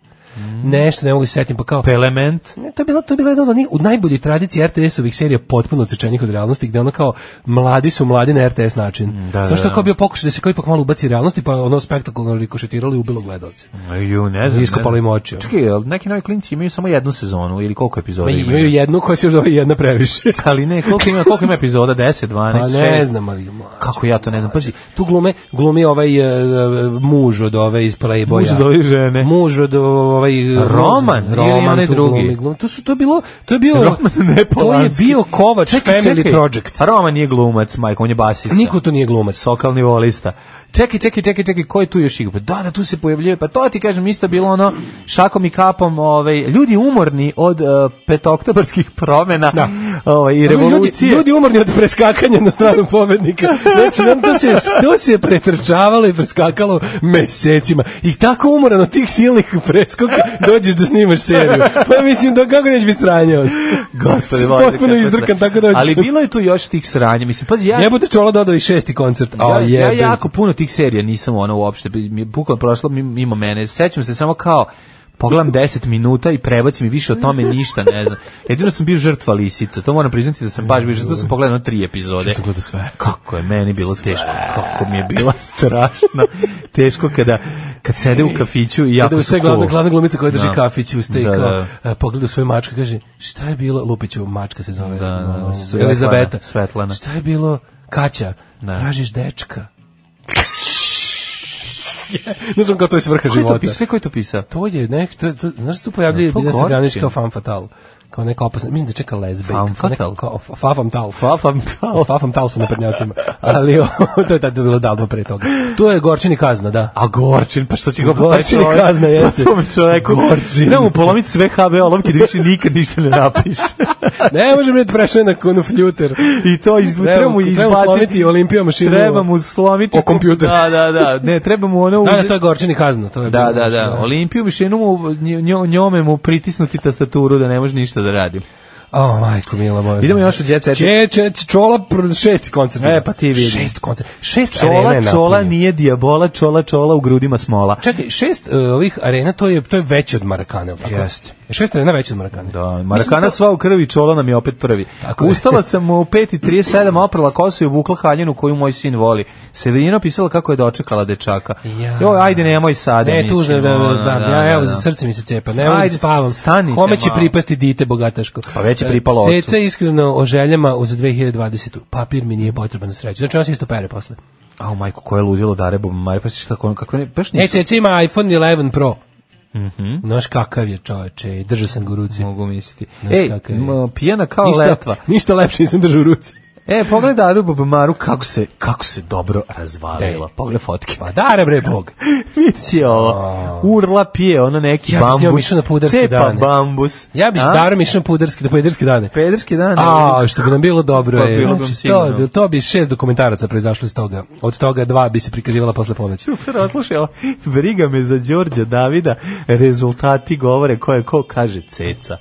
Speaker 6: Nešto, ne mogu se setim, pa kao...
Speaker 5: Pelement.
Speaker 6: Ne, to je bilo to je bilo jedno od onih u najbolji tradiciji RTS-ovih serija potpuno odsečenih od realnosti gde ono kao mladi su mladi na RTS način.
Speaker 5: da,
Speaker 6: Samo što
Speaker 5: da.
Speaker 6: je kao bio pokušaj da se kao ipak malo ubaci realnosti pa ono spektakularno rikošetiralo i ubilo gledalce.
Speaker 5: Ju, ne znam.
Speaker 6: Iskopalo
Speaker 5: ne
Speaker 6: im
Speaker 5: znam.
Speaker 6: oči.
Speaker 5: Čekaj, jel neki novi klinci imaju samo jednu sezonu ili koliko epizoda
Speaker 6: Ma,
Speaker 5: imaju?
Speaker 6: imaju jednu koja se još zove jedna previše.
Speaker 5: Ali ne, koliko ima, koliko ima epizoda? 10, 12,
Speaker 6: Pa ne
Speaker 5: 6?
Speaker 6: znam, ali mlađe,
Speaker 5: Kako ja to ne znam? Pazi,
Speaker 6: tu glume glumi ovaj e, e, muž od ove iz Playboya.
Speaker 5: Muž od ove žene.
Speaker 6: Muž od ovaj e,
Speaker 5: Roman
Speaker 6: Roze.
Speaker 5: ili onaj
Speaker 6: tu
Speaker 5: drugi?
Speaker 6: glumi, glumi. To su to je bilo to je bio
Speaker 5: Roman ne
Speaker 6: to je
Speaker 5: Polanski.
Speaker 6: bio Kovač
Speaker 5: Čekaj,
Speaker 6: Family
Speaker 5: čekaj.
Speaker 6: Project.
Speaker 5: A Roman nije glumac, majko, on je basista.
Speaker 6: Niko to nije glumac.
Speaker 5: Sokal nivolista. Čekaj, čekaj, čekaj, čekaj, ko je tu još igra? Pa Da, da, tu se pojavljuje. Pa to ti kažem, isto bilo ono šakom i kapom, ovaj, ljudi umorni od uh, petoktobarskih promena
Speaker 6: Da.
Speaker 5: ovaj, i
Speaker 6: Ono,
Speaker 5: revolucije.
Speaker 6: Ljudi, ljudi umorni od preskakanja na stranu pobednika. Znači, on to se, to se pretrčavalo i preskakalo mesecima. I tako umoran od tih silnih preskoka dođeš da snimaš seriju. Pa mislim, da kako neće biti sranje od...
Speaker 5: Gospode,
Speaker 6: Si
Speaker 5: Bože,
Speaker 6: Potpuno
Speaker 5: kako se-
Speaker 6: izdrkan, tako da
Speaker 5: Ali bilo je tu još tih sranja, mislim, pazi, ja...
Speaker 6: Jebote čola dodao i šesti koncert. A
Speaker 5: ja, ja
Speaker 6: jebe.
Speaker 5: jako puno tih serija nisam ono uopšte, mi je bukvalno prošlo mi- mimo mene. Sećam se samo kao pogledam 10 minuta i prebacim i više o tome ništa ne znam. Jedino sam bio žrtva lisica, to moram priznati da sam baš bio žrtva, to sam pogledao tri epizode.
Speaker 6: sam gledao sve.
Speaker 5: Kako je meni bilo teško, kako mi je bilo strašno teško kada kad sede u kafiću i
Speaker 6: Kada
Speaker 5: jako
Speaker 6: u
Speaker 5: su
Speaker 6: sve glavna,
Speaker 5: cool.
Speaker 6: glavna glumica koja drži
Speaker 5: Da.
Speaker 6: kafić u ono, steju
Speaker 5: Da,
Speaker 6: da,
Speaker 5: da.
Speaker 6: pogleda u svoju mačku i kaže šta je bilo, Lupiću, mačka se zove
Speaker 5: Da, da, da,
Speaker 6: ono,
Speaker 5: Svetlana,
Speaker 6: Elizabeta.
Speaker 5: Svetlana.
Speaker 6: Šta je bilo, Kaća,
Speaker 5: Da.
Speaker 6: tražiš dečka. ne znam kao to je svrha
Speaker 5: Ko je to
Speaker 6: života.
Speaker 5: pisao? Ko je to pisao?
Speaker 6: To je nek, to, je- to, znaš što tu pojavljuje
Speaker 5: To
Speaker 6: Biljana
Speaker 5: gorče.
Speaker 6: Srbljanić kao fan fatal kao neka opasna, mislim da čeka lesbijka.
Speaker 5: Femme
Speaker 6: kao neka-
Speaker 5: fatale?
Speaker 6: Kao, fa- fa femme tal.
Speaker 5: Fafam tao.
Speaker 6: S Fafom Tal sa napadnjacima. Ali o, to je tad bilo davno pre toga. To je Gorčini kazna, da.
Speaker 5: A Gorčin, pa što će ga
Speaker 6: Gorčin je kazna, jeste.
Speaker 5: Pa tome čoveku.
Speaker 6: Gorčin.
Speaker 5: Da mu polomiti sve HBO lomke da više nikad ništa ne napiše.
Speaker 6: Ne može biti prešao na konu fljuter.
Speaker 5: I to iz,
Speaker 6: Treba
Speaker 5: treba
Speaker 6: mu-
Speaker 5: mu
Speaker 6: treba mu
Speaker 5: izbaciti.
Speaker 6: slomiti Olimpija mašinu
Speaker 5: Treba mu slomiti.
Speaker 6: o kompjuter.
Speaker 5: Da, da, da. Ne, treba mu ono
Speaker 6: Da,
Speaker 5: uzeti.
Speaker 6: da, to je znači, Gorčini kazna. To je
Speaker 5: Da,
Speaker 6: bilo
Speaker 5: da,
Speaker 6: nešto,
Speaker 5: da. Olimpiju mašinu mu, njo- njo- njome mu pritisnuti tastaturu da ne može ništa da radi.
Speaker 6: O, majko, mila moja.
Speaker 5: Idemo još u Jet Set.
Speaker 6: Če, če, čola, pr- šesti koncert.
Speaker 5: E, pa ti vidi.
Speaker 6: Šest koncert. Šest
Speaker 5: Čola,
Speaker 6: arena je
Speaker 5: čola
Speaker 6: napunio.
Speaker 5: nije dijabola, čola, čola u grudima smola.
Speaker 6: Čekaj, šest e, ovih arena, to je, to je veće od Marakane, jel tako?
Speaker 5: Jeste.
Speaker 6: Šest arena veće od Marakane.
Speaker 5: Da,
Speaker 6: Mislim,
Speaker 5: Marakana sva u krvi, čola nam je opet prvi.
Speaker 6: Tako je.
Speaker 5: Ustala sam u 5.37, oprala kosu i obukla haljinu koju moj sin voli. Severina pisala kako je dočekala dečaka.
Speaker 6: Ja.
Speaker 5: Joj, ajde, nemoj sada.
Speaker 6: Ne,
Speaker 5: mislim,
Speaker 6: tužno, da, da,
Speaker 5: ono,
Speaker 6: da, ja, evo, za srce mi se cepa, ne mogu da
Speaker 5: Ajde,
Speaker 6: spavam.
Speaker 5: stanite
Speaker 6: Kome će
Speaker 5: malo.
Speaker 6: pripasti dite bogataško?
Speaker 5: Pa već je
Speaker 6: E,
Speaker 5: pripalo ocu.
Speaker 6: Ceca je iskreno o željama uz 2020. Papir mi nije potreban za sreću. Znači, on se isto pere posle.
Speaker 5: Au, majko, koje ludilo dare Bob Mare, pa si šta, kako, kako ne, baš
Speaker 6: E,
Speaker 5: nisu.
Speaker 6: Ceca ima iPhone 11 Pro. Znaš kakav je čoveče, držao sam ga u ruci.
Speaker 5: Mhm. Mogu misliti.
Speaker 6: Znaš
Speaker 5: Ej,
Speaker 6: kakav je.
Speaker 5: m, pijena kao
Speaker 6: Ništa,
Speaker 5: letva.
Speaker 6: ništa lepše nisam držao u ruci.
Speaker 5: E, pogledaj Daru Bob Maru kako se, kako se dobro razvalila.
Speaker 6: Ej.
Speaker 5: Pogledaj fotke.
Speaker 6: Pa dare bre Bog.
Speaker 5: Vidi ovo. Urla pije ono neki
Speaker 6: Ja bi s njom
Speaker 5: bambus.
Speaker 6: išao na pudarske
Speaker 5: Cepa
Speaker 6: dane.
Speaker 5: bambus.
Speaker 6: Ja bih
Speaker 5: A?
Speaker 6: darom išao na puderski, na puderski dane.
Speaker 5: Pederski dan.
Speaker 6: A, što bi nam bilo dobro
Speaker 5: Pa
Speaker 6: je.
Speaker 5: bilo bi nam
Speaker 6: Znači,
Speaker 5: sigurno.
Speaker 6: to, bi, to bi šest dokumentaraca proizašlo iz toga. Od toga dva bi se prikazivala posle ponoći.
Speaker 5: Super, oslušaj, ovo. briga me za Đorđa Davida, rezultati govore ko je ko, kaže Ceca.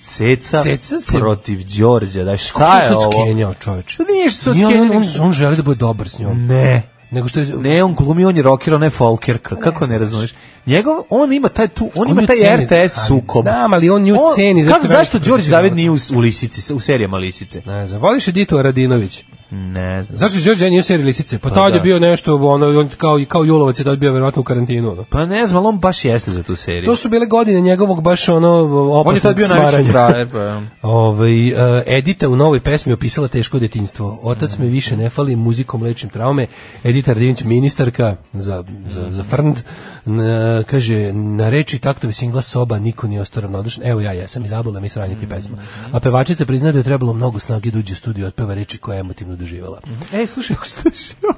Speaker 5: Ceca,
Speaker 6: Ceca se-
Speaker 5: protiv Đorđa, da šta je ovo?
Speaker 6: Kenjao, čoveč.
Speaker 5: Nije što
Speaker 6: Pa Nije, on, on, on,
Speaker 5: skenjao.
Speaker 6: on želi da bude dobar s njom.
Speaker 5: Ne,
Speaker 6: Nego što je...
Speaker 5: ne, on glumi, on je rocker, on je folkerka, kako ne razumeš? Njegov, on ima taj tu, on,
Speaker 6: Pa On
Speaker 5: ima
Speaker 6: nju
Speaker 5: taj
Speaker 6: ceni.
Speaker 5: RTS
Speaker 6: Ali
Speaker 5: sukob.
Speaker 6: znam, ali on nju
Speaker 5: On-
Speaker 6: ceni, zašto
Speaker 5: Kako,
Speaker 6: radi
Speaker 5: zašto
Speaker 6: protiv
Speaker 5: Đorđe David
Speaker 6: Đorđa?
Speaker 5: nije u, u lisici, u serijama lisice?
Speaker 6: Ne znam, voliš Editu Aradinović?
Speaker 5: Ne znam.
Speaker 6: Zašto je Đorđe nije serio lisice? Pa, tad
Speaker 5: da.
Speaker 6: je bio nešto, ono, on kao, kao Julovac je tad bio verovatno u karantinu. Ono.
Speaker 5: Pa ne znam, ali on baš jeste za tu seriju.
Speaker 6: To su bile godine njegovog baš ono opasnog
Speaker 5: on je tad bio najveći
Speaker 6: smaranja.
Speaker 5: frajer, pa...
Speaker 6: Ovaj e, Edita u novoj pesmi opisala teško detinjstvo. Otac me više ne fali, muzikom lečim traume. Edita Radinić, ministarka za, za, za frnd, n- eh, kaže, na reči taktove singla soba niko nije ostao ravnodušan. Evo ja, ja sam izabula mi sranjiti pesma. A pevačica priznaje da Mhm. je trebalo mnogo snage da uđe u studiju i otpeva reči koje je emotivno doživala.
Speaker 5: Ej, E, slušaj, ako slušaj, E,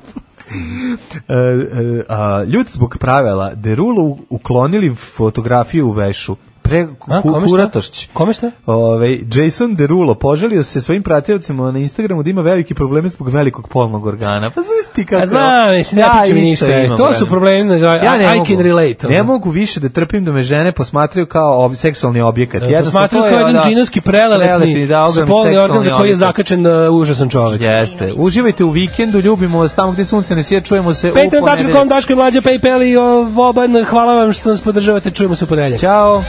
Speaker 5: e, a, ljudi zbog pravila Derulu uklonili fotografiju u vešu. Pre
Speaker 6: A,
Speaker 5: ku-
Speaker 6: kome šta?
Speaker 5: kuratošć.
Speaker 6: Kome šta?
Speaker 5: Ovaj, Jason Derulo požalio se svojim pratiocima na Instagramu da ima velike probleme zbog velikog polnog organa. Pa znaš ti kako...
Speaker 6: A znam, mislim, ne pričam
Speaker 5: isto
Speaker 6: ništa,
Speaker 5: imam,
Speaker 6: to su
Speaker 5: brate.
Speaker 6: problemi na-
Speaker 5: ne
Speaker 6: I- I
Speaker 5: mogu.
Speaker 6: can relate,
Speaker 5: Ne
Speaker 6: ono.
Speaker 5: mogu više da trpim da me žene posmatraju kao ob, seksualni objekat.
Speaker 6: E,
Speaker 5: Jednostavno,
Speaker 6: Posmatraju
Speaker 5: to je
Speaker 6: kao jedan
Speaker 5: ono-
Speaker 6: džinovski prelelepni,
Speaker 5: da, ogromni
Speaker 6: spolni organ za
Speaker 5: seksualni
Speaker 6: koji je
Speaker 5: objekat.
Speaker 6: zakačen uh, užasan čovjek.
Speaker 5: Jeste. Uživajte u vikendu, ljubimo vas tamo gde sunce ne sije, čujemo se u
Speaker 6: Patreon.com,
Speaker 5: ponedeljak.
Speaker 6: Daško i Mlađa, Paypal i o, Voban, hvala vam što nas podržavate, čujemo se u ponedeljak.
Speaker 5: Ćao.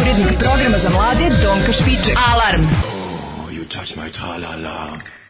Speaker 10: Urednik programa za mlade Donka Špiček. Alarm.
Speaker 15: You touch my ta-la-la.